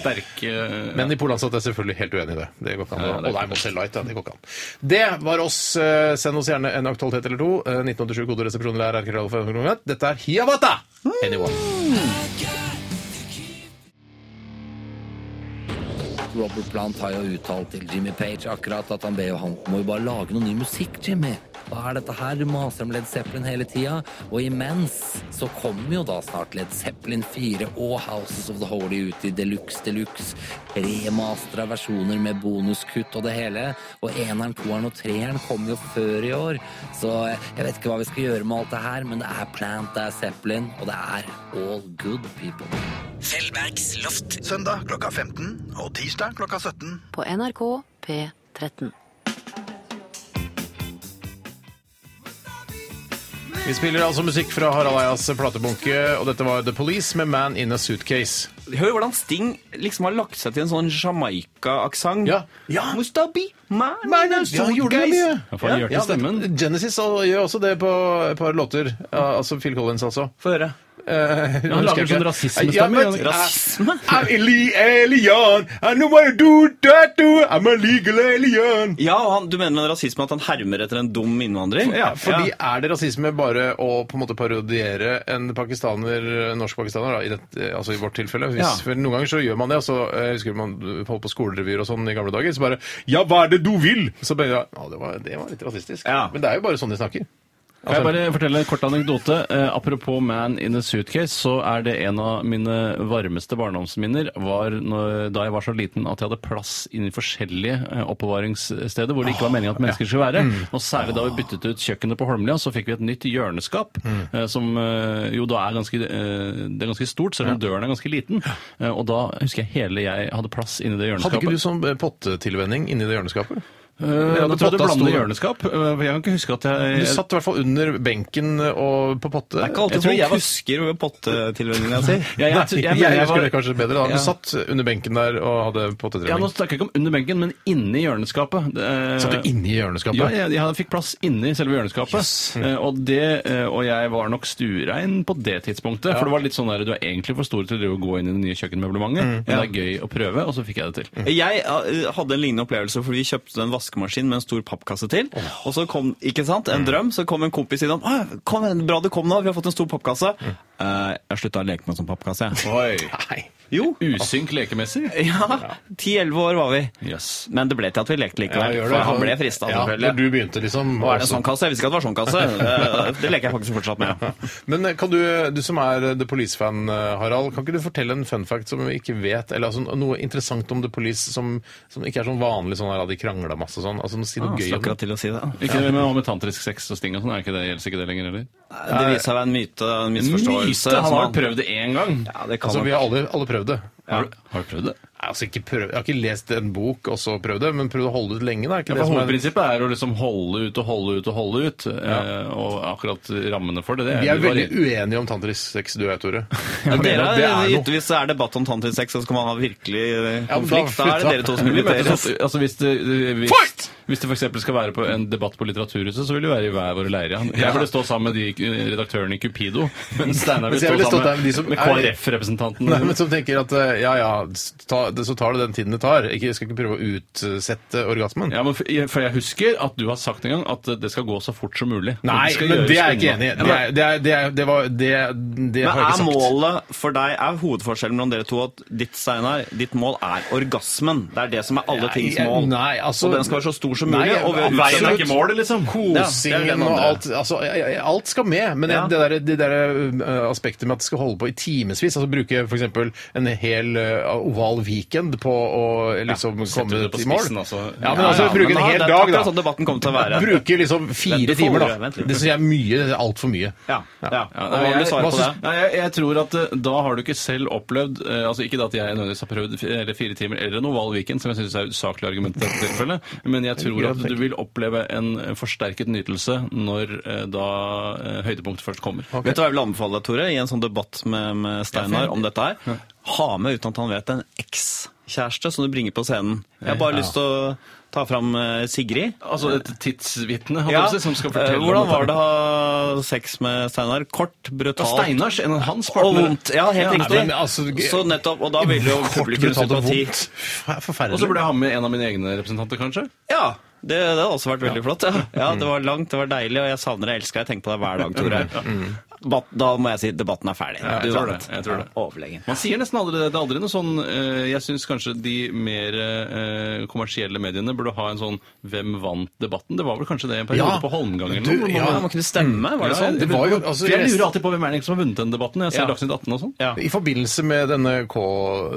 Speaker 8: sterke
Speaker 7: Men i Polandsat er jeg selvfølgelig helt uenig i det. Det går ikke an.
Speaker 8: Ja,
Speaker 7: å-
Speaker 8: det er
Speaker 7: Å nei, Mozell Light, ja, det går ikke an. Det var oss. Eh, Send oss gjerne en aktualitet eller to. Eh, 1987 koderesepsjoner er erkeralfa.no. Dette er Hiawatha!
Speaker 9: Mm.
Speaker 7: Anyone.
Speaker 3: Robert Plant har jo uttalt til Jimmy Page akkurat at han ber jo han må jo bare lage noe ny musikk, Jimmy. Hva er dette her? Du maser om Led Zeppelin hele tida. Og imens så kommer jo da snart Led Zeppelin 4 og Houses of the Holy ut i deluxe deluxe. Remastera versjoner med bonuskutt og det hele. Og eneren, toeren og treeren kommer jo før i år. Så jeg vet ikke hva vi skal gjøre med alt det her, men det er Plant, det er Zeppelin, og det er all good people.
Speaker 2: Fellbergs loft.
Speaker 4: Søndag klokka 15 og tirsdag klokka 17.
Speaker 5: På NRK P13.
Speaker 7: Vi spiller altså musikk fra Harald Eias platebunke, og dette var The Police med Man in a Suitcase.
Speaker 9: Hør hvordan Sting liksom har lagt seg til en sånn Jamaica-aksent.
Speaker 7: Ja. Ja.
Speaker 9: Mustabi, man,
Speaker 7: Ja, han gjorde det mye.
Speaker 8: Ja, for han gjør til stemmen.
Speaker 7: det- Genesis og- gjør også det på et par låter. Ja, altså Phil Collins, altså.
Speaker 9: Få høre.
Speaker 7: Han
Speaker 8: lager sånn rasismestemme, ja.
Speaker 9: Rasisme?
Speaker 7: I'm ille- alien, Ah, I know what I do, da, do, I'm a legal alien.
Speaker 9: Ja, og han, Du mener med rasisme at han hermer etter en dum innvandrer?
Speaker 7: Ja, fordi Er det rasisme bare å på en måte parodiere en pakistaner, norsk pakistaner, da, i, dette- altså i vårt tilfelle? Hvis,
Speaker 9: Ja.
Speaker 7: for Noen ganger så gjør man det. altså jeg husker man holdt på skolerevyer og sånn i gamle dager. Så bare Ja, hva er det du vil?! Så bare, ja, det, var, det var litt rasistisk.
Speaker 9: Ja.
Speaker 7: Men det er jo bare sånn de snakker.
Speaker 8: Kan
Speaker 7: Altså-
Speaker 8: jeg bare fortelle en kort anekdote? Eh, apropos Man in a Suitcase, så er det en av mine varmeste barndomsminner var når, da jeg var så liten at jeg hadde plass inni forskjellige eh, oppbevaringssteder hvor det ikke var meningen at mennesker skulle være.
Speaker 7: Mm.
Speaker 8: Og særlig da vi byttet ut kjøkkenet på Holmlia, så fikk vi et nytt hjørneskap,
Speaker 7: Mm.
Speaker 8: eh, som eh, jo da er ganske, eh, det er ganske stort, selv om døren er ganske liten. Eh, og da husker jeg hele jeg hadde plass inni det hjørneskapet.
Speaker 7: Hadde ikke du sånn eh, pottetilvenning inni det hjørneskapet?
Speaker 8: Eh,
Speaker 7: Ja,
Speaker 8: da
Speaker 7: du
Speaker 8: tror jeg du
Speaker 7: potta
Speaker 8: blander
Speaker 7: stor-
Speaker 8: hjørneskap. eh, for Jeg kan ikke huske at jeg...
Speaker 7: Du satt i hvert fall under benken og på potte.
Speaker 9: Det er ikke
Speaker 8: Jeg
Speaker 9: alltid
Speaker 8: tror
Speaker 9: folk
Speaker 8: jeg var-
Speaker 9: husker pottetilvenninga si.
Speaker 8: Ja, sånn. jeg, jeg,
Speaker 7: jeg,
Speaker 8: mener jeg
Speaker 7: husker
Speaker 8: var-
Speaker 7: det kanskje bedre. da. Du
Speaker 9: Ja.
Speaker 7: satt under benken der og hadde
Speaker 8: Ja, Nå
Speaker 7: pottetrening.
Speaker 8: snakker jeg ikke om under benken, men inni hjørneskapet. Det, eh,
Speaker 7: satt du inni hjørneskapet?
Speaker 8: Ja, jeg, jeg fikk plass inni selve hjørneskapet. Eh, og, det, eh, og jeg var nok stuerein på det tidspunktet. For det var litt sånn der, du er egentlig for stor til å drive og gå inn i det nye kjøkkenmøblementet, men det er gøy å prøve, og så fikk jeg det til.
Speaker 9: Jeg eh, hadde en lignende opplevelse, for vi kjøpte en vaskemaskin med en stor pappkasse til. Og så kom, ikke sant, en drøm, så kom en kompis innom. «Å, Kom, bra du kom nå, vi har fått en stor pappkasse. Eh, jeg slutta å leke med en sånn pappkasse, jeg.
Speaker 8: Oi.
Speaker 9: Jo.
Speaker 8: Usynk lekemessig.
Speaker 9: Ja. Ti-elleve år var vi.
Speaker 8: Yes.
Speaker 9: Men det ble til at vi lekte
Speaker 7: Ja,
Speaker 9: likevel.
Speaker 7: gjør det.
Speaker 9: for han ble frista.
Speaker 7: Ja,
Speaker 9: selvfølgelig.
Speaker 7: når du begynte, liksom.
Speaker 9: Å, er det en
Speaker 7: også.
Speaker 9: sånn kasse? Jeg visste ikke at det var sånn kasse. Eh, Det leker jeg faktisk fortsatt med.
Speaker 7: Men eh, kan du, du som er eh, The Police-fan, eh, Harald, kan ikke du fortelle en fun fact som vi ikke vet, eller altså, noe interessant om The Police som, som ikke er sånn vanlig sånn her, at de krangla masse og sånn? Altså, si noe
Speaker 9: Ah,
Speaker 7: gøy
Speaker 9: Slapp
Speaker 7: om
Speaker 9: akkurat til å si det. da.
Speaker 8: Ikke det med, med tantrisk sex og sting og sånn, er ikke det, gjelder ikke det lenger heller?
Speaker 9: Det viser seg å være en myte, en misforståelse.
Speaker 8: Myte! Han
Speaker 9: som
Speaker 8: har prøvd det én gang.
Speaker 9: Ja, det kan
Speaker 7: Altså,
Speaker 9: nok-
Speaker 7: vi har alle, alle prøvd det.
Speaker 8: Har, du, har du prøvd det?
Speaker 7: Nei, Altså, ikke prøv, jeg har ikke lest en bok og så prøvd det, men prøvd å holde det ut lenge. Da. Er ikke
Speaker 8: Ja, for
Speaker 7: det som er,
Speaker 8: Hovedprinsippet er å liksom holde ut og holde ut og holde ut. eh, Og akkurat rammene for det, det
Speaker 7: vi er
Speaker 8: det
Speaker 7: veldig
Speaker 8: varier.
Speaker 7: uenige om tantrisk sex, du og jeg, Tore.
Speaker 9: Men
Speaker 7: Jeg mener
Speaker 9: dere
Speaker 7: at
Speaker 9: er,
Speaker 7: det er noe.
Speaker 9: Hvis det er debatt om tantrisex, så skal man ha virkelig eh,
Speaker 7: Ja, men da-
Speaker 9: konflikt. Da er det dere to som
Speaker 8: Vi møtes
Speaker 9: inviteres.
Speaker 7: sånn-
Speaker 8: opp- altså hvis det, hvis, hvis det for eksempel skal være på en debatt på Litteraturhuset, så vil vi være i hver våre leire. Jeg burde stå sammen med de eh, redaktørene i Cupido, mens Steinar vil
Speaker 7: Mens Altså, jeg ville
Speaker 8: stå
Speaker 7: stått der
Speaker 8: sammen
Speaker 7: med de som
Speaker 8: med
Speaker 7: er- Nei, men
Speaker 8: KrF-representanten.
Speaker 7: Som tenker at eh, ja ja, ta, det- så tar det den tiden det tar. Ikke, skal ikke prøve å utsette orgasmen.
Speaker 8: Ja, men for, for jeg husker at du har sagt en gang at eh, det skal gå så fort som mulig.
Speaker 7: Nei,
Speaker 8: skal
Speaker 7: men
Speaker 8: gjøres
Speaker 7: det er jeg ikke
Speaker 8: unna.
Speaker 7: enig i. Det, er- det, er- det, er- det, var- det, det
Speaker 9: Men
Speaker 7: har jeg
Speaker 9: er
Speaker 7: ikke sagt.
Speaker 9: målet for deg, er hovedforskjellen mellom dere to at ditt Steinar, ditt mål er orgasmen? Det er det som er alle tings
Speaker 7: jeg-
Speaker 9: mål.
Speaker 7: nei, altså-
Speaker 9: og den skal være så stor som
Speaker 7: Nei, altså,
Speaker 9: mulig. og ved-
Speaker 7: absolutt.
Speaker 9: veien er ikke mål.
Speaker 8: målet, liksom.
Speaker 9: Ja, det er
Speaker 7: Kosingen
Speaker 9: den
Speaker 7: og
Speaker 9: andre.
Speaker 7: alt altså, jeg- jeg- Alt skal med, men
Speaker 9: Ja.
Speaker 7: det der, det der eh, aspektet med at det skal holde på i timevis, altså bruke f.eks. en hel eh, oval weekend på å liksom
Speaker 8: setter
Speaker 7: komme
Speaker 8: det på
Speaker 7: i mål.
Speaker 8: spissen, altså.
Speaker 7: Ja, men altså, bruke en hel dag, da.
Speaker 9: Sånn debatten kommer til å være.
Speaker 7: Bruke liksom
Speaker 9: Vent,
Speaker 7: fire
Speaker 9: du får
Speaker 7: timer,
Speaker 9: ordet.
Speaker 7: da.
Speaker 9: Vent litt.
Speaker 7: Det syns jeg er mye. Det er altfor mye.
Speaker 9: Ja, ja.
Speaker 8: Ja,
Speaker 9: Og
Speaker 8: nei,
Speaker 9: Hva vil
Speaker 8: jeg-
Speaker 9: du svare
Speaker 7: hva
Speaker 9: på det?
Speaker 7: syns-
Speaker 8: Nei, jeg, jeg tror at eh, da har du ikke selv opplevd eh, altså Ikke da at jeg nødvendigvis har prøvd fi- eller fire timer eller en oval weekend, som jeg syns er usaklig argument i dette tilfellet, men jeg tror at du vil oppleve en eh, forsterket nytelse når eh, da eh, høydepunktet først kommer.
Speaker 9: Vet du hva jeg vil anbefale deg, Tore, i en sånn debatt med, med Steinar om dette her? Ha med, uten at han vet, en ekskjæreste som du bringer på scenen. Jeg har bare lyst til å ta fram eh, Sigrid.
Speaker 8: Altså et tidsvitne, holdt jeg
Speaker 9: Ja.
Speaker 8: på å si, som skal
Speaker 9: Eh,
Speaker 8: fortelle
Speaker 9: Hvordan var
Speaker 8: dette.
Speaker 9: det å ha sex med Steinar? Kort,
Speaker 8: Det var
Speaker 9: brutalt
Speaker 8: Steinars, en av hans
Speaker 9: og
Speaker 8: partnere.
Speaker 9: vondt. Ja, helt
Speaker 7: nei,
Speaker 9: riktig.
Speaker 7: men altså, g-
Speaker 9: Så nettopp, og da vil jo publikum
Speaker 7: brutalt og
Speaker 9: sympati.
Speaker 7: vondt. Det er
Speaker 8: Og så
Speaker 7: Forferdelig.
Speaker 8: burde jeg ha med en av mine egne representanter, kanskje.
Speaker 9: Ja, det, det hadde også vært veldig flott. Ja. ja,
Speaker 8: Mm.
Speaker 9: Det var langt, det var deilig, og jeg savner deg, elsker deg. Jeg tenker på deg hver dag, Tore. Bat- Da må jeg si debatten er ferdig.
Speaker 8: Ja, jeg
Speaker 9: Du
Speaker 8: tror
Speaker 9: vant.
Speaker 8: det, jeg tror det.
Speaker 9: Ja, Overlegen.
Speaker 8: Man sier nesten aldri det. Det er aldri noe sånn eh, Jeg syns kanskje de mer eh, kommersielle mediene burde ha en sånn 'Hvem vant?'-debatten. Det var vel kanskje det en periode
Speaker 7: Ja.
Speaker 8: på Holmgang eller
Speaker 7: Du,
Speaker 8: noe? hvor
Speaker 7: ja.
Speaker 9: Ja, man kunne stemme, var det
Speaker 8: Ja,
Speaker 9: sånn?
Speaker 7: Det var jo, altså,
Speaker 8: For jeg
Speaker 7: jeg-
Speaker 8: lurer alltid på hvem er det egentlig som har vunnet den debatten. Jeg ser
Speaker 9: Ja.
Speaker 8: Dagsnytt 18 og sånn.
Speaker 9: Ja.
Speaker 7: I forbindelse med denne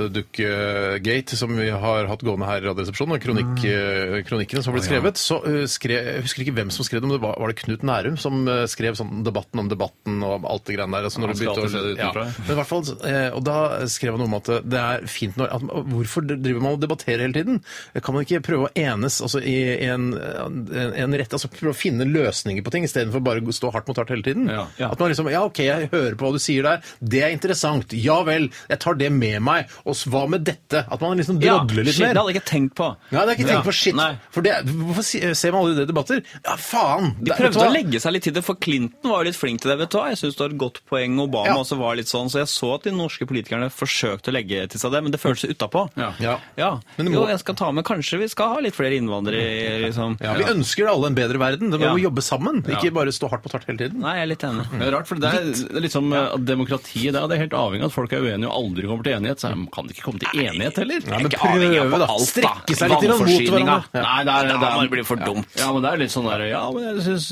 Speaker 7: K-dukke-gate som vi har hatt gående her i Radioresepsjonen, og kronikk,
Speaker 8: Mm.
Speaker 7: eh, kronikkene som ble skrevet, så eh, skrev Jeg husker ikke hvem som skrev det, men det var, var det Knut Nærum som eh, skrev sånn debatten om debatten og alt det greiene der. Altså, når
Speaker 8: Han
Speaker 7: det
Speaker 8: skal
Speaker 7: begynte
Speaker 8: alltid se
Speaker 7: å,
Speaker 8: det
Speaker 7: ja.
Speaker 8: utenfra, ja.
Speaker 7: Men i hvert fall, eh, og da skrev han noe om at det er fint når at, man- Hvorfor driver man og debatterer hele tiden? Kan man ikke prøve å enes altså, i en, en, en rette, altså prøve å finne løsninger på ting istedenfor bare å stå hardt mot hardt hele tiden?
Speaker 8: Ja.
Speaker 7: At man liksom Ja, OK, jeg hører på hva du sier der. Det er interessant. Ja vel. Jeg tar det med meg. Og s- hva med dette? At man liksom drodler litt
Speaker 9: shit, Det
Speaker 7: mer.
Speaker 9: hadde jeg ikke tenkt på.
Speaker 7: Nei, det er ikke tenkt
Speaker 9: Ja.
Speaker 7: på shit.
Speaker 9: Nei.
Speaker 7: For det, er- hvorfor si- ser man aldri det i debatter? Ja, faen!
Speaker 9: De prøvde å legge seg litt til det, for Clinton var jo litt flink til det. vet du hva? Jeg synes det var et godt poeng. Obama
Speaker 7: Ja.
Speaker 9: også var litt sånn, så jeg så at de norske politikerne forsøkte å legge til seg det, men det føltes utapå.
Speaker 8: Ja.
Speaker 7: Ja.
Speaker 9: Ja.
Speaker 7: Men det må-
Speaker 9: Jo, jeg skal ta med, kanskje vi skal ha litt flere innvandrere, liksom.
Speaker 7: Ja, vi ønsker alle en bedre verden. Det må
Speaker 9: Ja.
Speaker 7: jo jobbe sammen, ikke bare stå hardt på tart hele tiden.
Speaker 9: Nei, jeg er litt enig.
Speaker 8: Det er rart, for det er, det er litt som eh, at demokratiet der, det er helt avhengig av at folk er uenige og aldri kommer til enighet. Så man kan ikke komme til enighet heller.
Speaker 7: Nei, men
Speaker 8: Ikke avhengig av
Speaker 7: prøve, da.
Speaker 8: alt,
Speaker 7: Strekke seg litt grann mot
Speaker 8: Vannforsyninga.
Speaker 7: hverandre. Ja.
Speaker 8: Nei, det er,
Speaker 9: Da
Speaker 8: det
Speaker 9: må
Speaker 8: er,
Speaker 9: det bli for dumt.
Speaker 8: Ja, men det er litt sånn der Ja, men jeg syns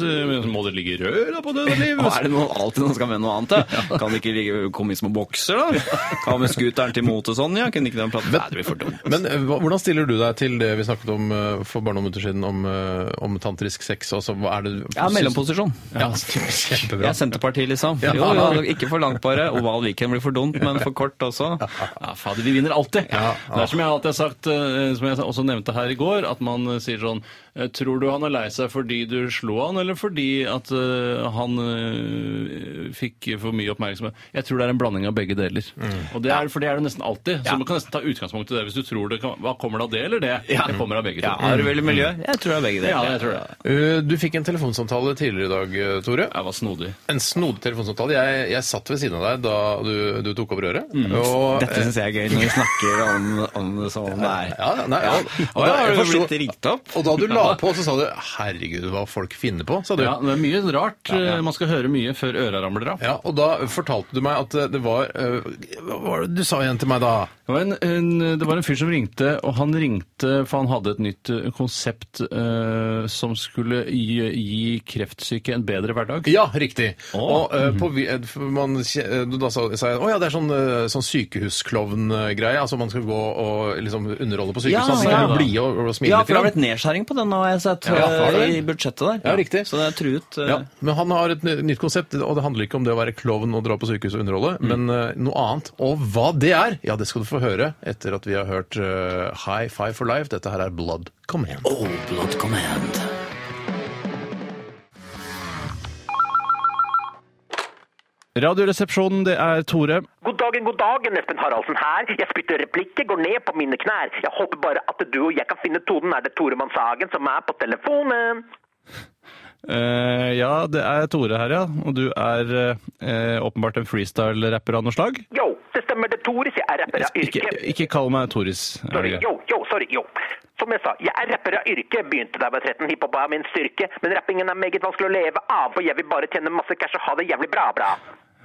Speaker 8: Må det ligge i rør da på døde liv?
Speaker 9: Og er det noe, alltid noen som skal mene noe annet? Ja. Kan det ikke ligge- komme i små bokser, da? Hva med scooteren til mot og sånn? Ja, kunne ikke den platen? Nei, det blir for dumt.
Speaker 7: Men eh, hva- hvordan stiller du deg til det vi snakket om eh, for bare noen minutter siden, om, eh, om tantrisk sex? Altså, hva er det
Speaker 9: Jeg er mellomposisjon.
Speaker 7: Ja, kjempebra.
Speaker 9: Jeg er Senterpartiet, liksom.
Speaker 7: Ja.
Speaker 9: Jo, jo, ikke for langt, bare. Oval weekend blir for dumt, men for kort også.
Speaker 8: Ja, fader, vi vinner alltid.
Speaker 7: Ja,
Speaker 8: Det er som jeg alltid har sagt, eh, som jeg også nevnte her i går, at man eh, sier sånn eh, Tror du han er lei seg fordi du slo han, eller fordi at eh, han eh, fikk for mye oppmerksomhet? Jeg tror det er en blanding av begge deler. Og det er, For det er det nesten alltid. Så man kan nesten ta utgangspunkt i det hvis du tror det kan Hva kommer det av det eller det? Det kommer av begge
Speaker 9: Ja,
Speaker 8: to.
Speaker 9: har du vel miljø? Jeg tror det er begge deler.
Speaker 8: Ja, jeg tror det.
Speaker 7: Eh, Du fikk en telefonsamtale tidligere i dag, eh, Tore.
Speaker 8: Jeg var snodig.
Speaker 7: En snodig telefonsamtale. Jeg, jeg satt ved siden av deg da du, du tok opp røret. Og,
Speaker 9: Dette syns jeg er gøy, når vi snakker om, om det som om det er.
Speaker 7: ja, ja, nei, ja. Og,
Speaker 9: Og
Speaker 7: da,
Speaker 9: jeg har
Speaker 7: jeg
Speaker 9: jo
Speaker 7: forsto-
Speaker 9: blitt ringt opp.
Speaker 7: og da du la på, så sa du 'herregud, hva folk finner på', sa du.
Speaker 8: Ja, det er mye rart. eh, Man skal høre mye før øra ramler av.
Speaker 7: Ja, og da fortalte du meg at eh, det var eh, Hva var det du sa igjen til meg da?
Speaker 8: Det var en, en, det var en fyr som ringte, og han ringte for han hadde et nytt eh, konsept eh, som skulle gi, gi kreftsyke en bedre hverdag.
Speaker 7: Ja, riktig. Og eh, på, vi- eh, for man, kje- eh, da sa sa jeg å ja, det er sånn, eh, sånn sykehusklovn-greie. Altså man skal gå og liksom underholde på
Speaker 9: Ja,
Speaker 7: sykehuset. Ja,
Speaker 9: ja.
Speaker 7: ja, blide og, og smile
Speaker 9: Ja,
Speaker 7: litt
Speaker 9: for det har
Speaker 7: grann.
Speaker 9: blitt nedskjæring på den, nå har jeg sett, eh,
Speaker 7: Ja, har det.
Speaker 9: i budsjettet der.
Speaker 7: Ja, riktig.
Speaker 9: Så det er truet. eh,
Speaker 7: Ja, men han har et ny- nytt konsept, og det handler ikke om det å være klovn og dra på sykehus og underholde,
Speaker 8: Mm.
Speaker 7: men eh, noe annet. Og hva det er, ja, det skal du få høre etter at vi har hørt eh, High Five for Life. Dette her er Blood Command.
Speaker 2: Oh, Blood Command.
Speaker 8: Radioresepsjonen, det er Tore.
Speaker 10: God dagen, god dagen, Espen Haraldsen her. Jeg spytter replikker, går ned på mine knær. Jeg håper bare at du og jeg kan finne tonen. Er det Tore Mannshagen som er på telefonen?
Speaker 8: Eh, ja, det er Tore her, ja. Og du er eh, åpenbart en freestyle-rapper av noe slag.
Speaker 10: Yo, det stemmer det, Tore, sier jeg er rapper av
Speaker 8: Ikke,
Speaker 10: yrke.
Speaker 8: ikke kall meg Toris. er
Speaker 10: Sorry,
Speaker 8: det greit?
Speaker 10: yo, yo, sorry, yo. Som jeg sa, jeg er rapper av yrke. Begynte da jeg var 13, hiphop er min styrke. Men rappingen er meget vanskelig å leve av, for jeg vil bare tjene masse cash og ha det jævlig bra, bra.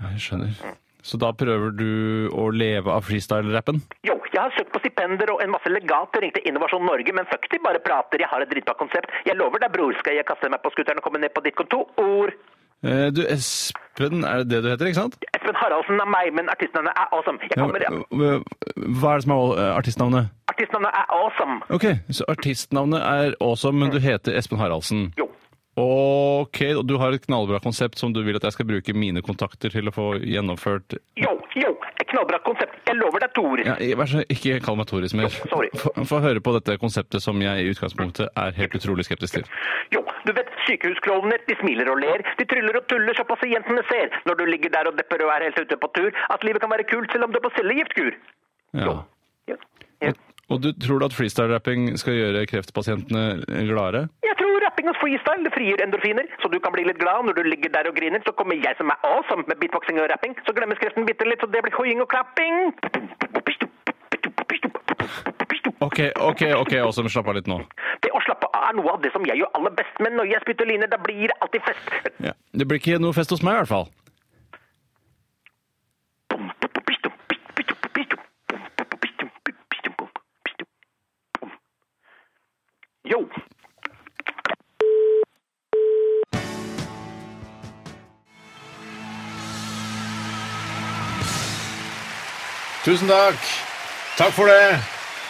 Speaker 8: Jeg skjønner. Så da prøver du å leve av freestyle-rappen?
Speaker 10: Jo, jeg har søkt på stipender og en masse legater, ringte Innovasjon Norge, men fuck de bare prater, jeg har et dritbra konsept. Jeg lover deg, bror, skal jeg kaste meg på skuteren og komme ned på ditt kontor?
Speaker 8: Eh, Du, Espen er det det du heter, ikke sant?
Speaker 10: Espen Haraldsen er meg, men artistnavnet er Awesome. Jeg
Speaker 8: Ja,
Speaker 10: kommer,
Speaker 8: hva- Hva er det som er eh, artistnavnet?
Speaker 10: artistnavnet er Awesome.
Speaker 8: Ok, så artistnavnet er Awesome, men du heter Espen Haraldsen.
Speaker 10: Jo.
Speaker 8: Ok, og du har et knallbra konsept som du vil at jeg skal bruke mine kontakter til å få gjennomført.
Speaker 10: Yo, yo, et knallbra konsept. Jeg lover deg, Tor.
Speaker 8: Ja, jeg- vær så ikke kall meg Toris mer.
Speaker 10: Sorry.
Speaker 8: Få få høre på dette konseptet som jeg i utgangspunktet er helt utrolig skeptisk til.
Speaker 10: Jo, du vet, sykehusklovner, de smiler og ler, de tryller og tuller så pasientene ser, når du ligger der og depper og er helt ute på tur, at livet kan være kult selv om du er på cellegiftkur.
Speaker 8: Ja.
Speaker 10: Ja. Ja.
Speaker 8: Og du tror du at freestyle-rapping skal gjøre kreftpasientene gladere?
Speaker 10: Jeg tror rapping og freestyle det frigjør endorfiner, så du kan bli litt glad når du ligger der og griner, så kommer jeg som er awesome med beatboxing og rapping, så glemmes kreften bitte litt, så det blir hoiing og klapping.
Speaker 8: Ok, ok, ok, Awesome, slapp av litt nå.
Speaker 10: Det å slappe av er noe av det som jeg gjør aller best, men når jeg spytter liner, da blir det alltid fest.
Speaker 8: Ja. Det blir ikke noe fest hos meg i hvert fall.
Speaker 10: Yo.
Speaker 7: Tusen takk. Takk for det.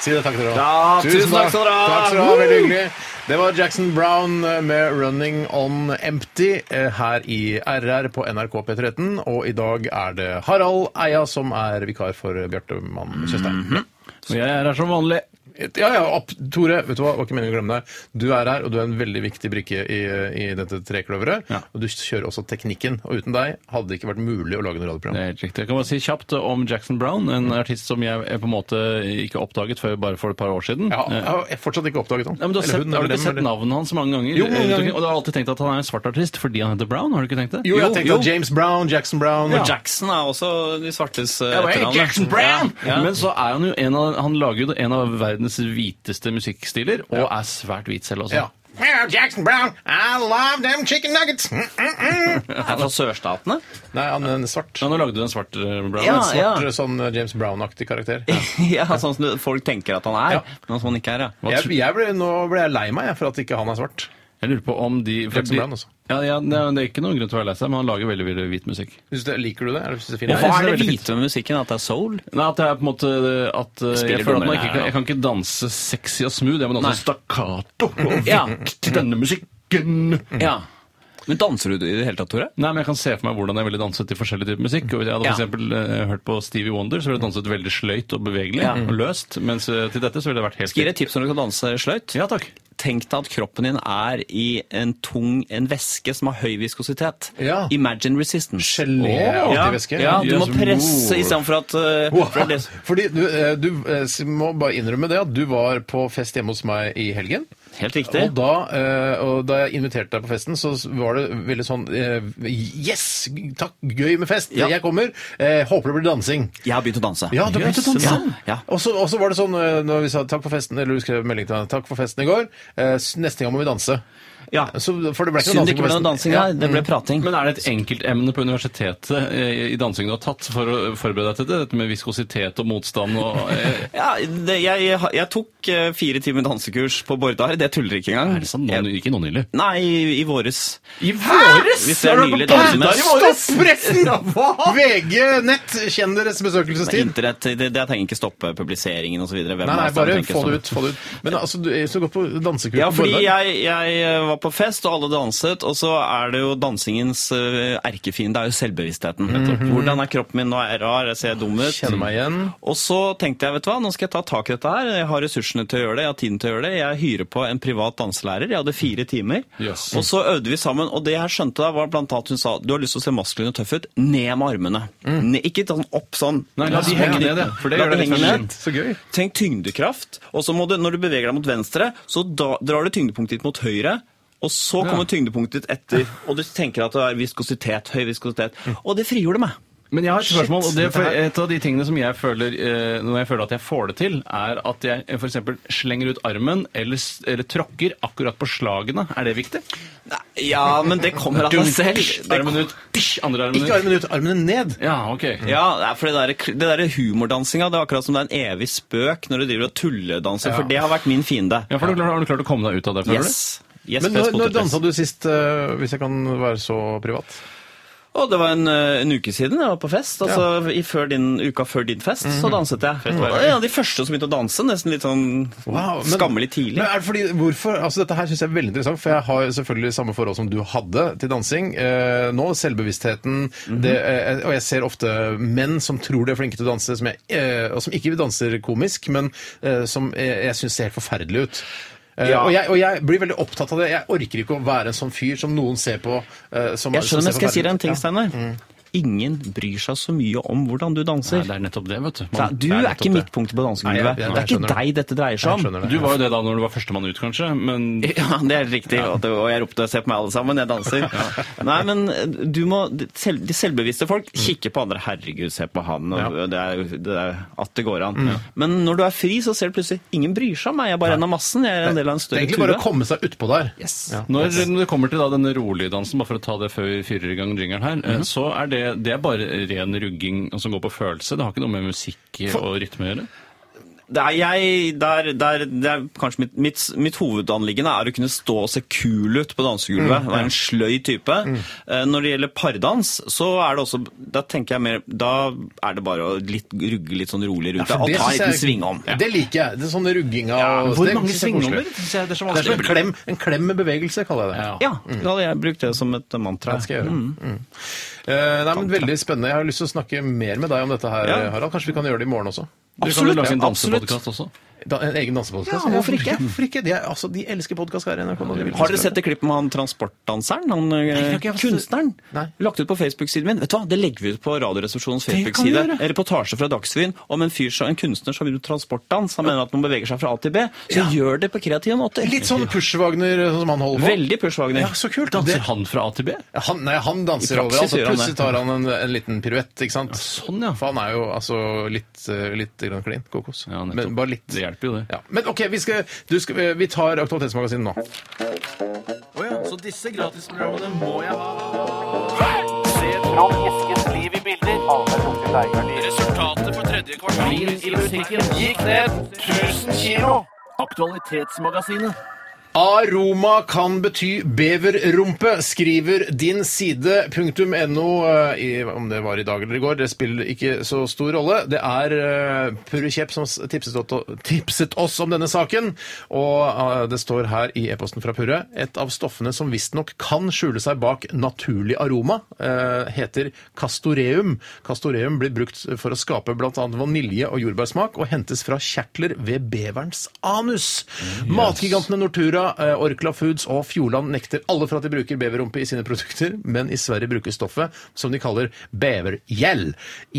Speaker 7: Si det takk til dere
Speaker 9: Ja, tusen takk skal dere ha.
Speaker 7: Takk skal dere ha, Veldig hyggelig. Det var Jackson Brown eh, med 'Running On Empty' eh, her i RR på NRK P13. Og i dag er det Harald Eia som er vikar for Bjarte Mann Tjøstheim.
Speaker 8: Mhm. Og jeg er her som vanlig.
Speaker 7: Ja, ja, opp. Tore, vet du hva? det var ikke meningen å glemme deg. Du er her, og du er en veldig viktig brikke i, i dette trekløveret.
Speaker 8: Ja.
Speaker 7: Og du kjører også teknikken. Og uten deg hadde det ikke vært mulig å lage noe
Speaker 8: Det
Speaker 7: radioprogram.
Speaker 8: er helt riktig. Jeg kan bare si kjapt om Jackson Brown,
Speaker 7: Mm.
Speaker 8: en artist som jeg eh, på en måte ikke oppdaget før bare for et par år siden.
Speaker 7: Ja, jeg
Speaker 8: Eh,
Speaker 7: har fortsatt ikke oppdaget han.
Speaker 8: Ja, men du har,
Speaker 7: Eller
Speaker 8: sett,
Speaker 7: hun,
Speaker 8: har
Speaker 7: eller
Speaker 8: du ikke
Speaker 7: dem,
Speaker 8: sett
Speaker 7: eller-
Speaker 8: navnet hans mange ganger?
Speaker 7: Jo, mange
Speaker 8: Eh,
Speaker 7: ganger.
Speaker 8: Og du har alltid tenkt at han er en svart artist fordi han heter Brown? har du ikke tenkt det?
Speaker 7: Jo, jeg tenkte at James Brown, Jackson Brown
Speaker 8: Ja.
Speaker 9: Jackson er også de svartes eh,
Speaker 8: Ja, men
Speaker 9: etternavn, da.
Speaker 8: Jackson Brown!
Speaker 9: Ja, ja.
Speaker 8: Men så er han jo en av Han lager jo en av verdens hviteste musikkstiler, og er svært hvit selv også.
Speaker 7: Ja. Well, Jackson Brown, I love them chicken nuggets! Mm, mm, mm.
Speaker 9: Er han fra sørstatene?
Speaker 7: Nei, han er en svart.
Speaker 8: Ja, nå lagde du en svart eh, Brown.
Speaker 9: Ja,
Speaker 8: En svart-
Speaker 9: ja.
Speaker 7: svart, Sånn James Brown-aktig karakter.
Speaker 9: ja, sånn som du- folk tenker at han er,
Speaker 7: Ja.
Speaker 9: men som han ikke er. Ja.
Speaker 7: Jeg, jeg ble, nå ble jeg lei meg jeg, for at ikke han er svart.
Speaker 8: Jeg lurer på om de for
Speaker 7: Jackson
Speaker 8: de-
Speaker 7: Brown også.
Speaker 8: Ja, ja, det er- det er ikke noen grunn til å være lei seg, men han lager veldig veldig hvit musikk.
Speaker 7: Synes du, liker du det? Er det, synes du det er
Speaker 9: Og
Speaker 7: fint?
Speaker 8: jeg synes
Speaker 9: hva er
Speaker 8: det
Speaker 9: det
Speaker 8: er veldig
Speaker 9: hvite med musikken? At det er soul?
Speaker 8: Nei, at det er på en måte eh, at eh, Jeg føler
Speaker 9: Spiller
Speaker 8: at man ikke
Speaker 9: dommeren her,
Speaker 8: kan,
Speaker 9: da?
Speaker 8: jeg kan ikke danse sexy og smooth. Jeg må danse
Speaker 9: Nei.
Speaker 8: stakkato og
Speaker 9: Ja.
Speaker 8: til denne musikken.
Speaker 9: Ja. Men danser du i det hele tatt, Tore?
Speaker 8: Nei, men Jeg kan se for meg hvordan jeg ville danset til forskjellig type musikk. Og Hvis jeg hadde for
Speaker 9: Ja.
Speaker 8: eksempel, eh, hørt på Stevie Wonder, så ville jeg danset veldig sløyt og bevegelig
Speaker 9: Ja.
Speaker 8: og løst. Mens eh, til dette så ville det vært helt
Speaker 9: Skal jeg gi deg et tips når du skal danse sløyt?
Speaker 8: Ja, takk.
Speaker 9: Tenk deg at kroppen din er i en tung en væske som har høy viskositet.
Speaker 7: Ja.
Speaker 9: Imagine resistance.
Speaker 7: Geléaktig
Speaker 9: ja.
Speaker 7: væske?
Speaker 9: ja, du må
Speaker 8: Yes,
Speaker 9: presse
Speaker 8: mor.
Speaker 9: istedenfor at uh,
Speaker 7: Wow.
Speaker 9: for det,
Speaker 7: Fordi du, eh, du eh, må bare innrømme det at du var på fest hjemme hos meg i helgen.
Speaker 9: Helt riktig.
Speaker 7: Og da, eh, og da jeg inviterte deg på festen, så var det veldig sånn eh, Yes! Takk, gøy med fest!
Speaker 9: Ja.
Speaker 7: Jeg kommer! Eh, Håper det blir dansing.
Speaker 9: Jeg har begynt å danse.
Speaker 7: Ja, du har begynt å danse.
Speaker 9: Ja, ja.
Speaker 7: Og så og så var det sånn eh, når vi sa takk for festen, eller du skrev melding til meg, takk for festen i går, eh, s- neste gang må vi danse.
Speaker 9: Ja.
Speaker 7: Så, for det ble ikke
Speaker 9: Synd
Speaker 7: noe dansing
Speaker 9: det ikke
Speaker 7: på
Speaker 9: ble
Speaker 7: festen.
Speaker 9: noe dansing
Speaker 7: Ja. Mm.
Speaker 9: her. Det ble prating.
Speaker 8: Men er det et enkeltemne på universitetet eh, i dansing du har tatt for å forberede deg til det? Dette med viskositet og motstand og eh,
Speaker 9: Ja, det, jeg, jeg tok eh, fire timer dansekurs på Bordar. Det tuller ikke engang.
Speaker 8: Er det sånn? Nå, ikke nå nylig.
Speaker 9: Nei, i, i våres.
Speaker 8: I våres!
Speaker 9: Hvis jeg nylig danset med
Speaker 7: Stopp pressen! VG Nett, kjenn deres besøkelsestid.
Speaker 9: Internett, det, det jeg trenger ikke stoppe publiseringen osv.
Speaker 7: Nei, nei, bare få det ut. få det ut. Men altså, du er så godt på dansekurs
Speaker 9: sånn? Ja,
Speaker 7: på
Speaker 9: fordi
Speaker 7: Borreberg.
Speaker 9: jeg, jeg var på fest, og alle danset, og så er det jo dansingens eh, erkefiende, det er jo selvbevisstheten. Hvordan er kroppen min, nå er jeg rar, jeg ser dum ut.
Speaker 7: Kjenner meg igjen.
Speaker 9: Og så tenkte jeg, vet du hva, nå skal jeg ta tak i dette her, jeg har ressursene til å gjøre det, jeg har tiden til å gjøre det, jeg hyrer på en privat danselærer, jeg hadde fire timer,
Speaker 8: Yes.
Speaker 9: og så øvde vi sammen, og det jeg skjønte da var blant annet hun sa, du har lyst til å se maskulin og tøff ut, ned med armene. Ned, ikke sånn opp sånn.
Speaker 8: Mm. Nei, la de henge ned, ja, for det
Speaker 9: La
Speaker 8: gjør
Speaker 9: de
Speaker 8: det litt
Speaker 9: henge
Speaker 8: mer
Speaker 9: ned.
Speaker 8: skinn.
Speaker 7: Så gøy.
Speaker 9: Tenk tyngdekraft, og så må du, når du beveger deg mot venstre, så da, drar du tyngdepunktet ditt mot høyre, og så kommer tyngdepunktet ditt etter, og du tenker at det er viskositet, høy viskositet,
Speaker 8: Mm.
Speaker 9: og det frigjorde meg.
Speaker 8: Men jeg har et spørsmål, og det er for et av de tingene som jeg føler eh, når jeg føler at jeg får det til, er at jeg f.eks. slenger ut armen eller, s- eller tråkker akkurat på slagene. Er det viktig?
Speaker 9: Nei, Ja, men det kommer av seg Altså, selv. Det kom-
Speaker 8: Armen ut, pysj, andre armen
Speaker 7: Ikke
Speaker 8: ut.
Speaker 7: armene ut, armene ned.
Speaker 8: Ja, ok.
Speaker 7: Mm.
Speaker 9: Ja, det er for det der, det der humordansinga, det er akkurat som det er en evig spøk når du driver og tulledanser, for det har vært min fiende.
Speaker 8: Ja, for du, har du klart å komme deg ut av det? føler
Speaker 9: Yes.
Speaker 8: du?
Speaker 9: Yes,
Speaker 7: Men når,
Speaker 9: press, potet,
Speaker 7: når
Speaker 9: press.
Speaker 7: dansa du sist, eh, hvis jeg kan være så privat?
Speaker 9: Og det var en, eh, en uke siden jeg var på fest. altså i før din, Uka før din fest så
Speaker 7: Mhm.
Speaker 9: danset jeg. Det var en av de første som begynte å danse. Nesten litt sånn
Speaker 7: Wow, men-
Speaker 9: skammelig tidlig.
Speaker 7: Men er det fordi, hvorfor, altså Dette her synes jeg er veldig interessant, for jeg har selvfølgelig samme forhold som du hadde til dansing eh, nå. Selvbevisstheten.
Speaker 9: Mhm.
Speaker 7: det, eh, og jeg ser ofte menn som tror de er flinke til å danse, som jeg, eh, og som ikke danser komisk, men eh, som eh, jeg syns ser helt forferdelig ut. Eh,
Speaker 9: Ja.
Speaker 7: og, jeg, og jeg blir veldig opptatt av det. Jeg orker ikke å være en sånn fyr som noen ser på eh, som
Speaker 9: Jeg skjønner,
Speaker 7: som
Speaker 9: men
Speaker 7: ser
Speaker 9: skal jeg si deg en
Speaker 7: forferdelig
Speaker 9: ting,
Speaker 7: ut. Ja. Mm.
Speaker 9: Steinar? Ingen bryr seg så mye om hvordan du danser.
Speaker 8: Nei, det er nettopp det, vet du.
Speaker 9: Nei,
Speaker 8: Man,
Speaker 9: du
Speaker 7: det er
Speaker 9: er,
Speaker 7: nettopp
Speaker 9: ikke
Speaker 7: det.
Speaker 9: midtpunktet på
Speaker 7: Nei, jeg-
Speaker 9: dansegulvet. Det
Speaker 7: jeg
Speaker 9: er ikke
Speaker 7: skjønner det.
Speaker 9: deg dette dreier seg
Speaker 7: Jeg
Speaker 9: om.
Speaker 7: skjønner det.
Speaker 8: du var jo det da når du var førstemann ut, kanskje, men
Speaker 9: Ja, det er riktig. Og det- Og jeg ropte 'se på meg, alle sammen', jeg danser. Nei, men eh, du må selv, De selvbevisste folk
Speaker 7: Mm.
Speaker 9: kikker på andre. 'Herregud, se på han', og det er, jo- det er at det går an. Men når du er fri, så ser du plutselig 'ingen bryr seg om meg', jeg er bare en av massen. Jeg er en del av en
Speaker 7: Det er
Speaker 9: større
Speaker 7: egentlig bare å
Speaker 9: tue.
Speaker 7: komme seg utpå der.
Speaker 9: Yes.
Speaker 7: Ja.
Speaker 8: Når det kommer til da denne roligdansen, bare for å ta det før vi fyrer i gang jingeren her,
Speaker 9: Mhm.
Speaker 8: eh, så er det, det er bare ren rugging som går på følelse. Det har ikke noe med musikk og rytme å gjøre.
Speaker 9: Det er jeg, der, der, det er kanskje mitt, mitt, mitt hovedanliggende er å kunne stå og se kul ut på
Speaker 7: Mm,
Speaker 9: dansegulvet. Være en sløy type. Eh, Når det gjelder pardans, så er det også Da tenker jeg mer Da er det bare å litt, rugge litt sånn rolig rundt
Speaker 7: For
Speaker 9: deg og
Speaker 7: det
Speaker 9: ta en
Speaker 7: synes jeg-
Speaker 9: liten sving om.
Speaker 7: Det liker jeg. Det er sånne rugginga og-
Speaker 8: Hvor
Speaker 7: det
Speaker 8: mange
Speaker 7: synes jeg er koselig.
Speaker 8: svingommer? Det er så
Speaker 7: Det er som en
Speaker 8: vanskelig.
Speaker 7: klem, en klem med bevegelse, kaller jeg det.
Speaker 9: Ja, da hadde jeg brukt det som et mantra.
Speaker 7: Det skal jeg gjøre. Mm. Eh, nei, men Veldig spennende. Jeg har lyst til å snakke mer med deg om dette her,
Speaker 9: Ja.
Speaker 7: Harald. Kanskje vi kan gjøre det i morgen også?
Speaker 8: Du kan jo
Speaker 9: Absolutt,
Speaker 8: lage en
Speaker 9: ja, absolutt.
Speaker 8: dansepodkast også.
Speaker 7: Da, en egen dansepodkast?
Speaker 9: Ja, hvorfor ikke?
Speaker 7: Hvorfor ikke? De, er, altså, de elsker podkast her i NRK. nå. De vil-
Speaker 9: Har dere sett det klippet med han transportdanseren? Han eh, kunstneren?
Speaker 7: Nei.
Speaker 9: Lagt ut på Facebook-siden min. Vet du hva, Det legger vi ut på Radioresepsjonens
Speaker 8: kan vi
Speaker 9: Facebook-side. En Reportasje fra Dagsrevyen om en fyr som, en kunstner som vil transportdans. Han mener at man beveger seg fra A til B. Så gjør det på kreative måter.
Speaker 7: Litt sånn Pushwagner sånn som han holder på?
Speaker 9: Veldig pushwagner.
Speaker 7: Ja, så kult. Det,
Speaker 8: Danser han fra A til B?
Speaker 7: han, nei, han danser
Speaker 9: I
Speaker 7: over.
Speaker 9: praksis
Speaker 7: Altså,
Speaker 9: gjør han det.
Speaker 7: plutselig tar han en, en liten piruett, ikke sant?
Speaker 8: sånn, ja.
Speaker 7: For han er jo altså litt, eh, litt grann klin kokos.
Speaker 8: Ja, nettopp.
Speaker 7: Men bare litt.
Speaker 8: Det hjelper jo, det.
Speaker 7: Ja. Men OK, vi, skal, du skal, vi tar Aktualitetsmagasinet nå.
Speaker 9: Så disse gratisprogrammene må jeg ha. Resultatet på tredje kvartal gikk ned 1000 kilo. Aktualitetsmagasinet.
Speaker 7: Aroma kan bety beverrumpe, skriver din side. Punktum .no, eh, i- om det var i dag eller i går, det spiller ikke så stor rolle. Det er eh, Purre Kjepp som s- tipset, åt- tipset oss om denne saken, og eh, det står her i e-posten fra Purre et av stoffene som visstnok kan skjule seg bak naturlig aroma, eh, heter castoreum. Castoreum blir brukt for å skape bl.a. vanilje- og jordbærsmak, og hentes fra kjertler ved beverens anus. Matgigantene Nortura, eh, Orkla Foods og Fjordland nekter alle for at de bruker beverrumpe i sine produkter, men i Sverige brukes stoffet som de kaller bevergjell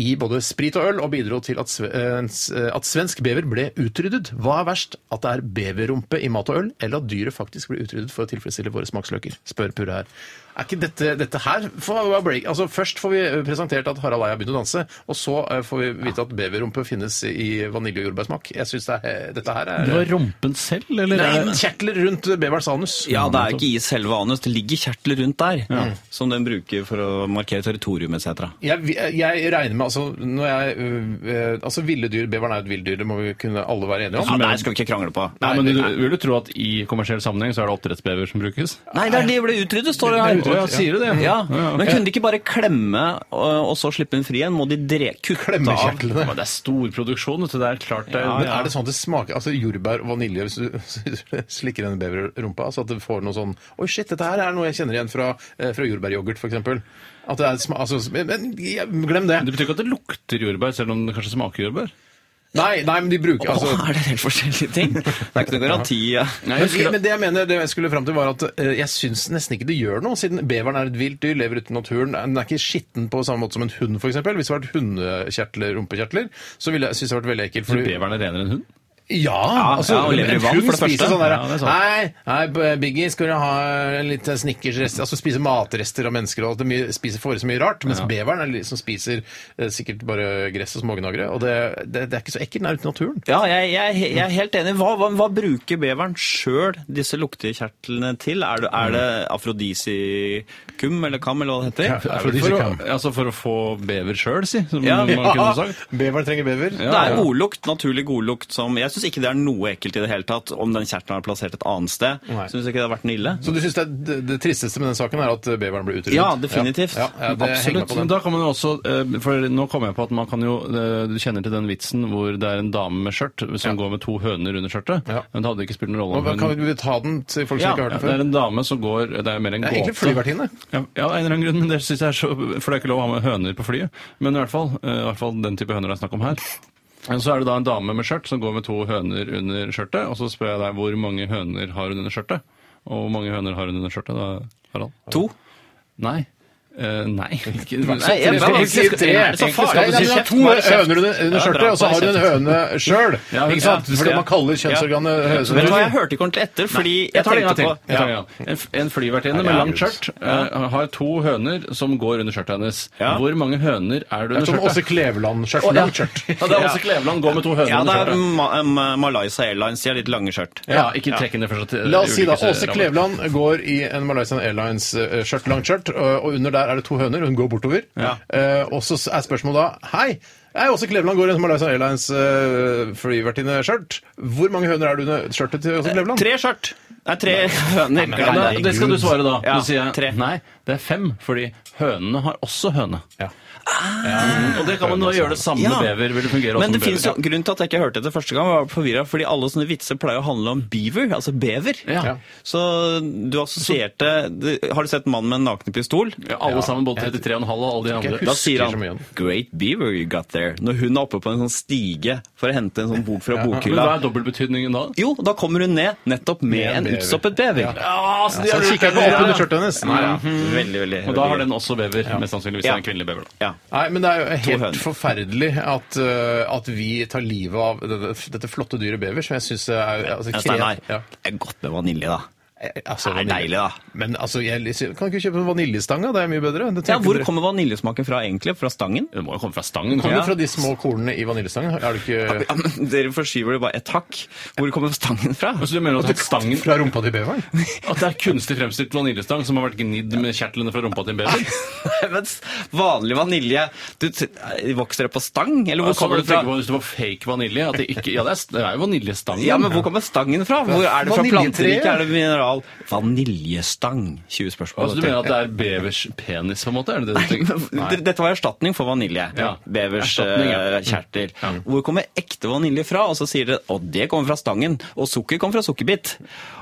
Speaker 7: i både sprit og øl, og bidro til at, sve- eh, s- eh, at svensk bever ble utryddet. Hva er verst, at det er beverrumpe i mat og øl, eller at dyret faktisk blir utryddet for å tilfredsstille våre smaksløker? Spør Purre her. Er ikke dette, dette her får være break? Altså, Først får vi eh, presentert at Harald Eia har begynt å danse, og så eh, får vi vite at beverrumpe finnes i vanilje- og jordbærsmak. Jeg syns det er, dette her er
Speaker 8: Det var rumpen selv, eller?
Speaker 7: Nei,
Speaker 8: er det-
Speaker 7: kjertler rundt beverens anus.
Speaker 9: Ja, det er ikke i selve anus. Det ligger kjertler rundt der, som den bruker for å markere territorium etc.
Speaker 7: Jeg, jeg regner med altså, når jeg, øh, øh, altså Ville dyr, beveren er et villdyr, det må vi kunne alle være enige
Speaker 9: Ja,
Speaker 7: om.
Speaker 9: der Sånn skal vi ikke krangle på.
Speaker 8: Nei, men
Speaker 7: Nei,
Speaker 8: du,
Speaker 7: det-
Speaker 8: Vil du tro at i kommersiell sammenheng så er det oppdrettsbever som brukes?
Speaker 9: Nei, det er det ble utryddet, står det
Speaker 8: Det
Speaker 9: her.
Speaker 8: ble utryddet, ja. Sier det det?
Speaker 9: Ja,
Speaker 8: Ja, ok.
Speaker 9: Men kunne de ikke bare klemme øh, og og så slippe den fri igjen? Må de dre kutte
Speaker 7: Klemme
Speaker 9: av
Speaker 7: kjertlene.
Speaker 8: Men det er storproduksjon, vet du. Det er klart det er
Speaker 7: Men er det sånn at det smaker altså jordbær og vanilje hvis du hvis du slikker en beverrumpa? Så at du får noe sånn Oi, shit, dette her er noe jeg kjenner igjen fra, eh, fra jordbæryoghurt, f.eks. At det er sma... Altså, men- men ja, glem det.
Speaker 8: sånn- Det betyr ikke at det lukter jordbær, selv om det kanskje smaker jordbær?
Speaker 7: Nei, nei, men de bruker altså,
Speaker 9: Åh, er det helt forskjellige ting? Det er ikke noen garanti. Ja.
Speaker 7: men, men det jeg mener, det jeg skulle fram til, var at eh, jeg syns nesten ikke det gjør noe, siden beveren er et vilt dyr, lever ute i naturen. Den er ikke skitten på samme måte som en hund, f.eks. Hvis det var et hundekjertler, rumpekjertler, så ville jeg synes det hadde vært veldig ekkelt.
Speaker 8: Så
Speaker 7: fordi-
Speaker 8: beveren er renere enn hund?
Speaker 7: Ja, altså,
Speaker 9: ja, og lever i
Speaker 7: en
Speaker 9: vann,
Speaker 7: hund
Speaker 9: for det første.
Speaker 7: spiser Sånn der,
Speaker 8: Ja, det er sant.
Speaker 7: nei, nei, B- Biggie, skal du ha litt snickersrester? Altså spise matrester av mennesker og alt. det mye- Spiser får i så mye rart. Mens beveren er litt som spiser eh, sikkert bare gress og smågnagere. Og det, det, det er ikke så ekkelt, den er ute i naturen.
Speaker 9: Ja, jeg, jeg, jeg er helt enig. Hva, hva, hva bruker beveren sjøl disse luktekjertlene til? Er det, er det afrodisikum eller kam, eller hva det heter?
Speaker 7: Ja,
Speaker 8: For, å,
Speaker 7: Afrodisiakam.
Speaker 8: altså for å få bever sjøl, si. Som
Speaker 9: Ja.
Speaker 8: man kunne sagt.
Speaker 7: Beveren trenger bever.
Speaker 9: Det er godlukt, naturlig godlukt som Jeg jeg syns ikke det er noe ekkelt i det hele tatt om den kjertelen er plassert et annet sted.
Speaker 7: Nei.
Speaker 9: Syns ikke det har vært noe ille.
Speaker 7: Så du syns det, er- det, det tristeste med den saken er at beveren ble utryddet?
Speaker 9: Ja, definitivt.
Speaker 7: Ja, ja, ja, det henger meg
Speaker 8: Absolutt.
Speaker 7: på den.
Speaker 8: Men da kan man jo også, eh, for nå kommer jeg på at man kan jo eh, Du kjenner til den vitsen hvor det er en dame med skjørt som går med to høner under skjørtet.
Speaker 7: Ja.
Speaker 8: Men det hadde ikke spilt noen rolle
Speaker 7: Og
Speaker 8: om
Speaker 7: hva-
Speaker 8: hun
Speaker 7: Kan vi ta den til folk som
Speaker 9: Ja,
Speaker 7: ikke har
Speaker 8: ja,
Speaker 7: hørt den før?
Speaker 8: det er en dame som går Det er mer en
Speaker 7: Det er egentlig
Speaker 8: gåte.
Speaker 7: flyvertinne.
Speaker 8: Ja, ja, av en eller annen grunn, men det synes jeg er så For det er ikke lov å ha med høner på flyet. Men i hvert fall, eh, i hvert fall den type høner det er snakk om her. Men Så er det da en dame med skjørt som går med to høner under skjørtet. Og så spør jeg deg hvor mange høner har hun under skjørtet. Og hvor mange høner har hun under skjørtet da, Harald?
Speaker 9: To.
Speaker 8: Nei. Eh, nei. Ikke,
Speaker 7: Nei, jeg
Speaker 9: skal-
Speaker 7: bare sier tre.
Speaker 9: er det så
Speaker 7: Egentlig skal
Speaker 9: farlig?
Speaker 7: du si
Speaker 9: Nei, men
Speaker 7: to
Speaker 9: bare kjeft.
Speaker 7: høner under, under
Speaker 9: Ja,
Speaker 7: skjørtet,
Speaker 9: dra
Speaker 7: og så
Speaker 9: på
Speaker 7: har du en
Speaker 9: kjeft.
Speaker 7: høne sjøl.
Speaker 8: Ja,
Speaker 7: Ikke sant?
Speaker 8: ja.
Speaker 7: Fordi man kaller kjønnsorganet høne.
Speaker 9: Vet du hva, jeg hørte ikke ordentlig etter, fordi jeg,
Speaker 8: Jeg tar det en gang
Speaker 9: tenkte
Speaker 8: til.
Speaker 9: på
Speaker 8: Jeg tar det en gang. En, f- en flyvertinne med langt skjørt eh, har to høner som går under skjørtet hennes.
Speaker 9: Ja.
Speaker 8: Hvor mange høner er
Speaker 7: Det
Speaker 8: det
Speaker 7: er
Speaker 8: under
Speaker 7: som Åse
Speaker 8: skjørtet?
Speaker 7: Kleveland-skjørt.
Speaker 8: Å, ja.
Speaker 7: langt skjørt.
Speaker 8: Ja, det er Åse Kleveland går med to høner
Speaker 9: Ja, det
Speaker 8: under
Speaker 9: er
Speaker 8: skjørtet.
Speaker 9: Ma eh, Ma- Malaysia Airlines, de har litt lange skjørt.
Speaker 8: Ja, ikke trekk inn det først. eh,
Speaker 9: Eh,
Speaker 7: La oss si da, Åse Kleveland går i en Malaysian Airlines-skjørt, langt skjørt, og og under der er det to høner, hun går bortover.
Speaker 9: Ja.
Speaker 7: Eh, og så er spørsmålet da Hei, jeg er Åse Kleveland går i en Malaysian Airlines-flyvertinne-skjørt. Hvor mange høner er det under skjørtet til Åse Kleveland?
Speaker 9: Eh, Tre skjørt! Nei, tre høner.
Speaker 8: Ja, da, det skal du svare da.
Speaker 9: Ja,
Speaker 8: du sier
Speaker 9: tre.
Speaker 8: nei, det er fem, fordi hønene har også høne.
Speaker 7: Ja.
Speaker 8: Mm, Og det kan man nå gjøre det samme
Speaker 9: Ja.
Speaker 8: med bever. vil det fungere også
Speaker 9: Men det
Speaker 8: med
Speaker 9: finnes jo,
Speaker 8: bever.
Speaker 9: grunnen til at jeg ikke hørte det første gang, var forvirra, fordi alle sånne vitser pleier å handle om beaver, altså bever.
Speaker 8: Ja. Ja.
Speaker 9: Så du assosierte du- Har du sett mannen med en naken pistol?
Speaker 8: Ja, alle sammen, både 33,5 og alle de
Speaker 7: Jeg
Speaker 8: andre.
Speaker 9: Da
Speaker 7: husker
Speaker 9: sier
Speaker 7: så mye om
Speaker 9: han
Speaker 7: den.
Speaker 9: 'Great beaver you got there' når hun er oppe på en sånn stige for å hente en sånn bok fra
Speaker 8: Men hva
Speaker 9: bokhylla.
Speaker 8: er dobbeltbetydningen da?
Speaker 9: Jo, da kommer hun ned nettopp med
Speaker 7: Med en
Speaker 9: en
Speaker 7: bever.
Speaker 9: utstoppet bever.
Speaker 8: Ja, så de
Speaker 7: Så
Speaker 8: er-
Speaker 7: han kikker ikke opp under skjørtet hennes. Nei,
Speaker 9: Ja, Veldig, veldig.
Speaker 8: Og da har
Speaker 9: veldig
Speaker 8: den også bever, mest sannsynligvis.
Speaker 9: Ja.
Speaker 8: En kvinnelig bever, da.
Speaker 9: gøy. ja.
Speaker 7: men det er jo
Speaker 9: To
Speaker 7: helt
Speaker 9: høner.
Speaker 7: forferdelig at, eh, at vi tar livet av dette, dette flotte dyret bever, som jeg syns er altså,
Speaker 9: Ja,
Speaker 7: kre-
Speaker 9: Steinar,
Speaker 7: Ja.
Speaker 9: det er godt med vanilje, da.
Speaker 7: Eh, altså,
Speaker 9: Det er
Speaker 7: vanilje.
Speaker 9: deilig, da.
Speaker 7: Men altså, jeg, kan du ikke kjøpe en vaniljestang, da? Det er mye bedre. Det
Speaker 9: Ja,
Speaker 7: tenker
Speaker 9: Hvor
Speaker 7: dere-
Speaker 9: kommer vaniljesmaken fra, egentlig? Fra stangen?
Speaker 8: Det må jo komme fra stangen.
Speaker 7: Kommer
Speaker 9: Ja.
Speaker 7: det fra de små kornene i vaniljestangen? Er det ikke
Speaker 9: Ja, men Dere forskyver det bare et hakk. Hvor kommer stangen fra?
Speaker 8: Så Altså, du mener at, stangen,
Speaker 7: Fra rumpa til beveren?
Speaker 8: at det er kunstig fremstilt vaniljestang som har vært gnidd med kjertlene fra rumpa til en bever?
Speaker 9: Nei, Mens vanlig vanilje du, t- Vokser det på stang? Eller hvor
Speaker 8: Hvor
Speaker 9: kommer det fra?
Speaker 8: Altså, Hvis det var fake vanilje? At det ikke, ja, det er, det er jo vaniljestangen.
Speaker 9: Ja, men Hvor kommer stangen fra? Hvor er det fra
Speaker 7: Vaniljetreet.
Speaker 9: planteriket? Er det mineral? Vaniljestang. 20 spørsmål.
Speaker 8: Altså, du mener at det er bevers penis, på en måte? Er det det du tenker?
Speaker 9: Men d- Dette var erstatning for vanilje.
Speaker 8: Ja.
Speaker 9: Bevers
Speaker 8: Erstatning, ja.
Speaker 9: eh, kjertel. Hvor kommer ekte vanilje fra? Og så sier dere at det kommer fra stangen. Og sukker kommer fra sukkerbit.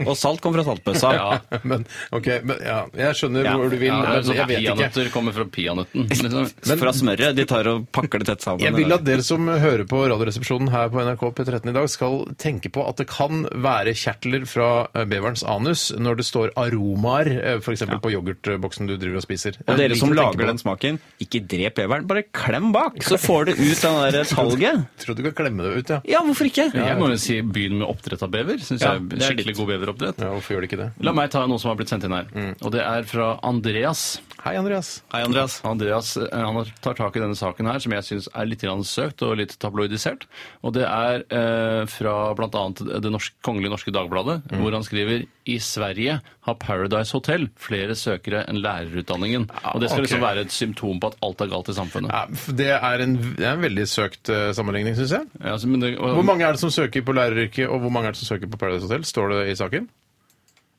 Speaker 9: Og salt kommer fra saltbøssa.
Speaker 8: Ja.
Speaker 7: Men, ok, men, ja, jeg skjønner
Speaker 9: Ja.
Speaker 7: hvor du vil,
Speaker 8: Ja, det er
Speaker 7: men
Speaker 8: sånn
Speaker 7: jeg
Speaker 8: at
Speaker 7: vet ikke.
Speaker 8: Peanøtter kommer fra peanøtten. Liksom.
Speaker 9: fra smøret. De tar og pakker det tett sammen.
Speaker 7: Jeg vil at dere som hører på Radioresepsjonen her på NRK P13 i dag, skal tenke på at det kan være kjertler fra eh, beverens anus når det står aromaer f.eks. eksempel på yoghurtboksen du driver og spiser.
Speaker 9: og dere som lager den
Speaker 7: den
Speaker 9: smaken, ikke drep beveren, bare klem bak, så får du ut den der talget.
Speaker 7: Tror du kan klemme det ut, ja.
Speaker 9: Ja, hvorfor ikke?
Speaker 8: Jeg må jo si begynn med oppdrett av bever. Synes
Speaker 9: Ja,
Speaker 8: jeg
Speaker 9: det
Speaker 8: er
Speaker 9: er
Speaker 8: Skikkelig
Speaker 9: litt-
Speaker 8: god beveroppdrett.
Speaker 7: ja. Hvorfor gjør de ikke det?
Speaker 8: La meg ta noe som har blitt sendt inn her. Og det er fra Andreas.
Speaker 7: Hei, Andreas.
Speaker 9: Hei, Andreas.
Speaker 8: Andreas eh, han tar tak i denne saken her, som jeg syns er litt grann søkt og litt tabloidisert. Og det er eh, fra bl.a. det norske, kongelige norske dagbladet,
Speaker 7: Mm.
Speaker 8: hvor han skriver i Sverige har Paradise Hotel flere søkere enn lærerutdanningen. Og det skal
Speaker 7: ok.
Speaker 8: liksom være et symptom på at alt er galt i samfunnet.
Speaker 7: Ja, f- Det er en, det er en veldig søkt eh, sammenligning, syns jeg.
Speaker 8: Ja, altså, men det, og,
Speaker 7: Hvor mange er det som søker på læreryrket, og hvor mange er det som søker på Paradise Hotel? Står det i saken?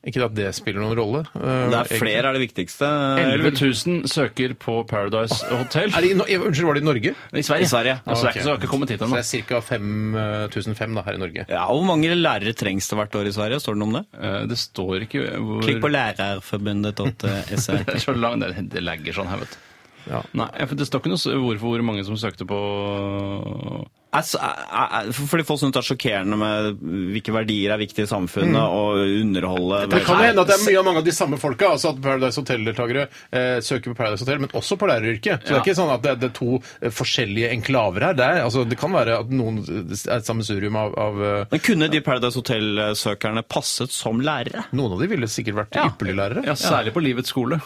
Speaker 7: Ikke at det spiller noen rolle. eh,
Speaker 9: Det er
Speaker 7: egentlig.
Speaker 9: flere er det viktigste.
Speaker 8: 11 000 søker på Paradise Hotel
Speaker 7: Er det i, no- eh, unnskyld, var det i Norge?
Speaker 8: i Sverige.
Speaker 9: I Sverige.
Speaker 8: Altså, det er
Speaker 7: Ok.
Speaker 8: ikke, så det har ikke kommet hit
Speaker 7: Så
Speaker 8: ennå.
Speaker 7: det er ca. 5005 da, her i Norge.
Speaker 9: Ja, Hvor mange lærere trengs det hvert år i Sverige? Står det noe om det?
Speaker 8: Eh, Det står ikke hvor
Speaker 9: Klikk på lærerforbundet.se.
Speaker 8: Det er så lang, det, det legger sånn her, vet du.
Speaker 7: Ja.
Speaker 8: Nei, for Det står ikke noe s- hvorfor hvor mange som søkte på
Speaker 9: Altså, er- er- Fordi folk syns det er sjokkerende med hvilke verdier er viktige i samfunnet, og underholde
Speaker 7: Mm. Det kan jo hende at det er mye av mange av de samme folka. altså At Paradise Hotel-deltakere eh, søker på Paradise Hotel, men også på læreryrket. Så det er ikke sånn at det, det er to eh, forskjellige enklaver her. Det, er, altså, det kan være at noen eh, er et sammensurium av, av eh,
Speaker 9: Men kunne de Paradise Hotel-søkerne passet som lærere?
Speaker 7: Noen av de ville sikkert vært
Speaker 9: Ja.
Speaker 7: ypperlige lærere.
Speaker 8: Ja, særlig på livets skole.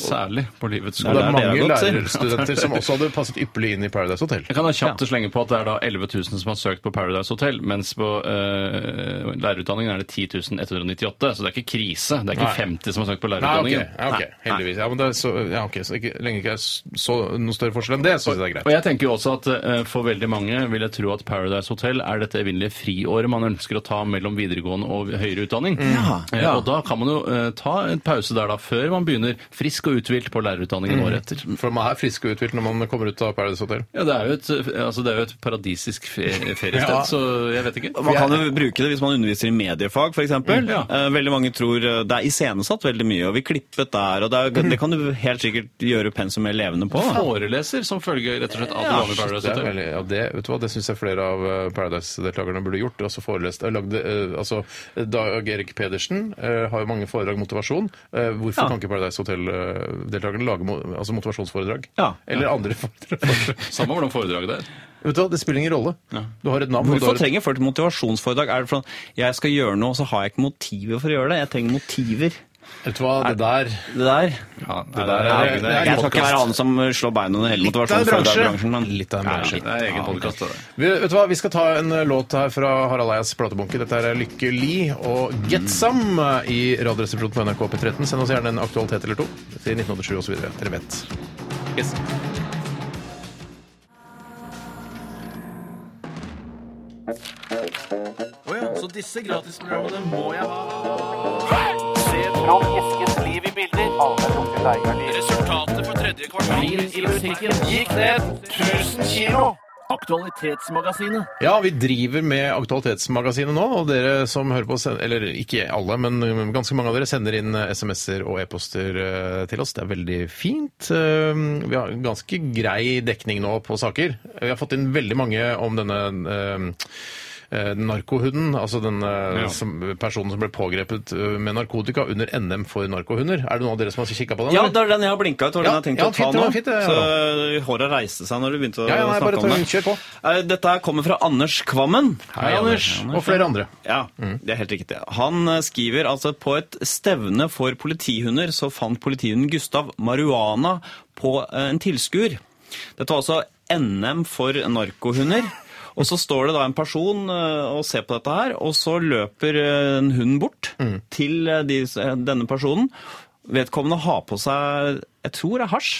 Speaker 8: Særlig på livets
Speaker 7: Mhm. Og
Speaker 8: skole.
Speaker 7: det er
Speaker 9: det er
Speaker 7: mange
Speaker 9: det jeg har gått til.
Speaker 7: lærerstudenter som også hadde passet ypperlig inn i Paradise Hotel.
Speaker 8: Jeg kan da kjapt slenge på at det er da 11 000 som har søkt på Paradise Hotel, mens på eh, lærerutdanningen er det 10 198. Så det er ikke krise. Det er ikke
Speaker 7: Nei.
Speaker 8: 50 som har søkt på
Speaker 7: Nei, ok,
Speaker 8: lærerutdanningen.
Speaker 7: ja, ok, heldigvis. Ja, men det er så, ja, ok, så ikke, lenge ikke er s- så noe større forskjell enn det, så synes jeg det er
Speaker 8: Og
Speaker 7: greit.
Speaker 8: jeg tenker jo også at eh, for veldig mange vil jeg tro at Paradise Hotel er dette evinnelige friåret man ønsker å ta mellom videregående og høyere utdanning. Eh, Og da kan man jo eh, ta en pause der da, før man begynner frisk og uthvilt på lærerutdanningen året etter.
Speaker 7: For man er frisk og uthvilt når man kommer ut av Paradise Hotel.
Speaker 8: Ja, det er jo et, eh, altså, det er jo et paradisisk fe- feriested,
Speaker 7: Ja.
Speaker 8: så jeg vet ikke.
Speaker 9: Man kan jo bruke det hvis man underviser i mediefag, f.eks.
Speaker 8: Mm, ja.
Speaker 9: Veldig mange tror eh, det er iscenesatt veldig mye, og vi klippet der, og det, er,
Speaker 7: Mm.
Speaker 9: det kan du helt sikkert gjøre pensumet levende på. da.
Speaker 8: Foreleser som følge rett og slett av det
Speaker 9: Ja,
Speaker 8: gamle Paradise
Speaker 7: Det, er
Speaker 8: Hotel.
Speaker 7: veldig, ja, det, vet du hva, det syns jeg flere av eh, Paradise-deltakerne burde gjort. Altså forelest, eh, lagde, eh, altså, Dag Erik Pedersen eh, har jo mange foredrag om motivasjon. Eh, hvorfor
Speaker 9: Ja.
Speaker 7: kan ikke Paradise Hotel-deltakerne lage mo altså motivasjonsforedrag?
Speaker 9: Ja.
Speaker 7: Eller andre foredrag?
Speaker 8: Samme hvordan foredraget det er.
Speaker 7: vet du hva, det spiller ingen rolle. Du har et navn. og du
Speaker 9: Hvorfor
Speaker 7: har et-
Speaker 9: trenger folk motivasjonsforedrag? Er det for at jeg skal gjøre noe, og så har jeg ikke motiver for å gjøre det? Jeg trenger motiver.
Speaker 7: Vet du hva, det der
Speaker 9: Det der.
Speaker 8: det,
Speaker 7: der er-
Speaker 8: er,
Speaker 7: det er-
Speaker 8: det er,
Speaker 9: Jeg skal ikke være han som slår beina under hele
Speaker 7: Litt av en bransje.
Speaker 9: motivasjonsforedragsbransjen, men
Speaker 7: Litt av en bransje.
Speaker 8: det er egen podkast.
Speaker 7: Vi, vet du hva, vi skal ta en eh, låt her fra Harald Eias platebunke. Dette her er eh, Lykke Li og Get Some eh, i Radioresepsjonen på NRK P13. Send oss gjerne en aktualitet eller to til 1987 osv. Dere vet. Ja, vi driver med Aktualitetsmagasinet nå, og dere som hører på, send- eller ikke alle, men um, ganske mange av dere sender inn eh, SMS-er og e-poster eh, til oss. Det er veldig fint. Eh, Vi har ganske grei dekning nå på saker. Vi har fått inn veldig mange om denne eh, eh, narkohunden, altså den eh, som, personen som ble pågrepet eh, med narkotika under NM for narkohunder. Er det noen av dere som har kikka på den?
Speaker 9: Ja,
Speaker 7: eller?
Speaker 9: det er den jeg har blinka ut. var den
Speaker 7: Ja,
Speaker 9: jeg har tenkt
Speaker 7: ja,
Speaker 9: å ta
Speaker 7: fint, det
Speaker 9: nå.
Speaker 7: var fint, det,
Speaker 9: Så øh, håret reiste seg når du begynte å
Speaker 7: Ja, ja, nei, bare
Speaker 9: snakke om
Speaker 7: ta-
Speaker 9: det.
Speaker 7: kjør på.
Speaker 9: Eh, Dette her kommer fra Anders Kvammen.
Speaker 7: Hei, Anders. Og flere andre.
Speaker 9: Ja, det er helt riktig. Han eh, skriver altså på et stevne for politihunder så fant politihunden Gustav marihuana på eh, en tilskuer. Dette var altså NM for narkohunder. Og så står det da en person eh, og ser på dette her, og så løper eh, en hund bort
Speaker 7: Mm.
Speaker 9: til eh, de, eh, denne personen. Vedkommende har på seg, jeg tror det er hasj,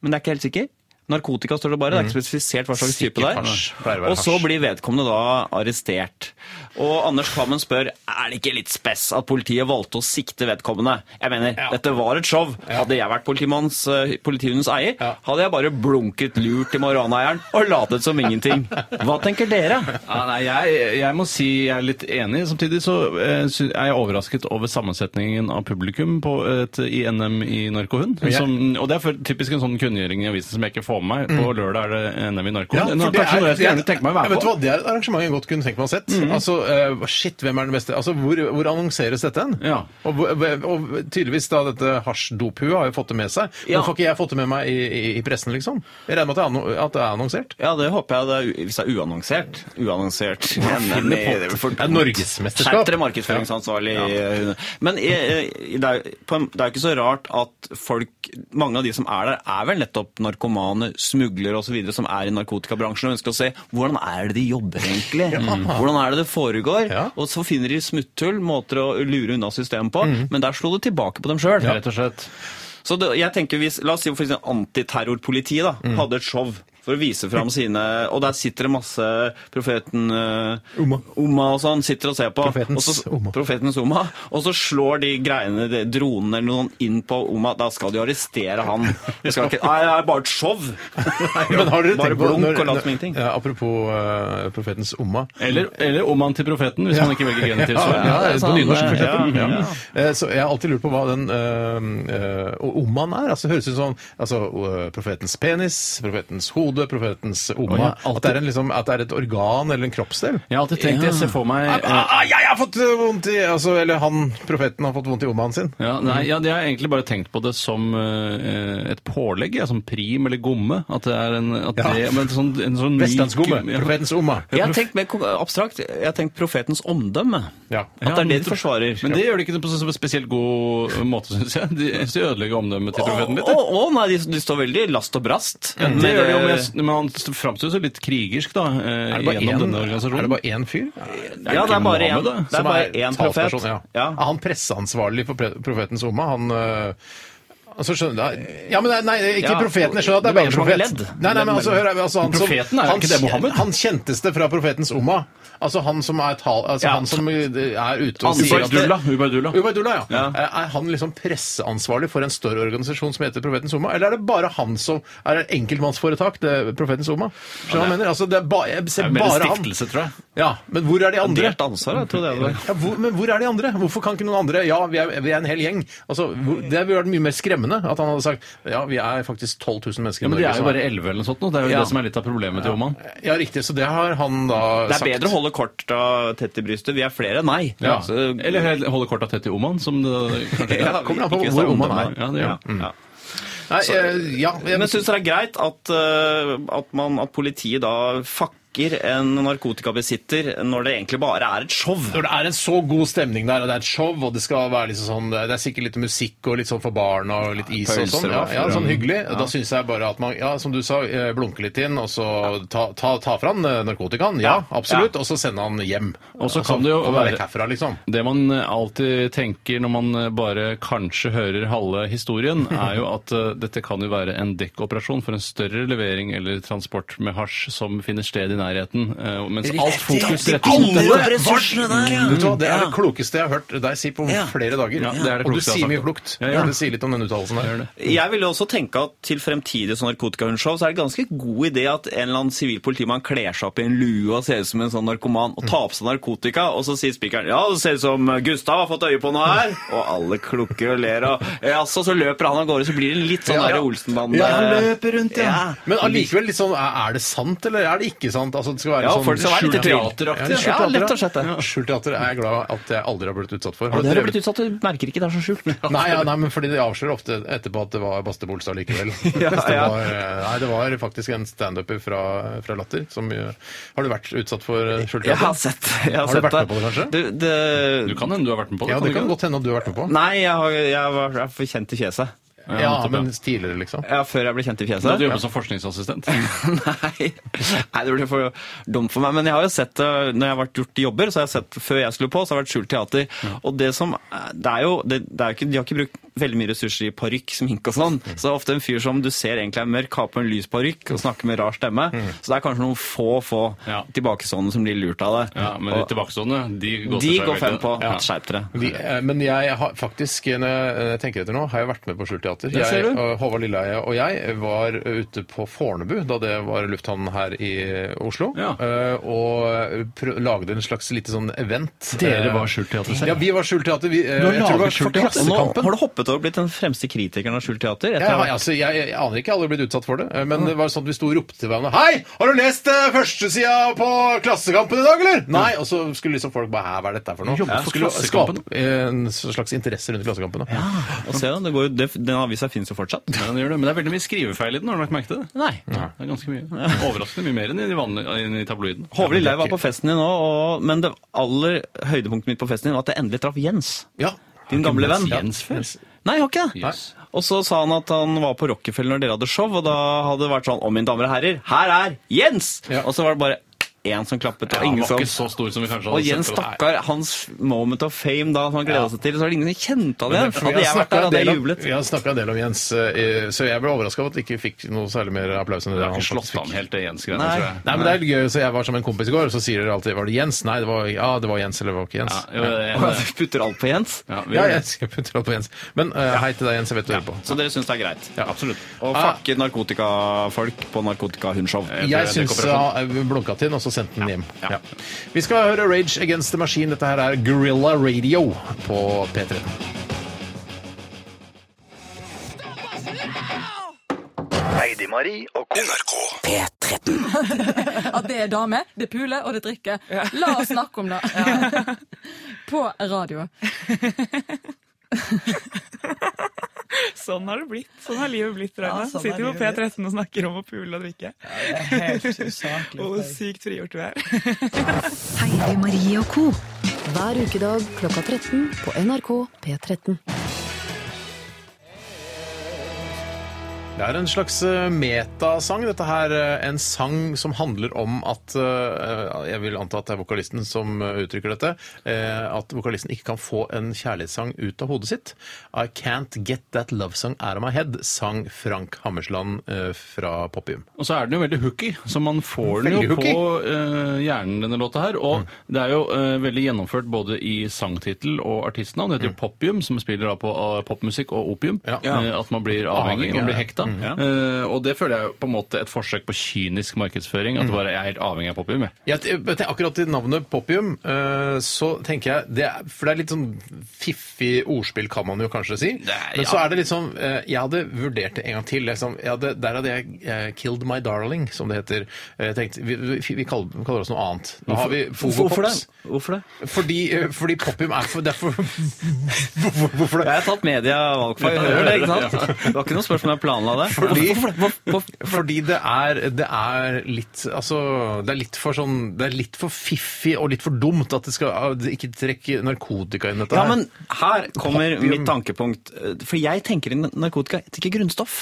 Speaker 9: men det er ikke helt sikker. Narkotika står det bare, det er ikke spesifisert hva slags type det
Speaker 7: Mm. Sikkert hasj. Pleier å
Speaker 9: er.
Speaker 7: være
Speaker 9: Og så
Speaker 7: hasj.
Speaker 9: blir vedkommende da arrestert. Og Anders Kvammen spør er det ikke litt spess at politiet valgte å sikte vedkommende. Jeg mener, dette var et show. Hadde jeg vært politimannens, eh, politihundens eier,
Speaker 7: Ja.
Speaker 9: hadde jeg bare blunket lurt til marihuanaeieren og latet som ingenting. Hva tenker dere?
Speaker 8: Ja, nei, jeg, jeg må si jeg er litt enig. Samtidig så eh, sy- er jeg overrasket over sammensetningen av publikum på et, i NM i narkohund.
Speaker 7: jeg-
Speaker 8: Som, og det er for, typisk en sånn kunngjøring i avisen som jeg ikke får med meg. På lørdag er det NM i narkohund. Nå,
Speaker 7: Mm. for det
Speaker 8: kanskje
Speaker 7: er-
Speaker 8: noe jeg skulle gjerne
Speaker 7: det er-
Speaker 8: tenke meg å
Speaker 7: Ja,
Speaker 8: være
Speaker 7: vet du
Speaker 8: på. Mhm.
Speaker 7: hva, Det er et arrangement jeg godt kunne tenke meg å ha sett. Altså, eh, shit, hvem er den beste? Altså, Hvor, hvor annonseres dette hen?
Speaker 8: Ja.
Speaker 7: Og, hvor- og tydeligvis da dette hasjdophuet har jo fått det med seg.
Speaker 9: Ja.
Speaker 7: Men får ikke jeg fått det med meg i, i, i pressen, liksom? Jeg regner med at det er, anno- at det er annonsert.
Speaker 9: Ja, det håper jeg det er, u- hvis det er uannonsert. Uannonsert. NM i- Det er for
Speaker 7: Det er norgesmesterskap.
Speaker 9: Skjerp dere, markedsføringsansvarlig. eh, Men eh, eh, det er jo på en- det er jo ikke så rart at folk, mange av de som er der, er vel nettopp narkomane, smuglere osv. som er i narkotikabransjen og ønsker å se hvordan er det de jobber egentlig? Mm. Hvordan er det det foregår?
Speaker 7: Ja.
Speaker 9: Og så finner de smutthull, måter å lure unna systemet på, men der slo det tilbake på dem sjøl.
Speaker 8: Rett og slett.
Speaker 9: Så det, jeg tenker hvis, La oss si for eksempel antiterrorpolitiet da,
Speaker 7: Mm.
Speaker 9: hadde et show for å vise fram sine Og der sitter det masse profeten eh,
Speaker 7: Umma.
Speaker 9: og sånn, sitter og ser på.
Speaker 7: Profetens
Speaker 9: og så,
Speaker 7: Umma.
Speaker 9: Profetens Umma. Og så slår de greiene, de dronene eller noen inn på Umma. Da skal de arrestere han. Det skal ikke, nei, det er bare et show!
Speaker 7: Men har dere
Speaker 9: bare
Speaker 7: tenkt på
Speaker 9: blunk
Speaker 7: når-
Speaker 9: og lat
Speaker 7: når-
Speaker 9: som ingenting.
Speaker 7: Ja, Apropos eh, profetens omma.
Speaker 8: Eller, eller om han til profeten, hvis man ikke velger genet til.
Speaker 7: Ja, ja,
Speaker 9: Ja,
Speaker 7: på
Speaker 9: sånn,
Speaker 7: nynorsk, for eksempel.
Speaker 9: ja,
Speaker 7: Ja. Eh, Så jeg har alltid lurt på hva den øh, ommaen er. Altså, det høres ut som altså, øh, profetens penis, profetens hode, profetens
Speaker 8: Å, ja,
Speaker 7: omma.
Speaker 8: alltid.
Speaker 7: At, det er en, liksom, at det er et organ eller en kroppsdel.
Speaker 8: Jeg har alltid tenkt det. Jeg ser for meg
Speaker 7: Ah,
Speaker 8: eh,
Speaker 7: ah, jeg har fått øh, vondt i altså, Eller han profeten har fått vondt i ommaen sin.
Speaker 8: Ja, nei, ja, jeg har egentlig bare tenkt på det som eh, et pålegg, ja, som prim eller gomme. At det er en, at
Speaker 7: Ja.
Speaker 8: det, men sånn, en sånn myk-
Speaker 7: Vestlandsgomme.
Speaker 8: Ja,
Speaker 7: Profetens omma.
Speaker 9: Jeg har tenkt mer kon- abstrakt. Jeg har tenkt profetens omdømme.
Speaker 7: Ja.
Speaker 9: At det er det de
Speaker 8: nettopp.
Speaker 9: forsvarer.
Speaker 8: Men det gjør de ikke på en spesielt god måte, syns jeg. De, de ødelegger omdømmet til profeten litt.
Speaker 9: Å, å, å, nei, de, de står veldig last og brast. eh,
Speaker 8: Det gjør de jo, men jeg men han framstår jo så litt krigersk, da, eh,
Speaker 7: Er det bare
Speaker 8: gjennom
Speaker 7: én-
Speaker 8: denne
Speaker 7: er det
Speaker 8: organisasjonen.
Speaker 7: bare én fyr?
Speaker 9: Ja, det er bare én.
Speaker 8: Mohammed, da,
Speaker 9: Det er
Speaker 7: Som
Speaker 9: bare én profet.
Speaker 7: talsperson, Ja. Ah,
Speaker 9: Ja.
Speaker 7: Er han presseansvarlig for pre- profetens omme? Han øh, Altså, skjønner du Ja, men nei, nei ikke
Speaker 9: Ja,
Speaker 7: profeten. Jeg skjønner at det er
Speaker 9: det var
Speaker 7: bare
Speaker 9: en som hadde
Speaker 7: profet.
Speaker 9: ledd.
Speaker 7: Nei, nei, men altså, hør, altså, han som,
Speaker 8: Profeten er jo
Speaker 7: han,
Speaker 8: ikke det, Mohammed.
Speaker 7: Han kjenteste fra profetens umma. Altså han som er, tal, altså,
Speaker 9: Ja.
Speaker 7: han som øh, er ute og sier at
Speaker 8: Ubaydullah. Ubaydullah.
Speaker 7: Ubaydullah, ja.
Speaker 9: Ja.
Speaker 7: Er- Er han liksom presseansvarlig for en større organisasjon som heter Profetens Oma, eller er det bare han som er et enkeltmannsforetak, det er Profetens Oma? Skjønner du hva jeg mener? Altså, det er ba, jeg
Speaker 8: Det
Speaker 7: ser
Speaker 8: er mer en
Speaker 7: bare han.
Speaker 8: stiftelse, tror jeg.
Speaker 7: Ja, men hvor er de andre?
Speaker 9: Delt ansvar, jeg tror det var.
Speaker 7: Ja, hvor, men hvor er de andre? Hvorfor kan ikke noen andre Ja, vi er, vi er en hel gjeng. Altså, hvor, det ville vært mye mer skremmende at han hadde sagt ja, vi er faktisk 12 000 mennesker i
Speaker 8: Ja, men de
Speaker 7: Norge.
Speaker 8: er jo
Speaker 7: som
Speaker 8: bare 11 eller noe sånt nå. Det er jo
Speaker 7: Ja.
Speaker 8: det som er litt av problemet til Oman.
Speaker 7: Ja, riktig. Så det har han da
Speaker 9: Det er
Speaker 7: sagt.
Speaker 9: bedre å holde korta tett i brystet. Vi er flere enn meg.
Speaker 8: Ja.
Speaker 9: Så,
Speaker 8: Eller hel- holde korta tett i Oman, som det kanskje
Speaker 9: Ja,
Speaker 7: kommer an på
Speaker 9: ikke
Speaker 7: hvor
Speaker 9: så vondt
Speaker 7: Oman
Speaker 9: om
Speaker 8: er.
Speaker 9: det.
Speaker 8: Ja, det gjør
Speaker 7: Mm.
Speaker 8: det.
Speaker 9: Ja.
Speaker 7: Nei, eh, ja, jeg,
Speaker 9: Men syns dere det er greit at, eh, at, man, at politiet da fakker en narkotikabesitter når det egentlig bare er et show?
Speaker 7: Når det er en så god stemning der, og det er et show, og det skal være liksom sånn Det er sikkert litt musikk og litt sånn for barna og litt is og
Speaker 9: Pølser
Speaker 7: sånn. Ja,
Speaker 9: og
Speaker 7: ja,
Speaker 9: vafler,
Speaker 7: sånn
Speaker 9: ja.
Speaker 7: hyggelig. Da syns jeg bare at man, ja, som du sa, eh, blunke litt inn, og så ta, ta, ta fra han eh, narkotikaen. Ja, absolutt. Og så sende han hjem.
Speaker 8: Og så kan det jo
Speaker 7: få være
Speaker 8: være-
Speaker 7: vekk herfra, liksom.
Speaker 8: Det man eh, alltid tenker når man eh, bare kanskje hører halve historien, er jo at eh, dette kan jo være en dekkoperasjon for en større levering eller transport med hasj som finner sted i nærheten. eh, Mens alt fokus rettes mot
Speaker 3: Alle
Speaker 8: dette.
Speaker 3: ressursene der, ja!
Speaker 7: Vet du hva, Det er det klokeste jeg har hørt deg si på
Speaker 3: Ja.
Speaker 7: flere dager.
Speaker 8: Ja, det er det
Speaker 7: og du
Speaker 8: klokeste jeg
Speaker 7: sier
Speaker 8: har
Speaker 7: mye
Speaker 8: sagt.
Speaker 7: klokt.
Speaker 8: Ja, ja.
Speaker 7: Det sier litt om den uttalelsen der.
Speaker 9: Jeg ville også tenke at til fremtidige sånn narkotikahundshow så er det ganske god idé at en eller annen sivil politimann kler seg opp i en lue og ser ut som en sånn narkoman og tar på seg narkotika, og så sier spikeren ja, det ser ut som Gustav har fått øye på noe her, og alle klukker og ler, og jaså, så løper han av gårde, så blir det litt sånn
Speaker 7: Ja, ja.
Speaker 9: der Olsenbanden.
Speaker 7: Ja, han
Speaker 9: løper rundt, ja.
Speaker 7: Men allikevel, liksom, er er det sant, eller er det ikke sant? Altså, det skal være
Speaker 9: Ja,
Speaker 7: sånn
Speaker 9: folk skal være litt i
Speaker 7: skjult
Speaker 9: tvil.
Speaker 7: teateraktig.
Speaker 9: Ja,
Speaker 7: skjult teater,
Speaker 9: lett og slett det.
Speaker 7: ja. Skjult teater er jeg glad at jeg aldri har blitt utsatt for.
Speaker 9: Og det har
Speaker 7: dere
Speaker 9: du blitt utsatt, du merker ikke det er så skjult.
Speaker 7: Nei, ja, nei, men fordi de avslører ofte etterpå at det var Baste Bolstad likevel.
Speaker 9: Ja,
Speaker 7: Hvis det
Speaker 9: ja.
Speaker 7: var, eh, nei, det var faktisk en standuper fra, fra Latter som eh, Har du vært utsatt for eh, skjult
Speaker 9: Jeg har
Speaker 7: teater?
Speaker 9: sett, jeg har
Speaker 7: Har du
Speaker 9: sett
Speaker 7: vært med på det, kanskje?
Speaker 9: Du, det-
Speaker 8: Du kan hende du har vært med på det.
Speaker 7: Ja, det
Speaker 8: du
Speaker 7: kan
Speaker 8: ikke?
Speaker 7: godt hende at du har vært med på.
Speaker 9: Nei, jeg, har, jeg, var, jeg er for kjent i fjeset.
Speaker 8: Ja,
Speaker 7: Ja,
Speaker 8: nettopp,
Speaker 7: men
Speaker 8: ja.
Speaker 7: tidligere, liksom.
Speaker 9: Ja, før jeg ble kjent i
Speaker 8: Da
Speaker 9: fjeset.
Speaker 8: du jobber som forskningsassistent.
Speaker 9: Nei. Nei, det blir for dumt for meg. Men jeg har jo sett det når jeg har vært gjort jobber, så har jeg sett før jeg skulle på, så har det vært skjult teater. Og det som er- Det er jo det, det er jo ikke, De har ikke brukt veldig mye ressurser i parykk, sminke og sånn.
Speaker 8: Mm.
Speaker 9: Så det er ofte en fyr som du ser egentlig er mørk, har på en lys parykk og snakker med rar stemme. Så det er kanskje noen få, få
Speaker 8: Mm. Ja.
Speaker 9: tilbakestående som blir lurt av det.
Speaker 8: Ja, men de
Speaker 9: Og
Speaker 8: tilbakestående, de går,
Speaker 9: de
Speaker 8: til seg
Speaker 9: går
Speaker 8: veldig.
Speaker 9: frem på
Speaker 8: Ja.
Speaker 9: skjerp dere.
Speaker 7: De, eh, men jeg har faktisk, når jeg eh, tenker etter nå, har jeg vært med på skjult teater.
Speaker 8: Der ser
Speaker 7: Jeg,
Speaker 8: du.
Speaker 7: og Håvard Lilleheie og jeg var eh, ute på Fornebu da det var lufthavn her i Oslo,
Speaker 8: Ja.
Speaker 7: eh, og prø- lagde en slags lite sånn event.
Speaker 8: Dere
Speaker 7: Eh,
Speaker 8: var skjult teater selv?
Speaker 7: Ja, vi var skjult teater. Vi, eh,
Speaker 8: har
Speaker 7: jeg tror det
Speaker 8: laget
Speaker 7: var
Speaker 8: skjult
Speaker 7: for
Speaker 8: teater?
Speaker 9: Og nå
Speaker 7: Klassekampen.
Speaker 9: har du hoppet over og blitt den fremste kritikeren av skjult teater. etter
Speaker 7: Ja,
Speaker 9: å ha
Speaker 7: ja, altså, jeg, jeg aner ikke, jeg har aldri blitt utsatt for det. eh, Men det var sånn at vi sto og ropte til hverandre Hei! Har du lest eh, førstesida på Klassekampen i dag, eller? Nei! Og så skulle liksom folk bare Hæ, hva er dette her for noe?
Speaker 8: Jobbet
Speaker 7: Ja.
Speaker 8: for
Speaker 7: Skulle
Speaker 8: Klassekampen.
Speaker 7: skape en slags interesse rundt Klassekampen. da.
Speaker 9: Og se, da, det går, jo- det, den avisa fins jo fortsatt.
Speaker 8: Ja, det gjør det. Men det er veldig mye skrivefeil i den, har du lagt merke til det? Nei. Det er ganske mye. Overraskende mye mer enn i, de vanlige, enn i tabloiden.
Speaker 9: Håvard Lilleheie var på festen din nå, og, men det aller høydepunktet mitt på festen din var at jeg endelig traff Jens.
Speaker 7: Ja.
Speaker 9: Din gamle venn.
Speaker 8: Jens før?
Speaker 9: Nei, jeg har ikke det.
Speaker 8: Yes.
Speaker 9: Og så sa han at han var på Rockefeller når dere hadde show, og da hadde det vært sånn Å, mine damer og herrer, her er Jens!
Speaker 7: Ja.
Speaker 9: Og så var det bare én som klappet, og
Speaker 8: Ja, han
Speaker 9: ingen
Speaker 8: var
Speaker 9: som
Speaker 8: ikke så stor som vi kanskje
Speaker 9: og
Speaker 8: hadde
Speaker 9: Jens,
Speaker 8: sett for oss.
Speaker 9: stakkar, hans moment of fame da, som han gleda seg til, så var det ingen som kjente han
Speaker 7: Vi har
Speaker 9: igjen. Hadde jeg vært
Speaker 7: snakket
Speaker 9: der,
Speaker 7: en
Speaker 9: hadde
Speaker 7: del
Speaker 9: jeg
Speaker 7: om-
Speaker 9: jublet.
Speaker 7: vi har snakka en del om Jens, eh, så jeg ble overraska over at vi ikke fikk noe særlig mer applaus enn det
Speaker 8: Jeg har
Speaker 7: han
Speaker 8: ikke slått
Speaker 7: faktisk
Speaker 8: an
Speaker 7: fikk.
Speaker 8: helt det Jens-greiene,
Speaker 9: Nei.
Speaker 8: tror jeg.
Speaker 7: Nei, men det er litt gøy, så Jeg var som en kompis i går, og så sier dere alltid 'Var det Jens?' Nei, det var, ja, det var Jens, eller det var ikke Jens. Ja,
Speaker 8: Ja, jo, det,
Speaker 9: Og han putter alt på Jens.
Speaker 8: ja, vi,
Speaker 7: ja jeg skal putte opp på Jens. Men eh, hei til deg, Jens. Jeg vet du hører på.
Speaker 9: Så dere syns det er greit?
Speaker 7: Ja, absolutt.
Speaker 9: Å
Speaker 8: Ah.
Speaker 9: fakke narkotikafolk på narkotikahundshow.
Speaker 7: Jeg syns vi blunka til den, og så sendte den hjem. Ja. Vi skal høre Rage Against the Machine. Dette her er Gorilla Radio på P13.
Speaker 4: Heidi-Marie og co.
Speaker 6: NRK.
Speaker 2: P13.
Speaker 11: At det er dame, det puler og det drikker. La oss snakke om det. På radio.
Speaker 12: Sånn har det blitt. Sånn har livet blitt, Raina.
Speaker 11: Ja, sånn
Speaker 12: Sitter jo
Speaker 11: er
Speaker 12: på P13 og snakker om å pule og drikke. Å,
Speaker 11: altså.
Speaker 12: sykt frigjort du er.
Speaker 5: Heidi Marie og Co. Hver ukedag klokka 13 på NRK P13.
Speaker 7: Det er en slags eh, metasang, dette her. eh, En sang som handler om at eh, Jeg vil anta at det er vokalisten som eh, uttrykker dette. eh, At vokalisten ikke kan få en kjærlighetssang ut av hodet sitt. I can't get that love song out of my head, sang Frank Hammersland eh, fra Popium.
Speaker 8: Og så er den jo veldig hooky, så man får den
Speaker 7: Veldig
Speaker 8: jo
Speaker 7: hooky.
Speaker 8: på eh, hjernen, denne låta her. Og det er jo eh, veldig gjennomført både i sangtittel og artistnavn. Det heter jo Popium, som spiller da på eh, popmusikk og opium. Eh, at man blir avhengig,
Speaker 7: Avhengig,
Speaker 8: man blir
Speaker 7: ja.
Speaker 8: hekta.
Speaker 7: Mm.
Speaker 8: Eh, og det føler jeg er på en måte et forsøk på kynisk markedsføring. At
Speaker 7: Mm.
Speaker 8: bare jeg er helt avhengig av Popium. jeg.
Speaker 7: Jeg t- jeg tenker akkurat i navnet Popium, eh, så tenker jeg det er, For det er litt sånn fiffig ordspill, kan man jo kanskje si. Men så
Speaker 8: ja.
Speaker 7: er det litt sånn eh, Jeg hadde vurdert det en gang til. Liksom, jeg hadde, der hadde jeg eh, 'Killed My Darling', som det heter. Eh, Jeg tenkte, Vi, vi, vi kaller, vi kaller oss noe annet. Nå har vi Fogo
Speaker 9: Hvorfor det?
Speaker 7: Pops.
Speaker 9: Hvorfor det?
Speaker 7: Fordi, eh, fordi Popium er for, det er for
Speaker 9: Hvorfor det? Jeg har tatt media valgfag.
Speaker 7: Ja,
Speaker 9: Hører det, ikke
Speaker 7: ja.
Speaker 9: sant? Det var ikke noe spørsmål jeg planla det.
Speaker 7: Fordi, fordi det, er, det er litt Altså, det er litt for sånn Det er litt for fiffig og litt for dumt at det skal det ikke trekke narkotika inn i dette
Speaker 9: Ja, men her kommer
Speaker 7: Popium.
Speaker 9: mitt tankepunkt. For jeg tenker i narkotika jeg tenker grunnstoff.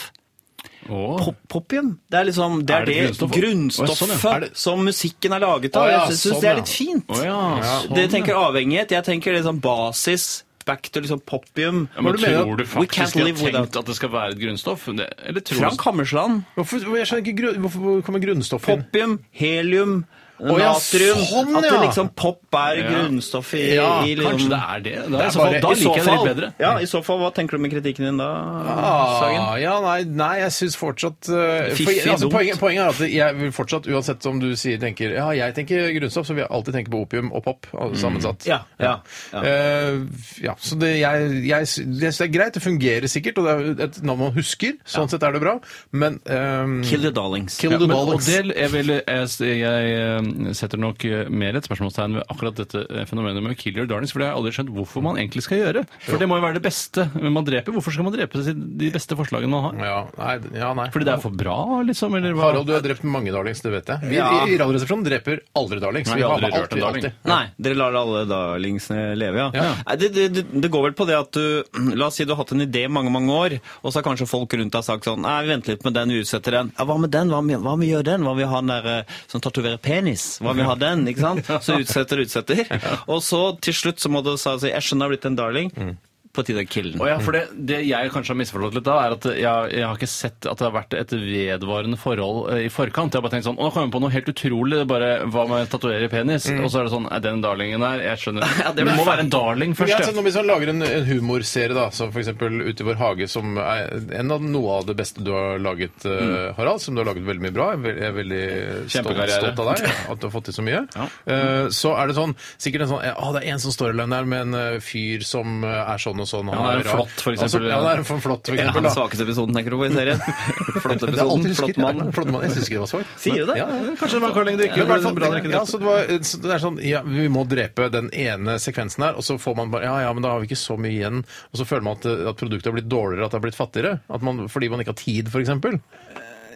Speaker 9: Pop Popium. Det er liksom det,
Speaker 7: Er
Speaker 9: er
Speaker 7: det
Speaker 9: det
Speaker 7: grunnstoff?
Speaker 9: grunnstoffet
Speaker 7: Å, ja, sånn, ja. Er det-
Speaker 9: som musikken er laget av.
Speaker 7: Å, ja,
Speaker 9: jeg syns
Speaker 7: sånn,
Speaker 9: det
Speaker 7: ja.
Speaker 9: er litt fint.
Speaker 7: Å, ja, sånn,
Speaker 9: det tenker
Speaker 7: ja.
Speaker 9: avhengighet. Jeg tenker liksom basis. Back to liksom popium.
Speaker 8: Ja, men
Speaker 9: Hva mener
Speaker 8: tror du
Speaker 9: We can't
Speaker 8: faktisk de har
Speaker 9: live without-
Speaker 8: tenkt at det skal være et grunnstoff? Det- Eller tror
Speaker 9: Frank Hammersland.
Speaker 7: Hvorfor, jeg skjønner ikke, grunn- hvorfor kommer grunnstoff inn?
Speaker 9: Popium, helium,
Speaker 7: Å, ja,
Speaker 9: natrium.
Speaker 7: sånn,
Speaker 9: At det
Speaker 7: ja.
Speaker 9: liksom pop er
Speaker 7: Ja.
Speaker 9: grunnstoffet i,
Speaker 7: Ja,
Speaker 9: i
Speaker 8: kanskje
Speaker 9: liksom,
Speaker 8: det er det. Da, i så fall- Altså, da liker jeg det litt bedre.
Speaker 9: Ja, i så fall, hva tenker du med kritikken din da, Sagen?
Speaker 7: Ah, ja, nei, nei, jeg syns fortsatt eh, for,
Speaker 9: Fiffig
Speaker 7: altså,
Speaker 9: dumt.
Speaker 7: poenget, poenget er at jeg vil fortsatt, uansett om du sier, tenker Ja, jeg tenker grunnstoff, så vil jeg alltid tenke på opium og pop al- sammensatt.
Speaker 9: Ja, ja, ja.
Speaker 7: Eh, ja, så det, jeg, jeg, sy- jeg synes det er greit. Det fungerer sikkert, og det er jo et navn man husker. Sånn sett er det bra, men ehm,
Speaker 9: Kill the darlings.
Speaker 7: Kill
Speaker 8: Ja,
Speaker 7: the
Speaker 8: men, og
Speaker 7: darlings.
Speaker 8: det, jeg, vil, jeg, jeg eh, setter nok eh, mer et spørsmålstegn ved akkurat dette eh, fenomenet med kill your darlings, for det har jeg aldri skjønt hvorfor man egentlig skal gjøre. For det må jo være det beste man dreper. Hvorfor skal man drepe sin- de beste forslagene man har?
Speaker 7: ja, nei, ja, nei.
Speaker 8: Fordi det er for bra, liksom? Eller hva?
Speaker 7: Harald, du har drept mange darlings, det vet jeg. Vi
Speaker 9: Ja.
Speaker 7: i, i Radioresepsjonen dreper aldri darlings.
Speaker 8: Nei,
Speaker 7: vi
Speaker 8: vi har
Speaker 7: har med
Speaker 8: aldri
Speaker 7: alt,
Speaker 8: rørt en
Speaker 7: vi
Speaker 8: darling.
Speaker 7: alltid.
Speaker 9: Nei, dere lar alle darlingsene leve, ja.
Speaker 7: Ja.
Speaker 9: Nei, Det, det, det- det går vel på det at du La oss si du har hatt en idé i mange, mange år, og så har kanskje folk rundt deg sagt sånn Nei, vi venter litt med den, vi utsetter den. Ja, hva med den? Hva med, hva med gjør den? Hva med ha den der eh, som tatoverer penis? Hva med ha den? Ikke sant? Så utsetter, utsetter. Og så til slutt så må du sa- si Jeg skjønner jeg har blitt en darling. På tide å kille den.
Speaker 8: Mm. Å ja, for det, det jeg kanskje har misforstått litt da, er at jeg, jeg har ikke sett at det har vært et vedvarende forhold eh, i forkant. Jeg har bare tenkt sånn, å, nå kommer jeg på noe helt utrolig, det er bare hva med å tatuere i penis? Og så er det sånn, er den darlingen der? Jeg skjønner.
Speaker 9: Ja, det
Speaker 8: det,
Speaker 9: blir
Speaker 8: må
Speaker 9: feil.
Speaker 8: være en darling
Speaker 7: Men
Speaker 8: først.
Speaker 7: jeg
Speaker 8: ja.
Speaker 7: har sett noen som lager en, en humorserie, da, som f.eks. Ute i vår hage, som er en av noe av det beste du har laget, eh, Harald. Som du har laget veldig mye bra. Jeg er vel- Jeg er veldig stolt,
Speaker 8: Kjempekarriere.
Speaker 7: stolt av deg at du har fått til så mye. Eh, så er det sånn, sikkert en sånn Å, det er en sånn storyline der med en eh, fyr som eh, er sånn og sånn. og
Speaker 8: Ja, han er en
Speaker 7: rar.
Speaker 8: flott, for eksempel.
Speaker 7: Altså, ja, han er en for flott, for
Speaker 9: Ja,
Speaker 7: eksempel.
Speaker 9: den
Speaker 7: Da.
Speaker 9: svakeste episoden, tenker du på i serien? Flott
Speaker 7: Det er alltid
Speaker 9: episoden,
Speaker 7: husket.
Speaker 9: flott mann.
Speaker 7: Flott mann. Jeg syns ikke det var svakt.
Speaker 9: Sier du det?
Speaker 7: Ja, ja.
Speaker 8: Kanskje det var Carl Inge Drikke.
Speaker 7: Men i hvert fall-
Speaker 8: sånn Bra
Speaker 7: ja,
Speaker 8: Drikke Drikke.
Speaker 7: så det, var, så det er sånn ja, Vi må drepe den ene sekvensen her, og så får man bare Ja, ja, men da har vi ikke så mye igjen. Og så føler man at, at produktet har blitt dårligere, at det har blitt fattigere. At man, fordi man ikke har tid, f.eks.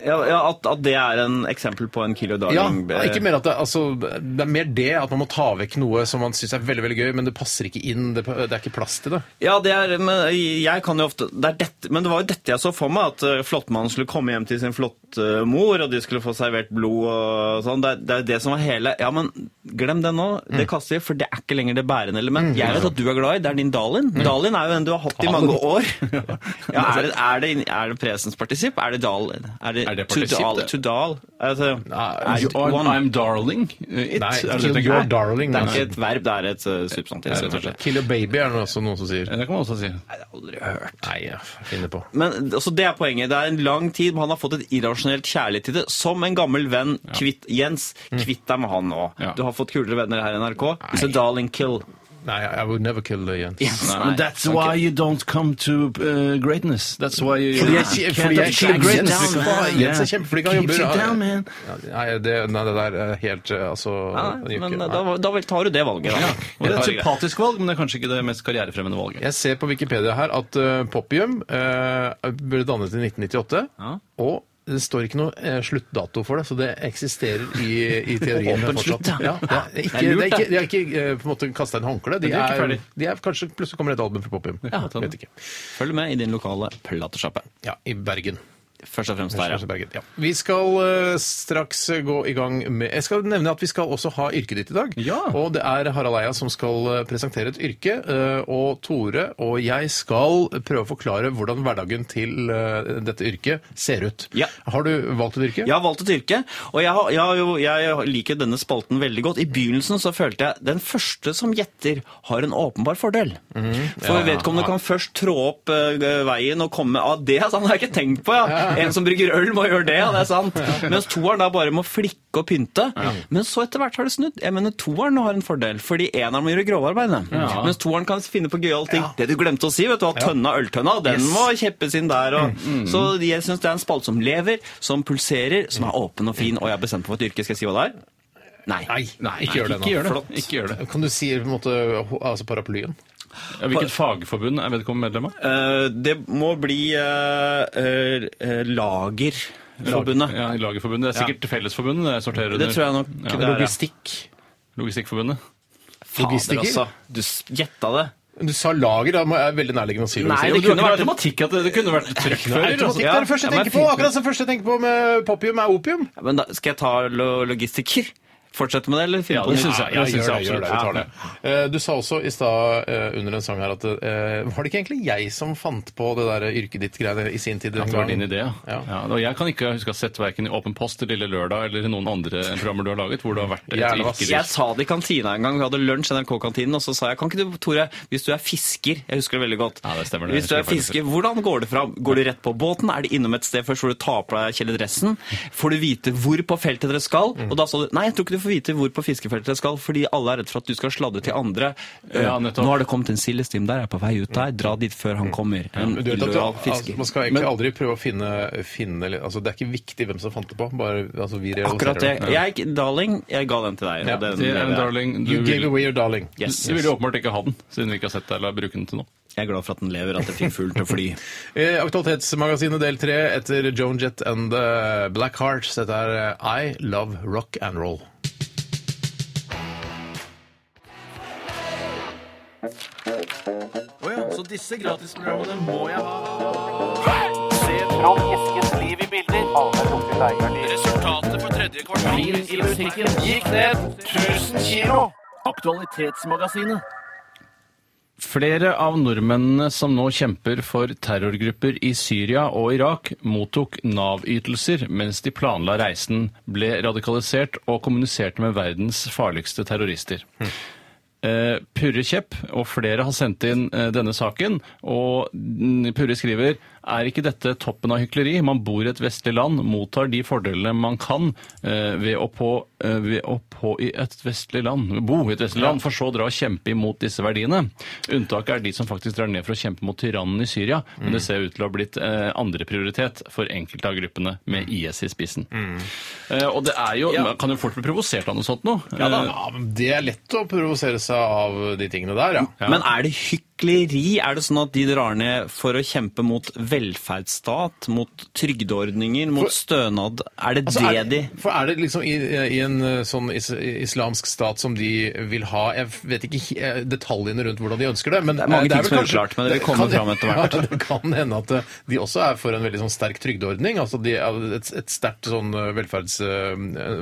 Speaker 9: Ja, ja at, at det er en eksempel på en killer
Speaker 7: Ja,
Speaker 9: darling. eh,
Speaker 7: ikke mer at det, altså, det er mer det at man må ta vekk noe som man syns er veldig veldig gøy, men det passer ikke inn. Det, det er ikke plass til det.
Speaker 9: Ja, det er, men jeg kan jo ofte det er dette, Men det var jo dette jeg så for meg, at eh, flåttmannen skulle komme hjem til sin flotte eh, mor, og de skulle få servert blod og sånn. Det, er- det er det som var hele Ja, men glem det nå. Det
Speaker 8: Mm.
Speaker 9: kaster vi, for det er ikke lenger det bærende element. Jeg vet at du er glad i, det er din Dalin.
Speaker 8: Mm.
Speaker 9: Dalin er jo en du har hatt i mange år. Ja, er, det, er, det, er det presenspartisipp? Er det Dalin? Er det,
Speaker 8: Er det
Speaker 9: to
Speaker 8: partisipp,
Speaker 9: dal?
Speaker 8: det?
Speaker 9: To dal? Altså,
Speaker 8: I'm,
Speaker 9: I-
Speaker 8: I'm,
Speaker 9: one.
Speaker 8: I'm darling. It.
Speaker 7: Nei,
Speaker 8: er det
Speaker 7: kill
Speaker 8: det
Speaker 7: your
Speaker 8: tenker?
Speaker 7: sånn, darling.
Speaker 9: Det altså, er
Speaker 7: altså.
Speaker 9: ikke et verb, det er et eh, substantiv. rett og slett.
Speaker 7: Kill your baby er det også noen som sier.
Speaker 8: Det kan man også si.
Speaker 9: Nei, det har jeg aldri hørt.
Speaker 7: Nei, jeg finner på.
Speaker 9: Men altså, Det er poenget. Det er en lang tid, men han har fått et irrasjonelt kjærlighet til det. Som en gammel venn. Kvitt, Jens, kvitt deg med han nå.
Speaker 8: Ja.
Speaker 9: Du har fått kulere venner her i NRK. It's a darling kill.
Speaker 7: Nei, I would never kill the Jens.
Speaker 9: Jens,
Speaker 8: Nei, Uh, That's why you don't come to uh, greatness. That's why you
Speaker 7: Fordi jeg,
Speaker 8: can't
Speaker 7: fordi jeg
Speaker 8: achieve
Speaker 7: Jens-
Speaker 8: greatness.
Speaker 7: Jens- Jens er kjempeflink. Han
Speaker 8: Keeps
Speaker 7: jobber
Speaker 8: you down, man.
Speaker 7: Ja, Nei, det, nei, det der er helt eh, Altså
Speaker 9: Nei,
Speaker 7: det gjør
Speaker 9: men
Speaker 7: ikke-
Speaker 9: da,
Speaker 7: nei.
Speaker 9: da vel tar du det valget, da.
Speaker 8: Og det er et
Speaker 9: Det er greit.
Speaker 8: sympatisk valg, men det er kanskje ikke det mest karrierefremmende valget.
Speaker 7: Jeg ser på Wikipedia her at eh, Popium eh, ble dannet i 1998.
Speaker 9: Ja.
Speaker 7: Og det står ikke noe eh, sluttdato for det, så det eksisterer i, i teorien.
Speaker 9: Åpen
Speaker 7: fortsatt.
Speaker 9: slutt, ja.
Speaker 7: Ja, det er ikke, det
Speaker 9: Det er lurt,
Speaker 7: er ikke,
Speaker 9: det.
Speaker 7: de har ikke eh, på en måte kasta en håndkle. De
Speaker 8: Men de er ikke
Speaker 7: er,
Speaker 8: ferdig.
Speaker 7: de er kanskje Plutselig kommer det et album fra Popium.
Speaker 8: kan godt hende.
Speaker 7: Vet ikke.
Speaker 9: Følg med i din lokale platesjappe.
Speaker 7: Ja, I Bergen.
Speaker 9: Først og fremst der,
Speaker 7: ja. Vi skal eh, straks gå i gang med Jeg skal nevne at vi skal også ha yrket ditt i dag. Og det er Harald Eia som skal eh, presentere et yrke. eh, og Tore og jeg skal prøve å forklare hvordan hverdagen til eh, dette yrket ser ut. Har du valgt et yrke?
Speaker 9: Jeg har valgt et yrke, og jeg, har, jeg, har jo, jeg liker denne spalten veldig godt. I begynnelsen så følte jeg den første som gjetter har en åpenbar fordel. For
Speaker 13: Ja,
Speaker 9: vedkommende
Speaker 13: ja.
Speaker 9: kan først trå opp eh, veien og komme av det, sånn har jeg ikke tenkt på. Ja. En som brygger øl må gjøre det, ja, det er sant. Mens toeren da bare må flikke og pynte. Men så etter hvert har det snudd. Jeg mener toeren har en fordel, fordi eneren må gjøre grovarbeidet.
Speaker 13: Ja.
Speaker 9: Mens toeren kan finne på gøyale ting. Det du glemte å si, vet du, at tønna, øltønna, den
Speaker 13: Yes.
Speaker 9: må kjeppes inn der. Og,
Speaker 13: Mm, mm.
Speaker 9: Så jeg syns det er en spalte som lever, som pulserer, som er åpen og fin, og jeg har bestemt meg for et yrke. Skal jeg si hva det er? Nei.
Speaker 7: ikke gjør det nå.
Speaker 9: Flott.
Speaker 7: Kan du si på en måte, ho- altså paraplyen?
Speaker 9: hvilket
Speaker 8: fagforbund er vedkommende medlem av?
Speaker 9: Eh, det må bli eh, eh, eh, Lagerforbundet.
Speaker 8: Ja, Lagerforbundet. Det er sikkert Fellesforbundet det sorterer
Speaker 9: Det
Speaker 8: under.
Speaker 9: tror jeg nok det er, ja.
Speaker 7: Logistikk.
Speaker 8: Logistikkforbundet.
Speaker 9: Fader, altså. Du s- gjetta det.
Speaker 7: Du sa lager, da må jeg være veldig nærliggende å si
Speaker 9: Nei,
Speaker 7: logistikk.
Speaker 9: det
Speaker 7: Jo,
Speaker 9: kunne vært-
Speaker 8: Automatikk at det, det kunne vært
Speaker 7: Nei,
Speaker 8: trykkfører.
Speaker 7: automatikk, det er det første jeg tenker på. Akkurat som første jeg tenker på med popium, er opium.
Speaker 9: Ja, men da, skal jeg ta lo logistiker? Fortsette med det, eller finne
Speaker 7: Ja,
Speaker 9: på
Speaker 7: det
Speaker 9: noe?
Speaker 7: syns jeg- det syns jeg absolutt. Vi tar det. Eh, Du sa også i stad eh, under en sang her at eh, Var det ikke egentlig jeg som fant på det der yrket ditt-greiene i sin tid?
Speaker 8: At
Speaker 7: en
Speaker 8: det var
Speaker 7: gang?
Speaker 8: din idé, ja. ja. Og jeg kan ikke huske å ha sett verken i Åpen post eller Lille Lørdag eller noen andre programmer du har laget hvor det har vært et yrke.
Speaker 9: Jeg sa det i kantina en gang, vi hadde lunsj i NRK-kantinen, og så sa jeg, kan ikke du, Tore, hvis du er fisker, jeg husker det veldig godt,
Speaker 8: det,
Speaker 9: hvis du
Speaker 8: jeg
Speaker 9: er
Speaker 8: husker det faktisk.
Speaker 9: fisker, hvordan går det fram? Går du rett på båten? Er det innom et sted først hvor du tar på deg kjeledressen? Får du vite hvor på feltet dere skal?
Speaker 8: Mm.
Speaker 9: Og da sa du, nei, jeg tror ikke du får vite hvor på fiskefeltet dere skal, fordi alle er redd for at du skal sladde til andre.
Speaker 8: Ja, nettopp.
Speaker 9: Nå har det kommet en sildestim der, jeg er på vei ut der, dra dit før han kommer. En
Speaker 7: Men du vet at du,
Speaker 9: illojal
Speaker 7: altså,
Speaker 9: fisker.
Speaker 7: man skal egentlig aldri prøve å finne, finne altså, Det er ikke viktig hvem som fant det på. Bare, altså, vi realiserer
Speaker 9: Akkurat det.
Speaker 7: Ja.
Speaker 9: Jeg, darling, jeg ga den til deg. og
Speaker 7: Ja,
Speaker 9: den
Speaker 7: det er
Speaker 9: lever jeg.
Speaker 8: darling,
Speaker 7: You gave away your darling.
Speaker 9: Yes,
Speaker 8: Du
Speaker 9: yes.
Speaker 8: ville åpenbart ikke ha den, siden vi ikke har sett deg eller bruke den til nå.
Speaker 9: Jeg er glad for at den lever, at jeg fikk fugl til å fly.
Speaker 7: Eh, Aktualitetsmagasinet del tre etter Joan Jett and the Black Hearts. Dette er eh, I Love Rock and Roll.
Speaker 13: Å ja, så disse gratisprogrammene må jeg ha. Se Trond Eskens liv i bilder. Resultatet for tredje kvartal i musikken gikk ned 1000 kilo. Aktualitetsmagasinet.
Speaker 8: Flere av nordmennene som nå kjemper for terrorgrupper i Syria og Irak, mottok Nav-ytelser mens de planla reisen, ble radikalisert og kommuniserte med verdens farligste terrorister. Eh, Purre Kjepp og flere har sendt inn eh, denne saken, og mm, Purre skriver er ikke dette toppen av hykleri? Man bor i et vestlig land, mottar de fordelene man kan eh, ved å på, eh, ved å på i et vestlig land, bo i et vestlig land, for så å dra og kjempe imot disse verdiene. Unntaket er de som faktisk drar ned for å kjempe mot tyrannen i Syria, men
Speaker 7: Mm.
Speaker 8: det ser ut til å ha blitt eh, andre prioritet for enkelte av gruppene med
Speaker 7: Mm.
Speaker 8: IS i spissen. Eh, og det er jo, man kan jo fort bli provosert av noe sånt nå.
Speaker 7: Ja, da,
Speaker 8: Eh,
Speaker 7: ja, men det er lett å provosere seg av de tingene der, ja.
Speaker 9: Men er det hykleri? Er det sånn at de drar ned for å kjempe mot velferdsstat, mot trygdeordninger, mot stønad? Er det
Speaker 7: Altså,
Speaker 9: det
Speaker 7: er,
Speaker 9: de
Speaker 7: For er det liksom i, i en eh, sånn is, islamsk stat som de vil ha Jeg vet ikke he- eh, detaljene rundt hvordan de ønsker det, men
Speaker 9: Det er mange
Speaker 7: eh,
Speaker 9: ting
Speaker 7: vel
Speaker 9: som er uklart, men det vil komme fram etter hvert.
Speaker 7: Ja, det kan hende at eh, de også er for en veldig sånn sterk trygdeordning. Altså de, er et, et sterkt sånn eh, velferds, eh,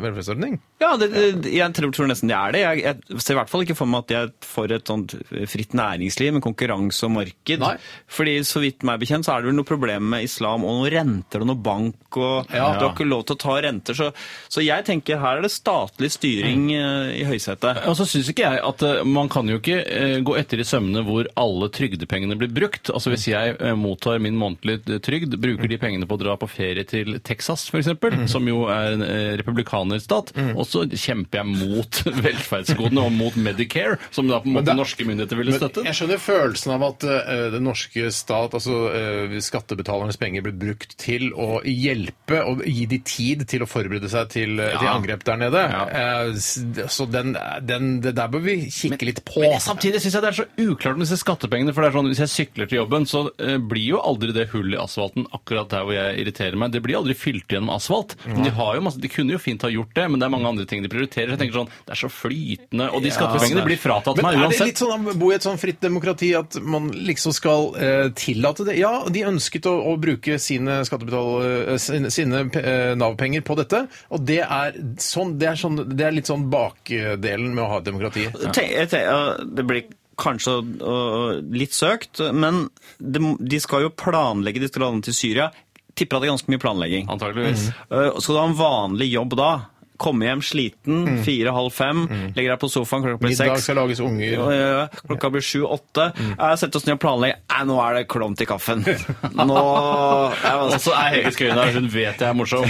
Speaker 7: velferdsordning.
Speaker 9: Ja, det, det, jeg tror, tror nesten det er det. Jeg, jeg ser i hvert fall ikke for meg at jeg får et sånt fritt næringsliv med konkurranse og marked. Fordi så vidt meg bekjent så er det vel noe problem med islam og noen renter og noe bank og
Speaker 13: Ja.
Speaker 9: du har ikke lov til å ta renter. Så, så jeg tenker her er det statlig styring eh, i høysetet.
Speaker 8: Og så syns ikke jeg at eh, man kan jo ikke eh, gå etter i sømmene hvor alle trygdepengene blir brukt. Altså Hvis jeg eh, mottar min månedlige eh, trygd, bruker de pengene på å dra på ferie til Texas f.eks., eksempel,
Speaker 7: Mm.
Speaker 8: som jo er en eh, republikanerstat, og så kjemper jeg mot velferdsgodene og mot Medicare, som da på en måte norske myndigheter ville
Speaker 7: Men
Speaker 8: støtte.
Speaker 7: jeg skjønner følelsen av at eh, den norske stat, altså eh, skattebetalernes penger, blir brukt til å hjelpe og gi de tid til å forberede seg til, eh, til angrep der nede. Eh, s- så den, den, det der bør vi kikke litt på.
Speaker 8: Men samtidig syns jeg det er så uklart med disse skattepengene. For det er sånn, hvis jeg sykler til jobben, så eh, blir jo aldri det hullet i asfalten akkurat der hvor jeg irriterer meg. Det blir aldri fylt igjen med asfalt. Men de, har jo masse, de kunne jo fint ha gjort det, men det er mange andre ting de prioriterer. Jeg tenker sånn, Det er så flytende, og de
Speaker 7: Ja,
Speaker 8: skattepengene
Speaker 7: det er-
Speaker 8: blir fratatt meg
Speaker 7: Men er det
Speaker 8: uansett.
Speaker 7: litt sånn å bo i et sånn fritt demokrati si at man liksom skal eh, tillate det. Ja, de ønsket å, å bruke sine skattebetal... eh, sine, sine pe- eh, Nav-penger på dette, og det er, sånn, det, er sånn, det er litt sånn bakdelen med å ha et demokrati.
Speaker 9: Tenk, jeg tenk, ja, det blir kanskje å- å- litt søkt, men de, de skal jo planlegge disse landene til Syria. Tipper at det er ganske mye planlegging.
Speaker 8: Antakeligvis.
Speaker 9: Eh, Så du ha en vanlig jobb da? Komme hjem sliten,
Speaker 8: Mm.
Speaker 9: fire-halv fem, legger deg på sofaen, klokka blir
Speaker 7: Middag
Speaker 9: seks.
Speaker 7: skal lages unger.
Speaker 9: Ja, ja, ja. Klokka blir sju-åtte.
Speaker 8: Mm.
Speaker 9: Jeg setter oss ned og planlegger. Nei, nå er det klump til kaffen. Nå
Speaker 8: Og så er Hege Skøyen der, hun vet jeg er morsom.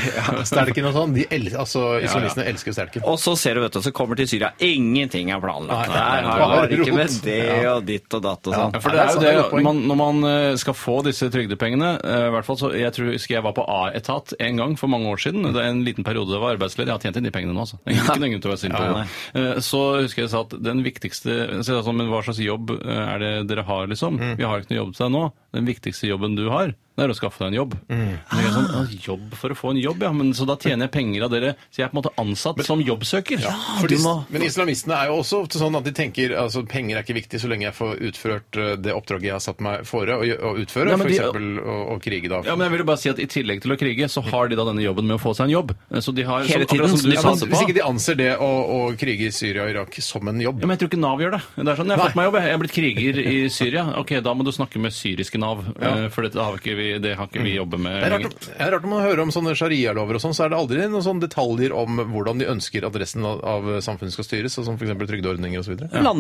Speaker 7: Stelken og sånn, de el altså,
Speaker 9: ja.
Speaker 7: islamistene elsker stelken.
Speaker 9: Og så ser du, vet du, så kommer til Syria. Ingenting er planlagt.
Speaker 8: Nei, nei,
Speaker 9: Nei,
Speaker 8: nei,
Speaker 9: her har
Speaker 8: bare
Speaker 9: ikke med
Speaker 8: rot.
Speaker 9: det
Speaker 8: Ja.
Speaker 9: og ditt og datt og
Speaker 8: Ja,
Speaker 9: sånn.
Speaker 8: for det er jo
Speaker 9: sant,
Speaker 8: det,
Speaker 9: poeng.
Speaker 8: man, Når man eh, skal få disse trygdepengene eh, i hvert fall, så Jeg tror, husker jeg var på A-etat en gang for mange år siden. Det er en liten periode jeg var arbeidsledig. Jeg har tjent inn de pengene nå, altså. Det er Ikke noen grunn til å være sint på
Speaker 9: Ja,
Speaker 8: det. Eh, Så husker jeg sa at den viktigste så jeg sa, Men hva slags jobb eh, er det dere har, liksom? Vi har ikke noe jobb til deg nå. Den viktigste jobben du har, det er å skaffe deg en jobb. Så tenker jeg Sånn, «Å, jobb for å få en jobb, ja. Men, så da tjener jeg penger av dere. Så jeg er på en måte ansatt som jobbsøker.
Speaker 7: For de- Men islamistene er jo også ofte sånn at de tenker altså penger er ikke viktig så lenge jeg får utført eh, det oppdraget jeg har satt meg fore å gjø- å utføre,
Speaker 8: Ja,
Speaker 7: for
Speaker 8: men de-
Speaker 7: eksempel å, å krige da.
Speaker 8: Ja, men jeg vil jo bare si at I tillegg til å krige, så har de da denne jobben med å få seg en jobb. Eh, Så de har,
Speaker 7: Hele
Speaker 8: så, akkurat
Speaker 7: tiden,
Speaker 8: som du
Speaker 7: ja,
Speaker 8: satser
Speaker 7: men
Speaker 8: på.
Speaker 7: Hvis ikke de anser det å, å krige i Syria og Irak som en jobb.
Speaker 8: Ja, men Jeg tror ikke Nav gjør det. Det er sånn, Jeg har fått meg jobb, jeg. jeg er blitt kriger i Syria. Ok, Da må du snakke med syriske Nav, eh, for dette har ikke vi, det har ikke vi jobbet med
Speaker 7: Mm. Det er,
Speaker 8: lenger.
Speaker 7: rart, det er rart når man hører om sånne sharialover og sånn, så er det aldri noen sånne detaljer om hvordan de ønsker at resten av, av samfunnet skal styres, og som f.eks. trygdeordninger osv.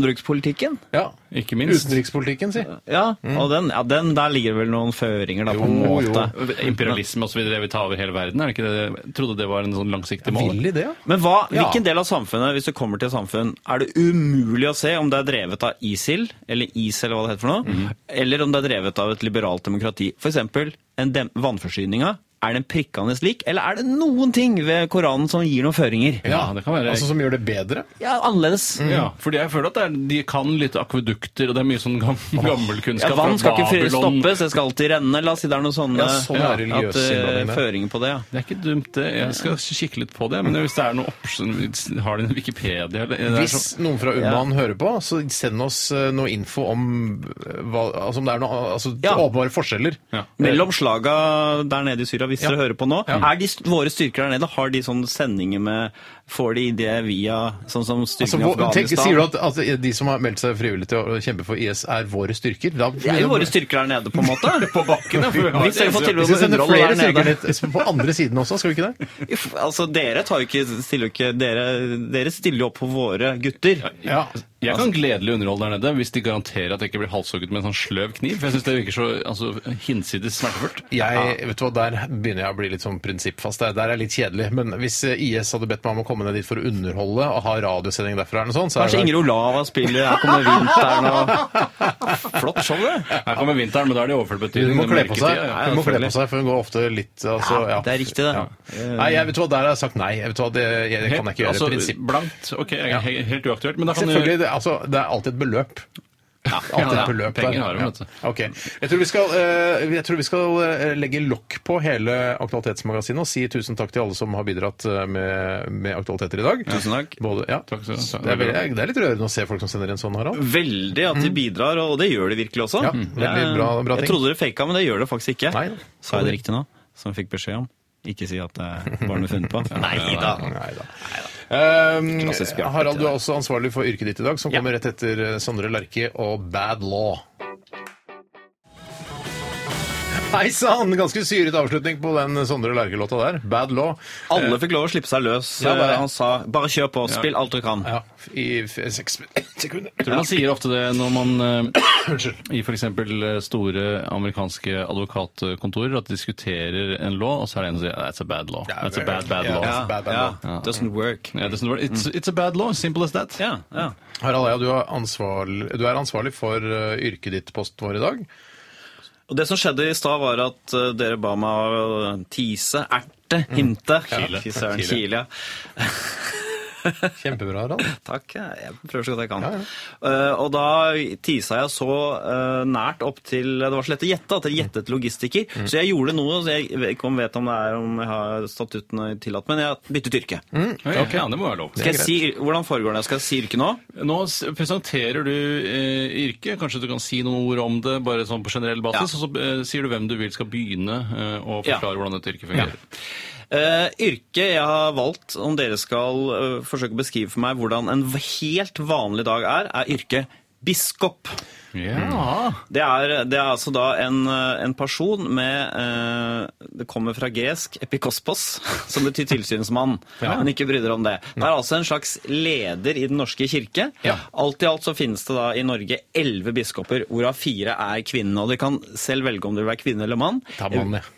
Speaker 9: Landbrukspolitikken.
Speaker 7: Ja.
Speaker 8: Ikke minst.
Speaker 7: Utenrikspolitikken, si.
Speaker 9: Ja, og den, ja, den, der ligger det vel noen føringer, da, på en
Speaker 8: Mm. Jo,
Speaker 9: måte.
Speaker 8: jo. Imperialisme osv. vil ta over hele verden. Er det ikke det? Jeg trodde det var en sånn langsiktig mål.
Speaker 7: Vil de det, ja?
Speaker 9: Men hva,
Speaker 8: Ja.
Speaker 9: hvilken del av samfunnet, hvis du kommer til et samfunn, er det umulig å se om det er drevet av ISIL, eller IS, eller hva det heter for noe,
Speaker 8: Mhm.
Speaker 9: eller om det er drevet av et liberalt demokrati? For eksempel, en dem- vannforsyninga, er den prikkende lik, eller er det noen ting ved Koranen som gir noen føringer? Mm.
Speaker 8: Ja, det kan være.
Speaker 7: Altså som gjør det bedre?
Speaker 9: Ja, annerledes.
Speaker 8: Ja, fordi jeg føler at det er, de kan litt akvedukter, og det er mye sånn gam, gammel kunnskap
Speaker 9: Ja, vann skal
Speaker 8: fra
Speaker 9: ikke fri-
Speaker 8: Babylon.
Speaker 9: stoppes, det skal alltid renne. La oss si det er noen sånne
Speaker 8: Ja, sånn er
Speaker 9: ja, at,
Speaker 8: religiøs innblanding
Speaker 9: eh,
Speaker 8: der.
Speaker 9: føringer på det. Ja.
Speaker 8: Det er ikke dumt, det. Jeg skal kikke litt på det. Men hvis det er noe opps- Har de en Wikipedia eller det er sånn-
Speaker 7: Hvis
Speaker 8: så-
Speaker 7: noen fra
Speaker 8: Ja.
Speaker 7: Uman hører på, så send oss eh, noe info om eh, hva, altså om det er noe, altså, åpenbare forskjeller.
Speaker 9: Mellom slaga der nede i Syria, hvis dere hører på nå. Er de, st- våre styrker der nede, har de sånne sendinger med Får de det via sånn som
Speaker 7: Altså,
Speaker 9: styrken i
Speaker 7: hvor, tenk,
Speaker 9: Afghanistan?
Speaker 7: sier du at, at de som har meldt seg frivillig til å kjempe for IS, er våre styrker? Da,
Speaker 9: det er jo våre styrker der nede, på en måte. på bakken,
Speaker 7: Ja, for vi har-
Speaker 9: Hvis dere får
Speaker 7: Vi
Speaker 9: tilbud om
Speaker 7: skal sende
Speaker 9: underhold
Speaker 7: flere
Speaker 9: der
Speaker 7: styrker
Speaker 9: nede.
Speaker 7: litt på andre siden også, skal vi ikke det?
Speaker 9: Uff, Altså, dere tar jo ikke, stiller jo ikke dere, dere stiller jo opp for våre gutter.
Speaker 8: Jeg kan
Speaker 7: Altså-
Speaker 8: gledelig underholde der nede hvis de garanterer at jeg ikke blir halshugget med en sånn sløv kniv. For jeg syns det virker så altså, hinsides smertefullt.
Speaker 7: Jeg, vet du hva, Der begynner jeg å bli litt sånn prinsippfast. Der, der er jeg litt kjedelig. Men hvis eh, IS hadde bedt meg om å komme ned dit for å underholde og ha radiosending derfra, eller noe sånt, så er
Speaker 9: Kanskje
Speaker 7: det
Speaker 9: Inger Olava spiller Her kommer vinteren og Flott show, det.
Speaker 8: Her kommer vinteren, men da er det i overført betydning.
Speaker 7: Hun må
Speaker 8: det er
Speaker 7: kle på seg,
Speaker 8: mørketid, ja, ja,
Speaker 7: hun må kle på
Speaker 8: selvfølgelig.
Speaker 7: seg for hun går ofte litt altså, ja.
Speaker 9: Det er riktig, det.
Speaker 7: Nei, jeg vet du hva, Der har jeg sagt nei. Jeg vet du hva, Det, jeg, det kan jeg ikke gjøre.
Speaker 8: Altså,
Speaker 7: Prinsipp.
Speaker 8: Blankt. Ok, jeg er
Speaker 7: Ja.
Speaker 8: he- helt uaktuelt. Men da kan
Speaker 7: Selvfølgelig, det, altså, det er alltid et beløp.
Speaker 8: ja,
Speaker 7: Alltid
Speaker 8: det
Speaker 7: et
Speaker 8: er-
Speaker 7: beløp
Speaker 8: penger har de,
Speaker 7: Ja.
Speaker 8: vet du.
Speaker 7: Ok. Jeg tror vi skal, eh, jeg tror vi skal eh, legge lokk på hele Aktualitetsmagasinet og si tusen takk til alle som har bidratt eh, med, med aktualiteter i dag.
Speaker 9: Tusen takk.
Speaker 7: Både, ja.
Speaker 8: Takk skal du ha.
Speaker 7: det, er veldig, det er litt rørende å se folk som sender inn sånn, Harald.
Speaker 9: Veldig at de bidrar, og det gjør de virkelig også.
Speaker 7: Ja, veldig bra- bra ting.
Speaker 9: Jeg trodde dere faka, men det gjør det faktisk ikke.
Speaker 7: Nei da.
Speaker 9: Sa jeg det riktig nå? Som jeg fikk beskjed om. Ikke si at det var noe funnet på. Nei da.
Speaker 7: Um,
Speaker 9: Klassisk Bjarte
Speaker 7: Harald,
Speaker 9: til
Speaker 7: du er også ansvarlig for yrket ditt i dag, som kommer rett etter eh, Sondre Lerche og Bad Law. Hei sann! Ganske syret avslutning på den Sondre Lerche-låta der. Bad Law.
Speaker 9: Alle fikk lov å slippe seg løs. Eh,
Speaker 7: Ja, bare-
Speaker 9: Han sa 'bare kjør på, spill alt du kan'.
Speaker 7: Ja, I f- seks sekunder.
Speaker 8: Jeg tror man sier ofte det når man eh, i f.eks. store amerikanske advokatkontorer at de diskuterer en law, og så er det en som sier that's a bad law. That's a bad, bad law.
Speaker 7: Ja, bad, bad
Speaker 9: Ja.
Speaker 7: law.
Speaker 9: Doesn't work.
Speaker 8: Ja, det er sånn det var. it's, it's a bad law, simple as that.
Speaker 9: Ja, ja.
Speaker 7: Harald Eia, du er ansvarlig, du er ansvarlig for eh, yrket ditt post vår i dag.
Speaker 9: Og det som skjedde i stad, var at eh, dere ba meg å tise, erte, hinte. Fy søren,
Speaker 7: Mm. Kile.
Speaker 9: Kile. ja.
Speaker 7: Kjempebra, Harald.
Speaker 9: Takk. Jeg prøver så godt jeg kan. Eh, og da tisa jeg så eh, nært opp til Det var så lett å gjette at jeg gjettet logistiker.
Speaker 13: Mm.
Speaker 9: Så jeg gjorde noe så jeg vet ikke om vet om det er om jeg har statuttene tillatt, men jeg byttet yrke.
Speaker 8: Oi, ok. Ja, Mm, det må være lov.
Speaker 9: Skal
Speaker 8: Det er
Speaker 9: jeg si, hvordan foregår det? Skal jeg si yrke nå?
Speaker 8: Nå s- presenterer du eh, yrket. Kanskje du kan si noen ord om det bare sånn på generell basis, og så eh, sier du hvem du vil skal begynne eh, og
Speaker 9: Ja.
Speaker 8: forklare hvordan dette yrket fungerer.
Speaker 9: Eh, yrket jeg har valgt, om dere skal eh, forsøke å beskrive for meg hvordan en v- helt vanlig dag er, er yrket biskop.
Speaker 8: Mm.
Speaker 7: Mm.
Speaker 8: Ja.
Speaker 9: Det, er, det er altså da en, eh, en person med eh, Det kommer fra gresk epikospos, som betyr tilsynsmann.
Speaker 13: Ja.
Speaker 9: Men ikke bry dere om det. Det er altså en slags leder i Den norske kirke. Alt i alt så finnes det da i Norge elleve biskoper, hvorav fire er kvinner. Og dere kan selv velge om dere vil være kvinne eller mann.
Speaker 7: Ta mannen, jeg.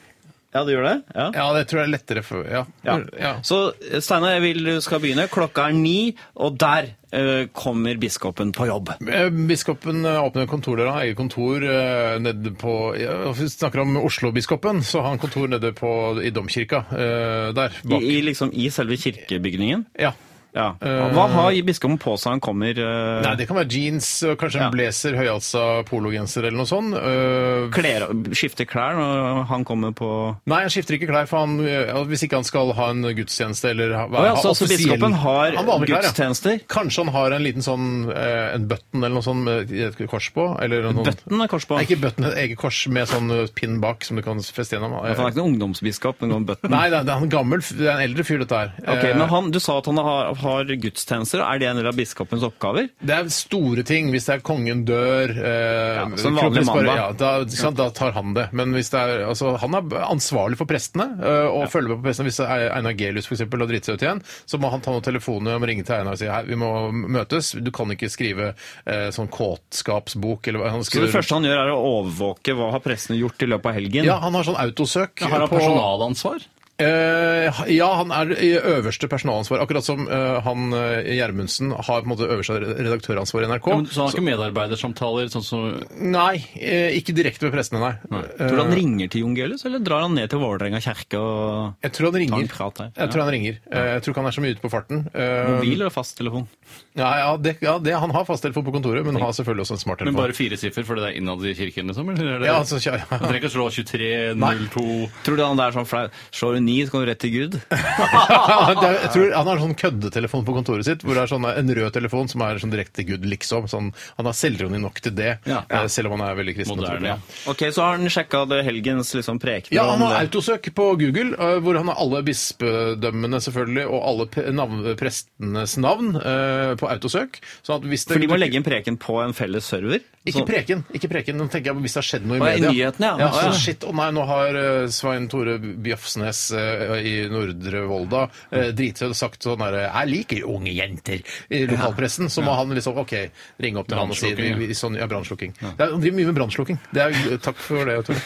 Speaker 9: Ja, du gjør det? Ja,
Speaker 7: det tror jeg er lettere for Ja.
Speaker 9: Ja. Så Steinar, jeg vil du skal begynne. Klokka er ni, og der eh, kommer biskopen på jobb.
Speaker 7: Eh, Biskopen eh, åpner kontordøra, har eget kontor eh, nede på ja, Vi snakker om Oslo-biskopen, så har han kontor nede på, i domkirka eh, der.
Speaker 9: I, i, liksom, I selve kirkebygningen?
Speaker 7: Ja.
Speaker 9: Og Hva har biskopen på seg han kommer eh,
Speaker 7: Eh, Nei, det kan være jeans, og kanskje en blazer, høyhalsa pologenser eller noe sånt. Eh,
Speaker 9: klær, Skifter klær når han kommer på
Speaker 7: Nei, han skifter ikke klær, for han, eh, hvis ikke han skal ha en gudstjeneste eller ha,
Speaker 9: Å ja, så-
Speaker 7: ha
Speaker 9: så
Speaker 7: offisiell-
Speaker 9: biskopen har
Speaker 7: Han vanlige klær, ja.
Speaker 9: gudstjenester?
Speaker 7: Kanskje han har en liten sånn eh, en button eller noe sånt med et kors på? Eller noen,
Speaker 9: Button med kors på?
Speaker 7: Nei, ikke button, et eget kors med sånn eh, pinn bak som du kan feste gjennom. eh,
Speaker 9: Han er ikke noen ungdomsbiskop, men noen button.
Speaker 7: Nei, det er, det er en gammel, f- det er en eldre fyr dette her.
Speaker 9: Ok,
Speaker 7: Eh,
Speaker 9: men han, Du sa at han har, har gudstjenester. Er det en del av biskopens oppgaver?
Speaker 7: Det er store ting. Hvis det er kongen dør eh,
Speaker 9: Ja, som
Speaker 7: klokken
Speaker 9: vanlig
Speaker 7: sparer-
Speaker 9: mandag.
Speaker 7: Ja, da, ikke sant, da tar han det. Men hvis det er, altså, han er ansvarlig for prestene eh, og følger med på prestene. Hvis det er Einar Gelius for eksempel, har dritt seg ut igjen, så må han ta noen telefoner og ringe til Einar og si hei, vi må møtes. Du kan ikke skrive eh, sånn kåtskapsbok eller hva han
Speaker 9: Så det
Speaker 7: skriver.
Speaker 9: første han gjør, er å overvåke hva har prestene gjort i løpet av helgen?
Speaker 7: ja, han har sånn autosøk.
Speaker 9: Har han
Speaker 7: på-
Speaker 8: personalansvar?
Speaker 7: Eh, ja, han er i øverste personalansvar. Akkurat som eh, han eh, Gjermundsen har på en måte øverste redaktøransvar i NRK.
Speaker 8: Ja, men, så han har ikke medarbeidersamtaler sånn som
Speaker 7: Nei, eh, ikke direkte med prestene, nei.
Speaker 9: Tror
Speaker 7: Eh,
Speaker 9: du han ringer til Jon Gelius, eller drar han ned til Vålerenga kjerke og
Speaker 7: Jeg tror han ringer.
Speaker 9: tar en prat der?
Speaker 7: Jeg tror han ringer. Eh, Jeg tror ikke han er så mye ute på farten. Eh,
Speaker 9: Mobil eller fasttelefon?
Speaker 7: Ja, ja, det, ja det, han har fasttelefon på kontoret, men han har selvfølgelig også en
Speaker 8: Men
Speaker 7: smarttelefon.
Speaker 8: bare fire siffer fordi det er innad i kirken, liksom? Eller er det,
Speaker 7: Ja, altså, ja, ja.
Speaker 8: Du trenger ikke å slå 2302
Speaker 9: Tror du han der er sånn flau? Slår du ni, så kan du rett til Gud?
Speaker 7: Det er- jeg tror Han har en sånn køddetelefon på kontoret sitt, hvor det er sånn, eh, en rød telefon som er sånn direkte til Gud, liksom. Sånn, han har selvroni nok til det,
Speaker 9: Ja.
Speaker 7: eh, selv om han er veldig kristen.
Speaker 9: Moderne,
Speaker 7: naturlig.
Speaker 9: ja. Ok, så har han sjekka det helgens liksom prekener
Speaker 7: Ja, han
Speaker 9: om
Speaker 7: har
Speaker 9: det.
Speaker 7: autosøk på Google, eh, hvor han har alle bispedømmene selvfølgelig, og alle pe- navn, prestenes navn eh, på autosøk. Sånn at hvis det,
Speaker 9: For de må legge inn preken på en felles server?
Speaker 7: Ikke
Speaker 9: Så-
Speaker 7: preken. ikke preken, Nå tenker jeg på Hvis det har skjedd noe i
Speaker 9: Å, ja, i
Speaker 7: media.
Speaker 9: nyhetene, ja.
Speaker 7: ja.
Speaker 9: Å, ja.
Speaker 7: så shit, Å nei, nå har eh, Svein Tore Bjøfsnes eh, i Nordre Volda uh, dritsøt sagt sånn derre 'Jeg liker unge jenter' i lokalpressen. Så må han liksom OK, ringe opp til han og si vi,
Speaker 8: Brannslukking, ja.
Speaker 7: vi, sånn, ja, brannslukking. Det er- Han driver mye med brannslukking. Det er- eh, Takk for det, Tore.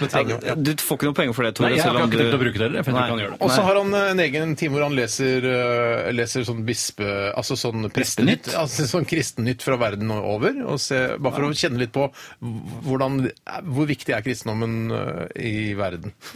Speaker 7: Det trenger-
Speaker 9: Ja, du får ikke noe penger for det, Tore.
Speaker 8: Nei, jeg
Speaker 9: selv
Speaker 8: har
Speaker 9: om
Speaker 8: ikke
Speaker 9: du-
Speaker 8: tenkt å bruke dere, for jeg tror
Speaker 9: Nei.
Speaker 8: ikke han gjør det.
Speaker 7: Og så har han eh, en egen time hvor han leser, eh, leser sånn bispe... Altså sånn prestenytt. Altså sånn kristennytt fra verden og over. Og se, bare for å kjenne litt på hvordan, hvor viktig er kristendommen eh, i verden.
Speaker 9: Så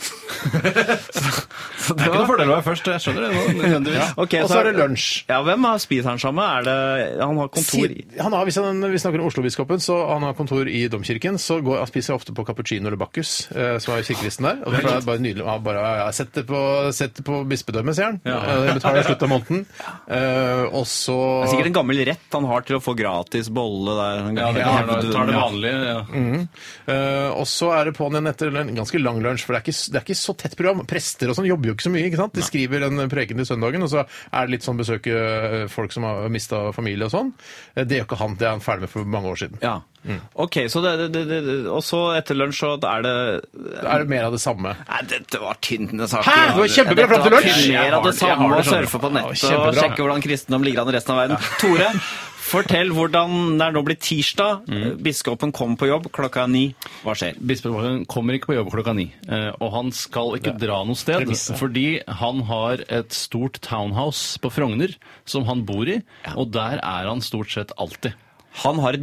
Speaker 8: Det er ikke noe fordel å være først, jeg skjønner det. nå, nødvendigvis.
Speaker 9: Ja. Ok,
Speaker 7: Og så er det lunsj.
Speaker 9: Ja, hvem har spiser han sammen? Er det, han har kontor i
Speaker 7: Si- Han har, hvis han, vi snakker om Oslo-biskopen, så han har kontor i domkirken. Så går, han spiser ofte på cappuccino eller Bacchus, eh, som er kirkelisten der. Og det er bare nydelig. Han bare ja, ja, sett det på, sett det på bispedømmet, sier han.
Speaker 9: Ja.
Speaker 7: Eh, Betaler i slutten av måneden. Eh, og så
Speaker 9: Det er sikkert en gammel rett han har til å få gratis bolle der. Han
Speaker 8: Ja, det kan være noe- tar det vanlige. Ja.
Speaker 7: Mhm. Eh, og så er det på'n igjen etter en ganske lang lunsj, for det er, ikke, det er ikke så tett program. Prester og sånn jobber jo ikke så mye. ikke sant? De skriver en eh, preken til søndagen, og så er det litt sånn besøke eh, folk som har mista familie og sånn. Eh, Det gjør ikke han, det er han ferdig med for mange år siden.
Speaker 9: Ja.
Speaker 7: Mm.
Speaker 9: Ok, så det, det, det, det, og så etter lunsj så er det
Speaker 7: Da er det mer av det samme.
Speaker 9: Nei, dette var tynt. Det
Speaker 7: Hæ? Det var kjempebra fram til lunsj! Jeg
Speaker 9: Mer
Speaker 7: har
Speaker 9: av det
Speaker 7: det, jeg
Speaker 9: samme
Speaker 7: har
Speaker 9: å
Speaker 7: det, skjønner du.
Speaker 9: surfe på nettet
Speaker 7: Ja, kjempebra.
Speaker 9: og sjekke hvordan kristendom ligger an i resten av verden. Tore, fortell hvordan det er nå blitt tirsdag.
Speaker 7: Mm.
Speaker 9: Eh, Biskopen kom på jobb klokka er ni. Hva skjer?
Speaker 8: Bispebakeren kommer ikke på jobb klokka ni, eh, og han skal ikke dra noe sted,
Speaker 9: premisset.
Speaker 8: fordi han har et stort townhouse på Frogner som han bor i, og der er han stort sett alltid.
Speaker 9: Han har et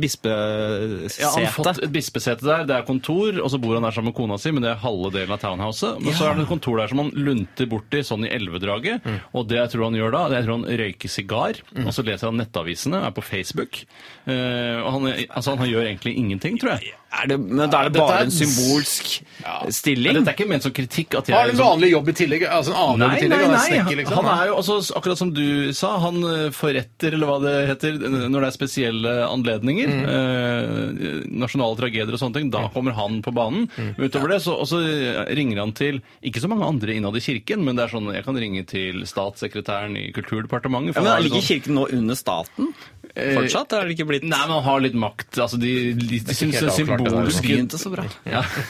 Speaker 9: bispesete.
Speaker 8: Ja, han har fått et bispesete der, det er kontor, og så bor han der sammen med kona si, men det er halve delen av townhouset. Men så
Speaker 9: Ja.
Speaker 8: er det et kontor der som han lunter borti sånn i elvedraget, og det jeg tror han gjør da, det jeg tror han røyker sigar,
Speaker 9: Mm.
Speaker 8: og så leser han nettavisene, er på Facebook, eh, og han, altså, han gjør egentlig ingenting, tror jeg.
Speaker 9: men da er
Speaker 8: Dette
Speaker 9: det bare
Speaker 8: er-
Speaker 9: en symbolsk stilling?
Speaker 8: Dette er ikke ment som kritikk at jeg
Speaker 7: Har en
Speaker 8: liksom-
Speaker 7: vanlig jobb i tillegg? Altså en annen jobb i
Speaker 8: Nei,
Speaker 7: tillegg?
Speaker 8: nei,
Speaker 7: og
Speaker 8: nei.
Speaker 7: er snekker, liksom.
Speaker 8: Han er jo, altså, akkurat som du sa, han eh, forretter, eller hva det heter, når det er spesielle anledninger,
Speaker 9: Mm.
Speaker 8: eh, nasjonale tragedier og sånne ting, da kommer han på banen.
Speaker 9: Mm.
Speaker 8: Men Utover det, så, og så ringer han til, ikke så mange andre innad i kirken, men det er sånn, jeg kan ringe til statssekretæren i Kulturdepartementet.
Speaker 9: Ja, men Ligger kirken nå under staten? Fortsatt? Er det ikke blitt
Speaker 8: sånn, Eh, Nei, men han har litt makt. Altså, de, de, de syns det
Speaker 9: helt avklart, det der,
Speaker 8: symboliske
Speaker 9: altså. Begynte så bra.
Speaker 8: Ja.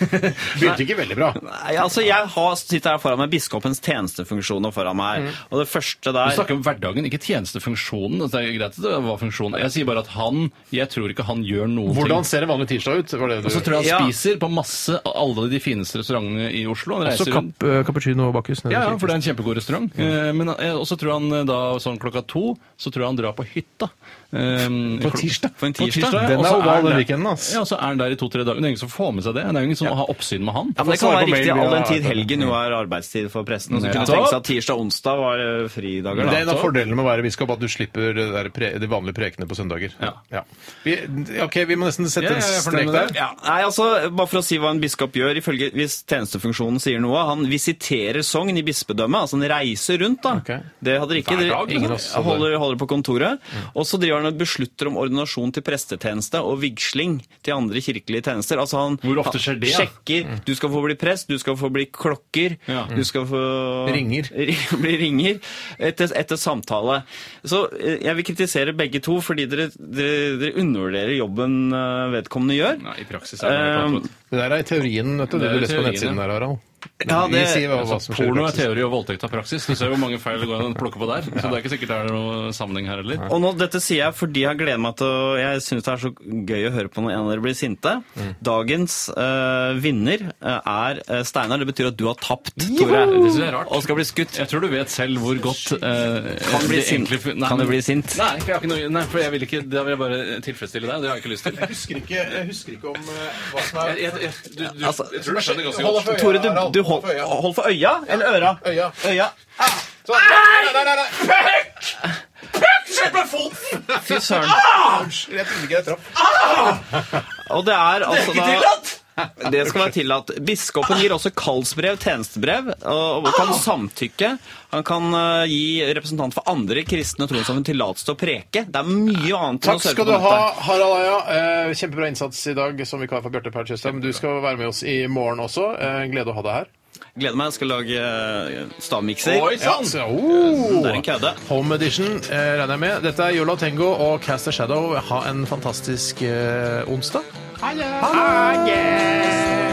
Speaker 7: Begynte ikke veldig bra.
Speaker 9: Nei, altså Jeg har, sitter her foran meg biskopens tjenestefunksjoner foran
Speaker 8: Mm.
Speaker 9: meg. Og det første der
Speaker 8: Vi snakker om hverdagen, ikke tjenestefunksjonen. Altså, det er greit at det var funksjonen. Jeg sier bare at han Jeg tror ikke han gjør noen
Speaker 7: Hvordan
Speaker 8: ting.
Speaker 7: ser en vanlig tirsdag ut? Var det du...
Speaker 8: Og så tror jeg han spiser på masse av alle de fineste restaurantene i Oslo. Han
Speaker 7: Også
Speaker 8: reiser rundt.
Speaker 7: kap, eh, cappuccino og bakkus. nede
Speaker 8: Ja,
Speaker 7: i
Speaker 8: ja,
Speaker 7: kirken.
Speaker 8: for det er en kjempegod restaurant. Eh, Men eh, og så tror jeg han eh, da sånn klokka to så tror jeg han drar på hytta. Eh,
Speaker 7: På
Speaker 8: klok-
Speaker 7: tirsdag?
Speaker 8: På en
Speaker 7: På
Speaker 8: tirsdag.
Speaker 7: tirsdag? Den
Speaker 8: og
Speaker 7: er
Speaker 8: så
Speaker 7: oval
Speaker 8: han
Speaker 7: den
Speaker 8: der-
Speaker 7: weekenden, ass.
Speaker 8: Ja, og så er han der i to-tre dager. Det er ingen som får med seg det. Det er jo ingen som har oppsyn med han.
Speaker 9: Ja, men Det kan være riktig all den tid helgen jo er arbeidstid for presten. Så kunne
Speaker 8: Nettopp.
Speaker 9: tenke seg at tirsdag og onsdag var eh, fridager.
Speaker 7: Men Det er en
Speaker 9: da.
Speaker 7: av fordelene med å være biskop, at du slipper det der pre de vanlige prekene på søndager. Ja. Vi, ok, vi må nesten sette en strek der.
Speaker 9: Ja. Nei, altså, bare for å si hva en biskop gjør, ifølge, hvis tjenestefunksjonen sier noe, han visiterer Sogn i bispedømmet, altså han reiser rundt da. Det hadde ikke,
Speaker 7: Hver dag, liksom.
Speaker 9: det-
Speaker 7: ingen av oss hadde-
Speaker 9: holder, holder på kontoret. Og så driver han og beslutter om ordinasjon til prestetjeneste og vigsling til andre kirkelige tjenester. Altså han,
Speaker 8: Hvor ofte skjer det,
Speaker 9: Han
Speaker 8: da?
Speaker 9: sjekker, du skal få bli prest, du skal få bli klokker,
Speaker 8: Ja.
Speaker 9: du skal få...
Speaker 8: Ringer.
Speaker 9: bli ringer etter, etter samtale. Så eh, jeg vil kritisere begge to, fordi dere, dere, dere undervurderer jobben eh, vedkommende gjør.
Speaker 8: Nei, i praksis
Speaker 7: er det noe annet. Det der er teorien, vet du. Det,
Speaker 8: Det er
Speaker 7: du leser på
Speaker 8: teorien,
Speaker 7: nettsiden
Speaker 8: ja.
Speaker 7: der, Harald.
Speaker 8: Ja, det,
Speaker 7: vi sier hva, hva som
Speaker 8: altså,
Speaker 7: skjer i
Speaker 8: porno er
Speaker 7: praksis.
Speaker 8: teori og voldtekt er praksis. Du ser hvor mange feil det går an å plukke på der. Så det er ikke sikkert det er noen sammenheng her heller.
Speaker 9: Og nå, Dette sier jeg fordi jeg gleder meg til å Jeg syns det er så gøy å høre på når en av dere blir sinte.
Speaker 8: Mm.
Speaker 9: Dagens eh, vinner eh, er eh, Steinar. Det betyr at du har tapt, Tore.
Speaker 8: Det synes jeg er rart.
Speaker 9: Og skal bli skutt.
Speaker 8: Jeg tror du vet selv hvor godt eh,
Speaker 9: Kan bli
Speaker 8: det
Speaker 9: sint.
Speaker 8: egentlig fun-
Speaker 9: Kan du
Speaker 8: men-
Speaker 9: bli sint?
Speaker 8: Nei, for jeg, har ikke noe, nei, for jeg vil ikke Da vil jeg bare tilfredsstille deg. Det har jeg ikke lyst til.
Speaker 7: Jeg husker ikke, jeg husker ikke om eh, hva som er
Speaker 8: Jeg, jeg, jeg, du, du,
Speaker 9: Altså,
Speaker 8: jeg tror du skjønner ganske
Speaker 7: hold
Speaker 8: godt.
Speaker 7: deg for øya,
Speaker 9: Tore, du,
Speaker 7: Harald.
Speaker 9: du hold, hold for øya eller øra?
Speaker 7: Øya.
Speaker 9: øya.
Speaker 7: Sånn. Nei, nei, nei, nei. Pekk! Pekk! Slipp meg foten!
Speaker 9: Fy søren.
Speaker 7: Ah! Jeg trodde ikke jeg traff.
Speaker 9: Og det er altså
Speaker 7: ikke
Speaker 9: da-
Speaker 7: tillatt!
Speaker 9: Det skal være tillatt. Biskopen gir også kallsbrev, tjenestebrev, og og kan
Speaker 7: Ah!
Speaker 9: samtykke. Han kan eh, gi representant for andre kristne trossamfunn tillatelse til å preke. Det er mye annet enn å
Speaker 7: Takk
Speaker 9: surfe
Speaker 7: skal
Speaker 9: på
Speaker 7: du ha,
Speaker 9: nettet.
Speaker 7: Harald Eia. Eh, Kjempebra innsats i dag som vikar for Bjarte Paul Tjøstheim. Du skal være med oss i morgen også. Eh, Glede å ha deg her.
Speaker 9: Gleder meg. Jeg skal lage eh, stavmikser.
Speaker 7: Oi, sånn! sant! Ja, så- oh!
Speaker 9: Det er en kødde.
Speaker 7: Home Edition eh, regner jeg med. Dette er Yola Tengo og Cast a Shadow. Ha en fantastisk eh, onsdag. Ha det!